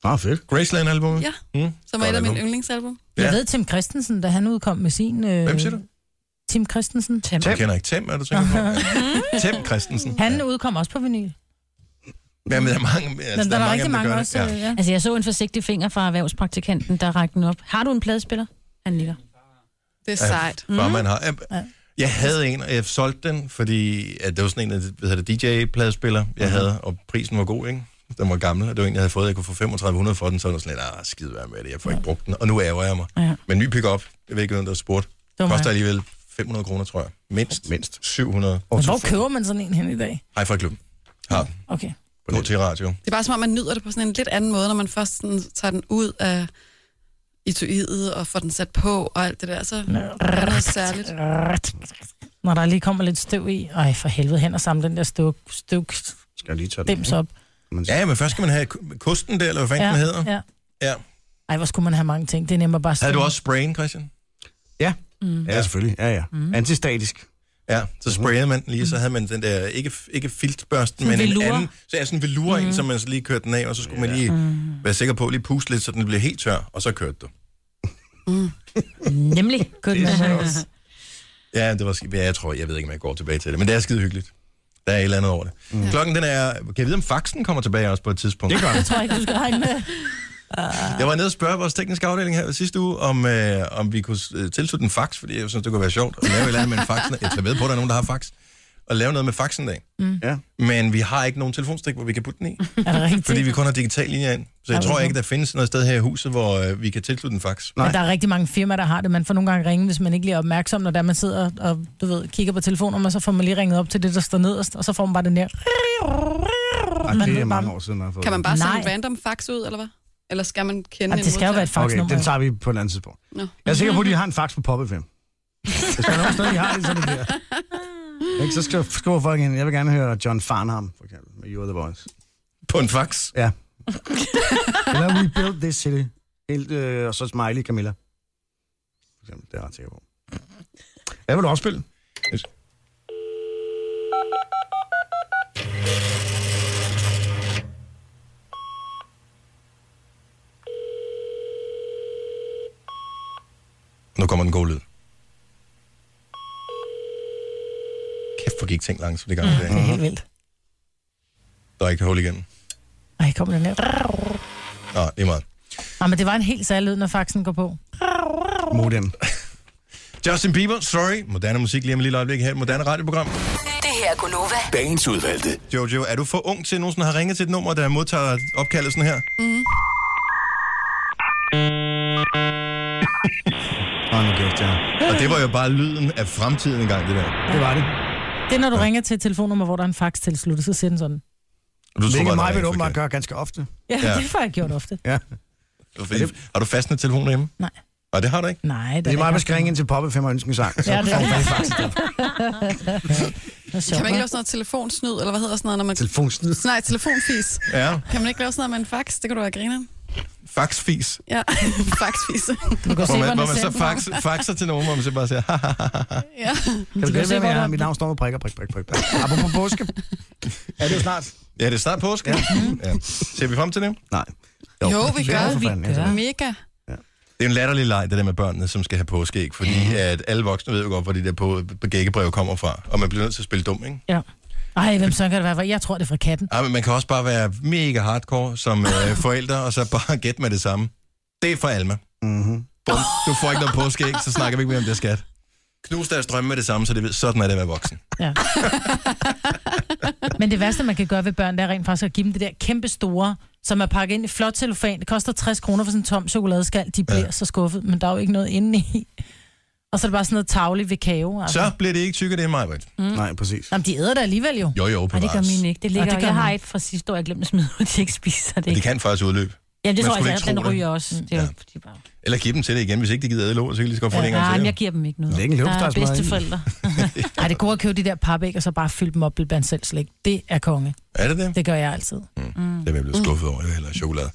Speaker 1: Ah, fedt. Graceland-albumet?
Speaker 17: Ja,
Speaker 1: mm,
Speaker 17: som er
Speaker 1: godt
Speaker 17: et af mine
Speaker 1: album.
Speaker 17: yndlingsalbum.
Speaker 1: Ja.
Speaker 4: Jeg ved Tim Christensen, da han udkom med sin... Øh,
Speaker 1: Hvem siger du?
Speaker 4: Tim Christensen. Tim.
Speaker 1: Jeg kender ikke Tem, er du tænker på? Ja. Tem Christensen.
Speaker 4: Han udkom også på vinyl.
Speaker 1: Ja, men der er mange, altså, der er mange, af dem, der gør det.
Speaker 17: øh,
Speaker 1: Ja.
Speaker 3: Altså, jeg så en forsigtig finger fra erhvervspraktikanten, der rakte den op. Har du en pladespiller? Han ligger.
Speaker 5: Det er sejt.
Speaker 1: Ja, mm. man har. Jeg, jeg havde en, og jeg solgte den, fordi at det var sådan en af de- hvad hedder det, DJ-pladespiller, jeg
Speaker 4: Mhm.
Speaker 1: mm. havde, og prisen var god, ikke? Den var gammel, og det var en, jeg havde fået. Jeg kunne få 3500 for den, så var jeg sådan lidt, ah, skide være med det, jeg får ikke brugt den. Og nu ærger jeg mig.
Speaker 4: Ja.
Speaker 1: Men ny pick-up, jeg ved ikke, hvem der har spurgt,
Speaker 4: var mig.
Speaker 1: koster alligevel 500 kroner, tror jeg. Mindst. Mindst. 700.
Speaker 4: Men hvor køber man sådan en hen i dag?
Speaker 1: Ej, fra klubben. Har den.
Speaker 4: Okay.
Speaker 1: På noget til radio.
Speaker 17: Det er bare som om, man nyder det på sådan en lidt anden måde, når man først sådan, tager den ud af etuiet og får den sat på og alt det der. Så er der noget særligt.
Speaker 4: Når der lige kommer lidt støv i. Ej, for helvede hen og samle den der støv, støv
Speaker 2: Skal jeg lige tage den?
Speaker 4: dims op.
Speaker 1: Ja, men først skal man have ku- kosten der, eller hvad fanden
Speaker 4: ja,
Speaker 1: den hedder.
Speaker 4: Ja.
Speaker 1: Ja.
Speaker 4: Ej, hvor skulle man have mange ting. Det er nemmere bare at
Speaker 1: Havde du
Speaker 4: stå-
Speaker 1: også sprayen, Christian?
Speaker 2: Ja.
Speaker 4: Mm.
Speaker 2: Ja, selvfølgelig. Ja, ja.
Speaker 4: Mm.
Speaker 2: Antistatisk. Mm.
Speaker 1: Ja, så sprayede man den lige, så havde man den der, ikke, ikke filtbørsten,
Speaker 2: Sådan
Speaker 1: men
Speaker 2: velour.
Speaker 1: en anden, så er sådan en velure mm. en, så man så lige kørte den af, og så skulle ja. man lige
Speaker 2: Mm.
Speaker 1: være sikker på at lige puste lidt, så den blev helt tør, og så kørte du.
Speaker 4: Mm. Nemlig. Good
Speaker 1: Det er
Speaker 4: man.
Speaker 1: sjovt. Ja, det var sk- ja, jeg tror, jeg ved ikke, om jeg går tilbage til det, men det er skide hyggeligt. Der er et eller andet over det. Mm. Klokken den er, kan jeg vide, om faxen kommer tilbage også på et tidspunkt?
Speaker 4: Det Jeg tror ikke, du skal regne med.
Speaker 1: Jeg var nede og spørge vores tekniske afdeling her sidste uge, om, øh, om vi kunne øh, tilslutte en fax, fordi jeg synes, det kunne være sjovt at lave et eller andet med en fax. Jeg tager ved på, at der er nogen, der har fax. Og lave noget med faxen dag.
Speaker 4: Mm.
Speaker 2: Ja.
Speaker 1: Men vi har ikke nogen telefonstik, hvor vi kan putte den i.
Speaker 4: Er det rigtigt?
Speaker 1: Fordi vi kun har digital linje ind. Så jeg
Speaker 4: Er det
Speaker 1: tror
Speaker 4: det?
Speaker 1: ikke, der findes noget sted her i huset, hvor øh, vi kan tilslutte en fax.
Speaker 4: Men der er rigtig mange firmaer, der har det. Man får nogle gange ringe, hvis man ikke lige er opmærksom, når der man sidder og du ved, kigger på telefonen, og så får man lige ringet op til det, der står nederst, og så får man bare den der.
Speaker 2: Ej,
Speaker 4: Man
Speaker 2: det
Speaker 4: ved
Speaker 2: er mange
Speaker 4: bare-
Speaker 2: år siden, jeg har fået
Speaker 17: Kan man bare
Speaker 4: Nej.
Speaker 17: sende en random fax ud, eller hvad? Eller skal man kende
Speaker 2: Ej,
Speaker 17: en
Speaker 2: det skal jo være
Speaker 17: modtager?
Speaker 2: et faxnummer. Okay, den tager vi på et andet tidspunkt.
Speaker 17: Nå.
Speaker 2: Jeg er sikker på, at de har en fax på Pop FM. Hvis der er nogen steder, de har det, så er det der. Ikke, så skriver, skriver folk ind, jeg vil gerne høre John Farnham, for eksempel, med You're the Voice.
Speaker 1: På en fax?
Speaker 2: Ja. Eller We Build This City. Helt, øh, og så smiley Camilla. For eksempel, det er jeg ret sikker på. Hvad vil du afspille?
Speaker 1: Nu kommer den gode lyd. Kæft, hvor gik ting langsomt i gang.
Speaker 4: Det er helt vildt.
Speaker 1: Der er ikke hul igen.
Speaker 4: Ej, kommer den der.
Speaker 1: Nå, det er meget.
Speaker 4: Nej, men det var en helt særlig lyd, når faxen går på.
Speaker 2: Modem.
Speaker 1: Justin Bieber, sorry. Moderne musik lige om et lille øjeblik her. i et Moderne radioprogram.
Speaker 7: Det her er Gunova.
Speaker 1: Dagens udvalgte. Jojo, er du for ung til, at nogen sådan har ringet til et nummer, der modtager opkaldet sådan her?
Speaker 7: Mm.
Speaker 1: Åh, nu kæft, ja. Og det var jo bare lyden af fremtiden engang, det der.
Speaker 2: Det var det.
Speaker 4: Det er, når du ja. ringer til et telefonnummer, hvor der er en fax tilsluttet, så siger den sådan.
Speaker 1: Og Du tror,
Speaker 2: Hvilket
Speaker 1: bare,
Speaker 2: mig
Speaker 1: der
Speaker 2: vil
Speaker 1: er
Speaker 2: åbenbart gøre ganske ofte.
Speaker 4: Ja,
Speaker 1: Ja.
Speaker 4: ja. det får jeg gjort ofte.
Speaker 2: Ja.
Speaker 1: en forkert. Fordi, har du fastnet telefon derhjemme?
Speaker 4: Nej.
Speaker 1: Og det har du ikke?
Speaker 4: Nej,
Speaker 2: Det er mig, der skal ringe ind til Pop FM og ønske en sang. Så
Speaker 4: Ja, det er
Speaker 2: får man
Speaker 4: det.
Speaker 2: faktisk det.
Speaker 4: Kan
Speaker 17: man ikke lave sådan noget telefonsnyd, eller hvad hedder sådan noget, når man...
Speaker 2: Telefonsnyd?
Speaker 17: Nej, telefonfis.
Speaker 1: Ja.
Speaker 17: Kan man ikke lave sådan noget med en fax? Det kunne du være griner.
Speaker 1: Faxfis.
Speaker 17: Ja, faxfis.
Speaker 1: hvor man, hvor man så fax, faxer til nogen, hvor man så bare siger, "Hahaha."
Speaker 17: Ja.
Speaker 2: Kan du
Speaker 1: kan
Speaker 2: det
Speaker 1: se,
Speaker 2: være,
Speaker 1: hvor
Speaker 2: med, jeg
Speaker 1: der-
Speaker 2: har mit navn står med prikker, prik, prik, prik. prik. Apropos påske. Er det jo snart?
Speaker 1: Ja, det er snart påske. Ja. ja. Ser vi frem til det?
Speaker 2: Nej.
Speaker 17: Jo, vi gør.
Speaker 1: for fanden, altså.
Speaker 17: Mega.
Speaker 1: Det er en latterlig leg, det der med børnene, som skal have påskeæg, fordi
Speaker 3: Mhm.
Speaker 1: mm. at alle voksne ved jo godt, hvor de der på, gækkebrev kommer fra, og man bliver nødt til at spille dum, ikke?
Speaker 4: Ja. Ej, hvem så kan det være? for? Jeg tror, det er fra katten.
Speaker 1: Ej, men man kan også bare være mega hardcore som øh, forældre, og så bare gætte med det samme. Det er fra Alma.
Speaker 3: Mhm.
Speaker 2: Mm-hmm.
Speaker 1: Bum, du får ikke noget påskeæg, så snakker vi ikke mere om det, skat. Knus deres drømme med det samme, så det ved, sådan er det at være voksen.
Speaker 4: Ja. Men det værste, man kan gøre ved børn, det er rent faktisk at give dem det der kæmpe store, som er pakket ind i flot cellofan. Det koster 60 kroner for sådan en tom chokoladeskal. De bliver ja. så skuffet, men der er jo ikke noget inde i. Og så er det bare sådan noget tavlig ved kage. Altså.
Speaker 1: Så bliver det ikke tykke, det er mig, mm.
Speaker 2: Nej, præcis.
Speaker 4: Jamen, de æder det alligevel jo.
Speaker 1: Jo, jo,
Speaker 3: Nej, det gør
Speaker 1: bevares.
Speaker 3: min ikke. Det ligger,
Speaker 4: Nå, det
Speaker 3: det
Speaker 4: gør
Speaker 3: jeg har
Speaker 4: min.
Speaker 3: et fra sidste år, jeg glemte at smide ud, de ikke spiser det.
Speaker 1: Men det
Speaker 3: Ikke?
Speaker 1: kan faktisk udløbe.
Speaker 3: Jamen, det
Speaker 1: Man
Speaker 3: tror jeg,
Speaker 1: skulle
Speaker 3: altså,
Speaker 1: ikke
Speaker 3: den
Speaker 1: tro det.
Speaker 3: ryger også.
Speaker 4: Mm.
Speaker 3: Det er jo, de bare...
Speaker 1: Eller give dem til det igen, hvis ikke de gider æde lort, så kan de lige så godt få det en gang
Speaker 3: nej,
Speaker 1: til.
Speaker 3: men
Speaker 1: jo.
Speaker 3: jeg giver dem ikke noget.
Speaker 1: Det er ikke en
Speaker 3: der er
Speaker 1: løbesteg,
Speaker 3: bedste
Speaker 1: Marie.
Speaker 3: forældre.
Speaker 4: Ej, det er godt at købe de der papæg, og så bare fylde dem op med blandt selv slik. Det er konge.
Speaker 1: Er det det?
Speaker 4: Det gør jeg altid.
Speaker 1: Det Mm. er jeg
Speaker 2: Mm.
Speaker 1: blevet skuffet over, eller chokolade.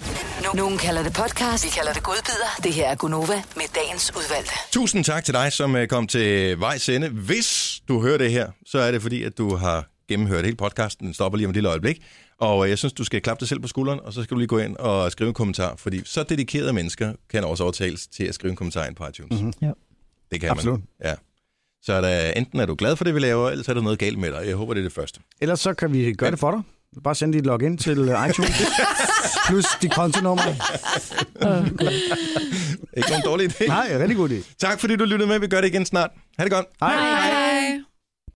Speaker 7: Nogen kalder det podcast, vi kalder det godbider. Det her er Gunova med dagens udvalgte.
Speaker 1: Tusind tak til dig, som øh, kom til vejs ende. Hvis du hører det her, så er det fordi, at du har gennemhørt hele podcasten. Den stopper lige om et lille øjeblik. Og øh, jeg synes, du skal klappe dig selv på skulderen, og så skal du lige gå ind og skrive en kommentar. Fordi så dedikerede mennesker kan også overtales til at skrive en kommentar ind på iTunes. Mm-hmm.
Speaker 4: Ja.
Speaker 1: Det kan
Speaker 2: Mm. Absolut.
Speaker 1: man. Ja. Så er der, enten er du glad for det, vi laver, eller så er der noget galt med dig. Jeg håber, det er det første.
Speaker 2: Ellers så kan vi gøre det for dig. Bare send dit login til øh, iTunes. Plus dit kontonummer.
Speaker 1: Ikke nogen dårlig idé.
Speaker 2: Nej, rigtig god idé.
Speaker 1: Tak fordi du lyttede med. Vi gør det igen snart. Ha' det godt.
Speaker 2: Hej. Hej.